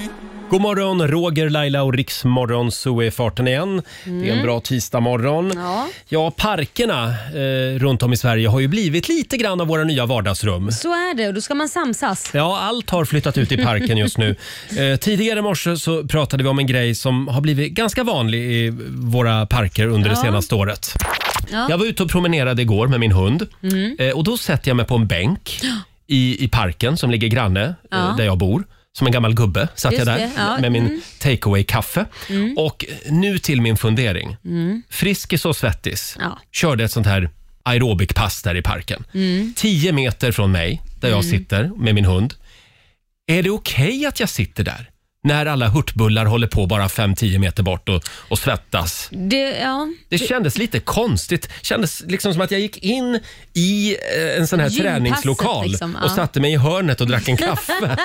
Speaker 1: God morgon, Roger, Laila och Riksmorgon, så är farten igen. Det är en
Speaker 2: Mm.
Speaker 1: bra tisdagmorgon.
Speaker 2: Ja.
Speaker 1: Ja, parkerna eh, runt om i Sverige har ju blivit lite grann av våra nya vardagsrum.
Speaker 2: Så är det och då ska man samsas.
Speaker 1: Ja, allt har flyttat ut i parken just
Speaker 2: <laughs>
Speaker 1: nu. Eh, tidigare i morse så pratade vi om en grej som har blivit ganska vanlig i våra parker under det
Speaker 2: Ja.
Speaker 1: senaste året.
Speaker 2: Ja.
Speaker 1: Jag var ute och promenerade igår med min hund
Speaker 2: Mm.
Speaker 1: eh, och då sätter jag mig på en bänk i, i parken som ligger granne
Speaker 2: Ja.
Speaker 1: eh, där jag bor. Som en gammal gubbe satt
Speaker 2: Just
Speaker 1: jag där
Speaker 2: det, ja,
Speaker 1: med min
Speaker 2: mm.
Speaker 1: takeaway-kaffe.
Speaker 2: Mm.
Speaker 1: Och nu till min fundering.
Speaker 2: Mm.
Speaker 1: Friskis och Svettis
Speaker 2: Ja.
Speaker 1: körde ett sånt här aerobikpass där i parken.
Speaker 2: Mm.
Speaker 1: 10 meter från mig, där jag
Speaker 2: Mm.
Speaker 1: sitter med min hund. Är det okej att jag sitter där? När alla hurtbullar håller på bara 5-10 meter bort och, och svettas.
Speaker 2: Det, ja.
Speaker 1: Det kändes lite konstigt. kändes liksom som att jag gick in i eh, en sån här
Speaker 2: Gympasset
Speaker 1: träningslokal
Speaker 2: liksom, ja.
Speaker 1: och satte mig i hörnet och
Speaker 2: <laughs>
Speaker 1: drack en kaffe.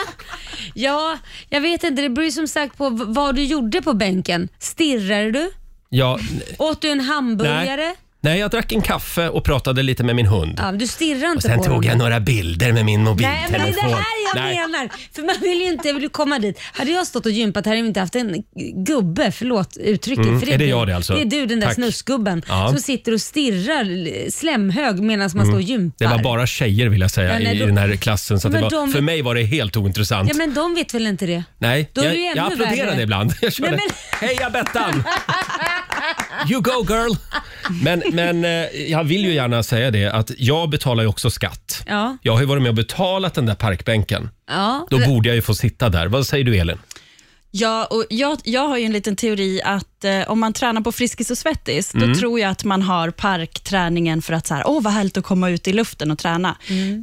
Speaker 2: ja, jag vet inte. Det beror ju som sagt på v- vad du gjorde på bänken. Stirrade du?
Speaker 1: ja,
Speaker 2: Åt du en hamburgare?
Speaker 1: nej, jag drack en kaffe och pratade lite med min hund.
Speaker 2: Ja, men du stirrar
Speaker 1: Och
Speaker 2: inte
Speaker 1: sen
Speaker 2: på
Speaker 1: tog
Speaker 2: dem.
Speaker 1: jag några bilder med min
Speaker 2: Nej, men det är
Speaker 1: mobiltelefon.
Speaker 2: det här jag menar. För man vill ju inte vill ju komma dit. Hade jag stått och gympat hade jag inte haft en gubbe, förlåt uttrycket.
Speaker 1: Mm,
Speaker 2: för
Speaker 1: är det
Speaker 2: du.
Speaker 1: jag det alltså?
Speaker 2: Det är du, den där
Speaker 1: Tack.
Speaker 2: snusgubben
Speaker 1: Ja.
Speaker 2: som sitter och stirrar eh, slemhög medan man står och
Speaker 1: Mm.
Speaker 2: gympar.
Speaker 1: Det var bara tjejer vill jag säga
Speaker 2: Ja, nej,
Speaker 1: i, i
Speaker 2: då-
Speaker 1: den här klassen. Så att det
Speaker 2: Men
Speaker 1: var,
Speaker 2: de-
Speaker 1: För mig var det helt ointressant.
Speaker 2: Ja, men de vet väl inte det?
Speaker 1: Nej,
Speaker 2: Då är
Speaker 1: jag,
Speaker 2: det ju
Speaker 1: jag
Speaker 2: ännu
Speaker 1: applåderade
Speaker 2: värre.
Speaker 1: ibland. Jag körde,
Speaker 2: Nej,
Speaker 1: heja Bettan! You go girl! Men, men eh, jag vill ju gärna säga det att jag betalar ju också skatt.
Speaker 2: Ja.
Speaker 1: Jag har ju varit med och betalat den där parkbänken.
Speaker 2: ja.
Speaker 1: Då borde jag ju få sitta där. Vad säger du Elin?
Speaker 3: Ja, och jag, jag har ju en liten teori att eh, om man tränar på Friskis och Svettis,
Speaker 1: Mm.
Speaker 3: då tror jag att man har parkträningen för att så här, åh vad härligt att komma ut i luften och träna.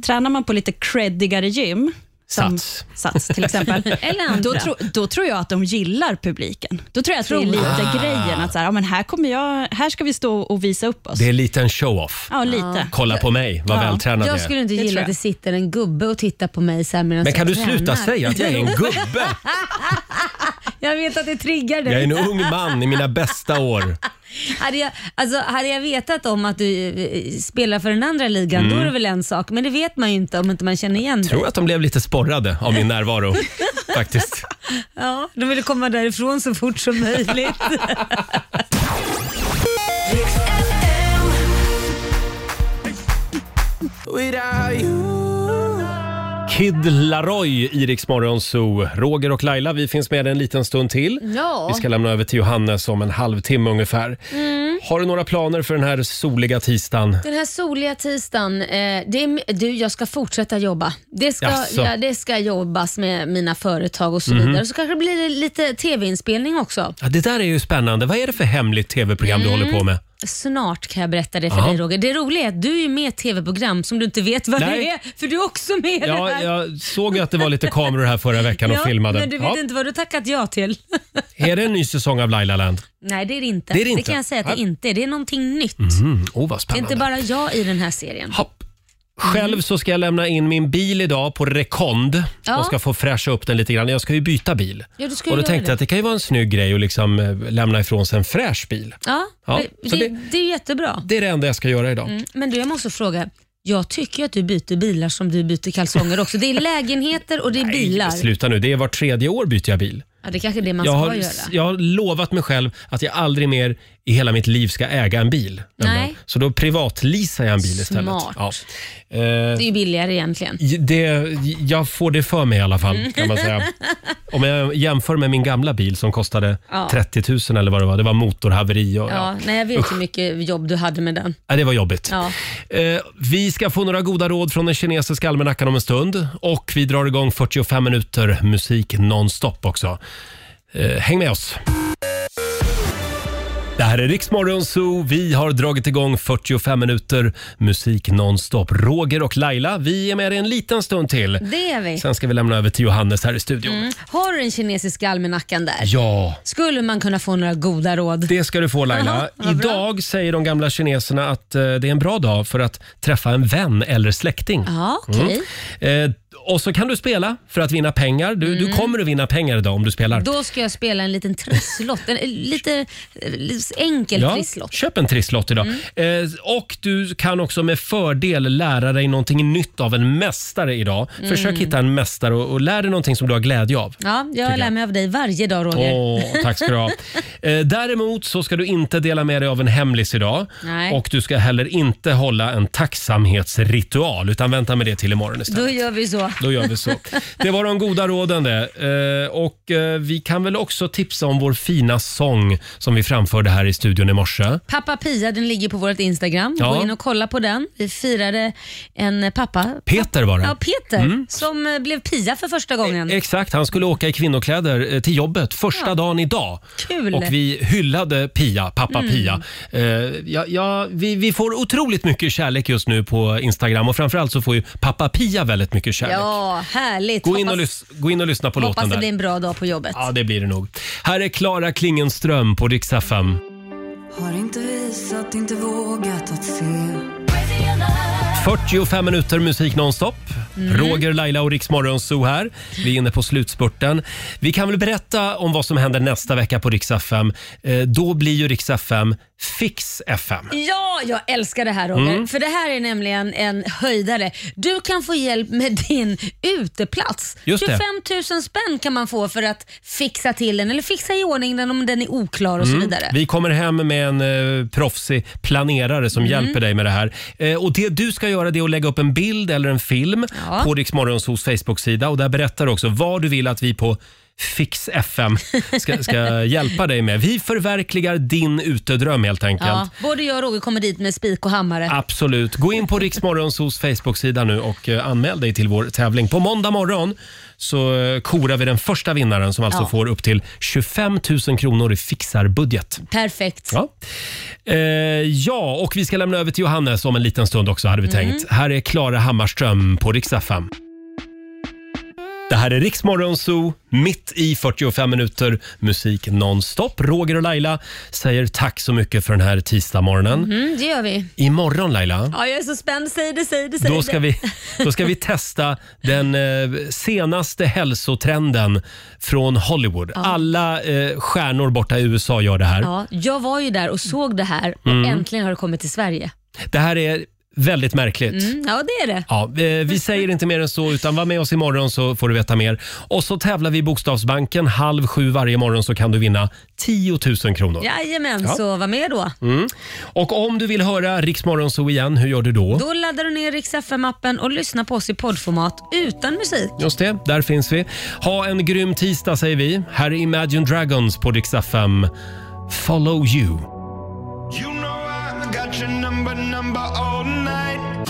Speaker 3: Tränar man på lite creddigare gym, som
Speaker 1: Sats.
Speaker 3: Sats till exempel,
Speaker 2: Eller andra.
Speaker 3: Då, tro, då tror jag att de gillar publiken. Då tror jag att det är
Speaker 2: Tror
Speaker 3: lite
Speaker 1: jag.
Speaker 3: grejen, att så här, ja, men här, kommer jag, här ska vi stå och visa upp oss.
Speaker 1: Det är lite en show-off.
Speaker 3: Ja, lite.
Speaker 1: Kolla på mig, vad vältränad jag
Speaker 2: Jag
Speaker 1: är.
Speaker 2: skulle inte
Speaker 3: Det tror
Speaker 2: gilla att
Speaker 3: jag.
Speaker 2: det sitter en gubbe och tittar på mig så här medan
Speaker 1: Men kan
Speaker 2: jag
Speaker 1: du sluta
Speaker 2: tränar.
Speaker 1: säga att jag är en gubbe?
Speaker 2: <laughs> jag vet att det triggar dig.
Speaker 1: Jag är en ung man i mina bästa år.
Speaker 2: Hade jag, alltså, hade jag vetat om att du eh, spelar för den andra ligan,
Speaker 1: Mm.
Speaker 2: då är det väl en sak. Men det vet man ju inte om inte man känner igen
Speaker 1: Tror
Speaker 2: dig.
Speaker 1: att de blev lite sporrade av min
Speaker 2: <laughs>
Speaker 1: närvaro faktiskt.
Speaker 2: Ja, de ville komma därifrån så fort som möjligt.
Speaker 9: Without you
Speaker 1: Kid Laroi i Rix Morgon Zoo. Roger och Laila, vi finns med en liten stund till.
Speaker 2: <laughs> Ja.
Speaker 1: Vi ska lämna över till Johannes om en halvtimme ungefär.
Speaker 2: Mm.
Speaker 1: Har du några planer för den här soliga tisdagen?
Speaker 2: Den här soliga tisdagen, eh, det är, du jag ska fortsätta jobba. Det ska,
Speaker 1: Jaså?
Speaker 2: ja, det ska jobbas med mina företag och så
Speaker 1: Mhm.
Speaker 2: vidare. Så kanske det blir lite tv-inspelning också.
Speaker 1: Ja, det där är ju spännande. Vad är det för hemligt tv-program du
Speaker 2: Mm.
Speaker 1: håller på med?
Speaker 2: Snart kan jag berätta det för
Speaker 1: Jaha.
Speaker 2: dig Roger. Det roliga är att du är med i ett tv-program som du inte vet vad
Speaker 1: Nej.
Speaker 2: det är, för du är också med i det
Speaker 1: Ja,
Speaker 2: här.
Speaker 1: jag såg ju att det var lite kameror här förra veckan och
Speaker 2: Ja,
Speaker 1: filmade.
Speaker 2: Men du vet
Speaker 1: Ja.
Speaker 2: inte vad du tackat ja till. <laughs>
Speaker 1: Är det en ny säsong av Laila Land?
Speaker 2: Nej, det är det inte.
Speaker 1: Det är det inte.
Speaker 2: kan jag säga att det
Speaker 1: Nej.
Speaker 2: inte är. Det är någonting nytt.
Speaker 1: Mm. Oh, vad
Speaker 2: Det är
Speaker 1: spännande.
Speaker 2: inte bara jag i den här serien.
Speaker 1: Själv så ska jag lämna in min bil idag på rekond
Speaker 2: Mm. Ja.
Speaker 1: och ska få fräscha upp den lite grann. Jag ska ju byta bil.
Speaker 2: Ja, du ska ju
Speaker 1: och då
Speaker 2: göra
Speaker 1: tänkte jag
Speaker 2: det.
Speaker 1: att det kan ju vara en snygg grej att liksom eh, lämna ifrån sig en fräsch bil.
Speaker 2: Ja,
Speaker 1: Ja,
Speaker 2: det,
Speaker 1: så
Speaker 2: det,
Speaker 1: det-
Speaker 2: det är jättebra.
Speaker 1: Det är det enda jag ska göra idag.
Speaker 2: Mm. Men du, jag måste fråga. Jag tycker ju att du byter bilar som du byter kalsonger också. Det är lägenheter och det är bilar.
Speaker 1: Sluta nu, det är vart tredje år byter jag bil.
Speaker 2: Ja, det är kanske är det man
Speaker 1: jag,
Speaker 2: ska
Speaker 1: har,
Speaker 2: göra.
Speaker 1: jag har lovat mig själv att jag aldrig mer i hela mitt liv ska äga en bil. nämligen.
Speaker 2: Nej.
Speaker 1: Så då privatleasar jag en bil istället.
Speaker 2: Smart.
Speaker 1: Ja. Eh,
Speaker 2: Det är ju billigare egentligen.
Speaker 1: j- det, jag får det för mig i alla fall,
Speaker 2: Mm.
Speaker 1: kan man säga. Om jag jämför med min gamla bil som kostade
Speaker 2: Ja.
Speaker 1: 30 000 eller vad det var. Det var motorhaveri och...
Speaker 2: Ja,
Speaker 1: Ja.
Speaker 2: nej, jag vet
Speaker 1: Usch.
Speaker 2: hur mycket jobb du hade med den.
Speaker 1: Ja, det var jobbigt.
Speaker 2: Ja.
Speaker 1: Eh, vi ska få några goda råd från den kinesiska almanackan om en stund. Och vi drar igång 45 minuter musik nonstop också. Eh, häng med oss! Det här är Riksmorgon Zoo. Vi har dragit igång 45 minuter musik nonstop. Roger och Laila, vi är med er en liten stund till.
Speaker 2: Det är vi.
Speaker 1: Sen ska vi lämna över till Johannes här i studion.
Speaker 2: Mm. Har du den kinesiska almanackan där?
Speaker 1: Ja,
Speaker 2: Skulle man kunna få några goda råd?
Speaker 1: det ska du få Laila.
Speaker 2: Jaha, vad bra.
Speaker 1: Idag säger de gamla kineserna att eh, det är en bra dag för att träffa en vän eller släkting.
Speaker 2: Ja, okej. Mm.
Speaker 1: Mm. Eh, och så kan du spela för att vinna pengar. Du, du kommer att vinna pengar idag om du spelar.
Speaker 2: Då ska jag spela en liten trisslott. En, en lite, eh, lite enkel trisslott. Mm.
Speaker 1: köp en trisslott idag. Eh, och du kan också med fördel lära dig någonting nytt av en mästare idag.
Speaker 2: Mm.
Speaker 1: Försök hitta en mästare och, och lär dig någonting som du har glädje av.
Speaker 2: Ja,
Speaker 1: Tycker
Speaker 2: jag lär
Speaker 1: jag.
Speaker 2: mig av dig varje dag Roger.
Speaker 1: Åh, tack ska du ha. Eh, däremot så ska du inte dela med dig av en hemlis idag.
Speaker 2: Nej.
Speaker 1: Och du ska heller inte hålla en tacksamhetsritual utan vänta med det till imorgon istället.
Speaker 2: Då gör vi så.
Speaker 1: Då gör vi så. Det var de goda råden det. Eh, och eh, vi kan väl också tipsa om vår fina sång som vi framförde här i studion i morse.
Speaker 2: Pappa Pia, den ligger på vårt Instagram.
Speaker 1: Ja.
Speaker 2: Gå in och kolla på den. Vi firade en eh, pappa.
Speaker 1: Peter var det.
Speaker 2: Ja, Peter,
Speaker 1: Mm. E-
Speaker 2: som eh, blev Pia för första gången.
Speaker 1: Exakt, han skulle åka i kvinnokläder eh, till jobbet första
Speaker 2: Ja.
Speaker 1: dagen idag.
Speaker 2: Kul.
Speaker 1: Och vi hyllade Pia, pappa
Speaker 2: Mm.
Speaker 1: Pia. Eh, ja, ja, vi, vi får otroligt mycket kärlek just nu på Instagram och framförallt så får ju pappa Pia väldigt mycket kärlek.
Speaker 2: Ja, härligt.
Speaker 1: Gå, in och
Speaker 2: Hoppas-
Speaker 1: lys- gå in och lyssna på
Speaker 2: Hoppas
Speaker 1: låten
Speaker 2: det
Speaker 1: där.
Speaker 2: blir en bra dag på jobbet.
Speaker 1: Ja, det blir det nog. Här är Klara Klingenström på Rix FM.
Speaker 7: Har inte visat, inte vågat att se
Speaker 1: 45 minuter musik nonstop.
Speaker 7: Mm.
Speaker 1: Roger, Laila och Rix Morgonzoo här. Vi är inne på slutspurten. Vi kan väl berätta om vad som händer nästa vecka på Rix FM. Eh, då blir ju Rix FM Fix FM.
Speaker 2: Ja, jag älskar det här Roger.
Speaker 1: Mm.
Speaker 2: För det här är nämligen en höjdare. Du kan få hjälp med din uteplats.
Speaker 1: Just det.
Speaker 2: 25 000 spänn kan man få för att fixa till den eller fixa i ordning den om den är oklar och så
Speaker 1: Mm.
Speaker 2: vidare.
Speaker 1: Vi kommer hem med en eh, proffsig planerare som
Speaker 2: Mm.
Speaker 1: hjälper dig med det här. Eh, och Det du ska göra det är att lägga upp en bild eller en film
Speaker 2: Ja.
Speaker 1: på Rix Morgonzoos Facebook-sida och där berättar du också vad du vill att vi på Fix FM ska,
Speaker 2: <laughs>
Speaker 1: ska hjälpa dig med. Vi förverkligar din utedröm helt enkelt.
Speaker 2: Ja, både jag och Roger kommer dit med spik och hammare.
Speaker 1: Absolut. Gå in på Riksmorgonsos Facebook-sida nu och eh, anmäl dig till vår tävling. På måndag morgon så eh, korar vi den första vinnaren som alltså
Speaker 2: Ja.
Speaker 1: får upp till 25 000 kronor i fixarbudget.
Speaker 2: Perfekt.
Speaker 1: Ja. Eh, ja, och vi ska lämna över till Johannes om en liten stund också hade vi
Speaker 2: Mm.
Speaker 1: tänkt. Här är Klara Hammarström på riksdag 5. Det här är Riksmorgon Zoo, mitt i 45 minuter musik nonstop. Roger och Laila säger tack så mycket för den här tisdagmorgonen.
Speaker 2: Mm, det gör vi.
Speaker 1: Imorgon Laila,
Speaker 2: Ja, jag är så spänd. Säg det, säg det, säg
Speaker 1: då ska,
Speaker 2: det.
Speaker 1: vi, då ska vi testa den eh, senaste hälsotrenden från Hollywood.
Speaker 2: Ja.
Speaker 1: Alla eh, stjärnor borta i USA gör det här.
Speaker 2: Ja, jag var ju där och såg det här och
Speaker 1: Mm.
Speaker 2: äntligen har det kommit till Sverige.
Speaker 1: Det här är Väldigt märkligt.
Speaker 2: Mm, ja, det är det.
Speaker 1: Ja, eh, vi säger inte mer än så, utan var med oss imorgon så får du veta mer. Och så tävlar vi i Bokstavsbanken. Halv sju varje morgon så kan du vinna 10 000 kronor.
Speaker 2: Jajamän,
Speaker 1: Ja.
Speaker 2: så var med då.
Speaker 1: Mm. Och om du vill höra Riksmorgon så igen, hur gör du då?
Speaker 2: Då laddar du ner Rix FM-appen och lyssnar på oss i poddformat utan musik.
Speaker 1: Just det, där finns vi. Ha en grym tisdag säger vi. Här är Imagine Dragons på Rix FM. Follow you.
Speaker 9: Got your number, number all night.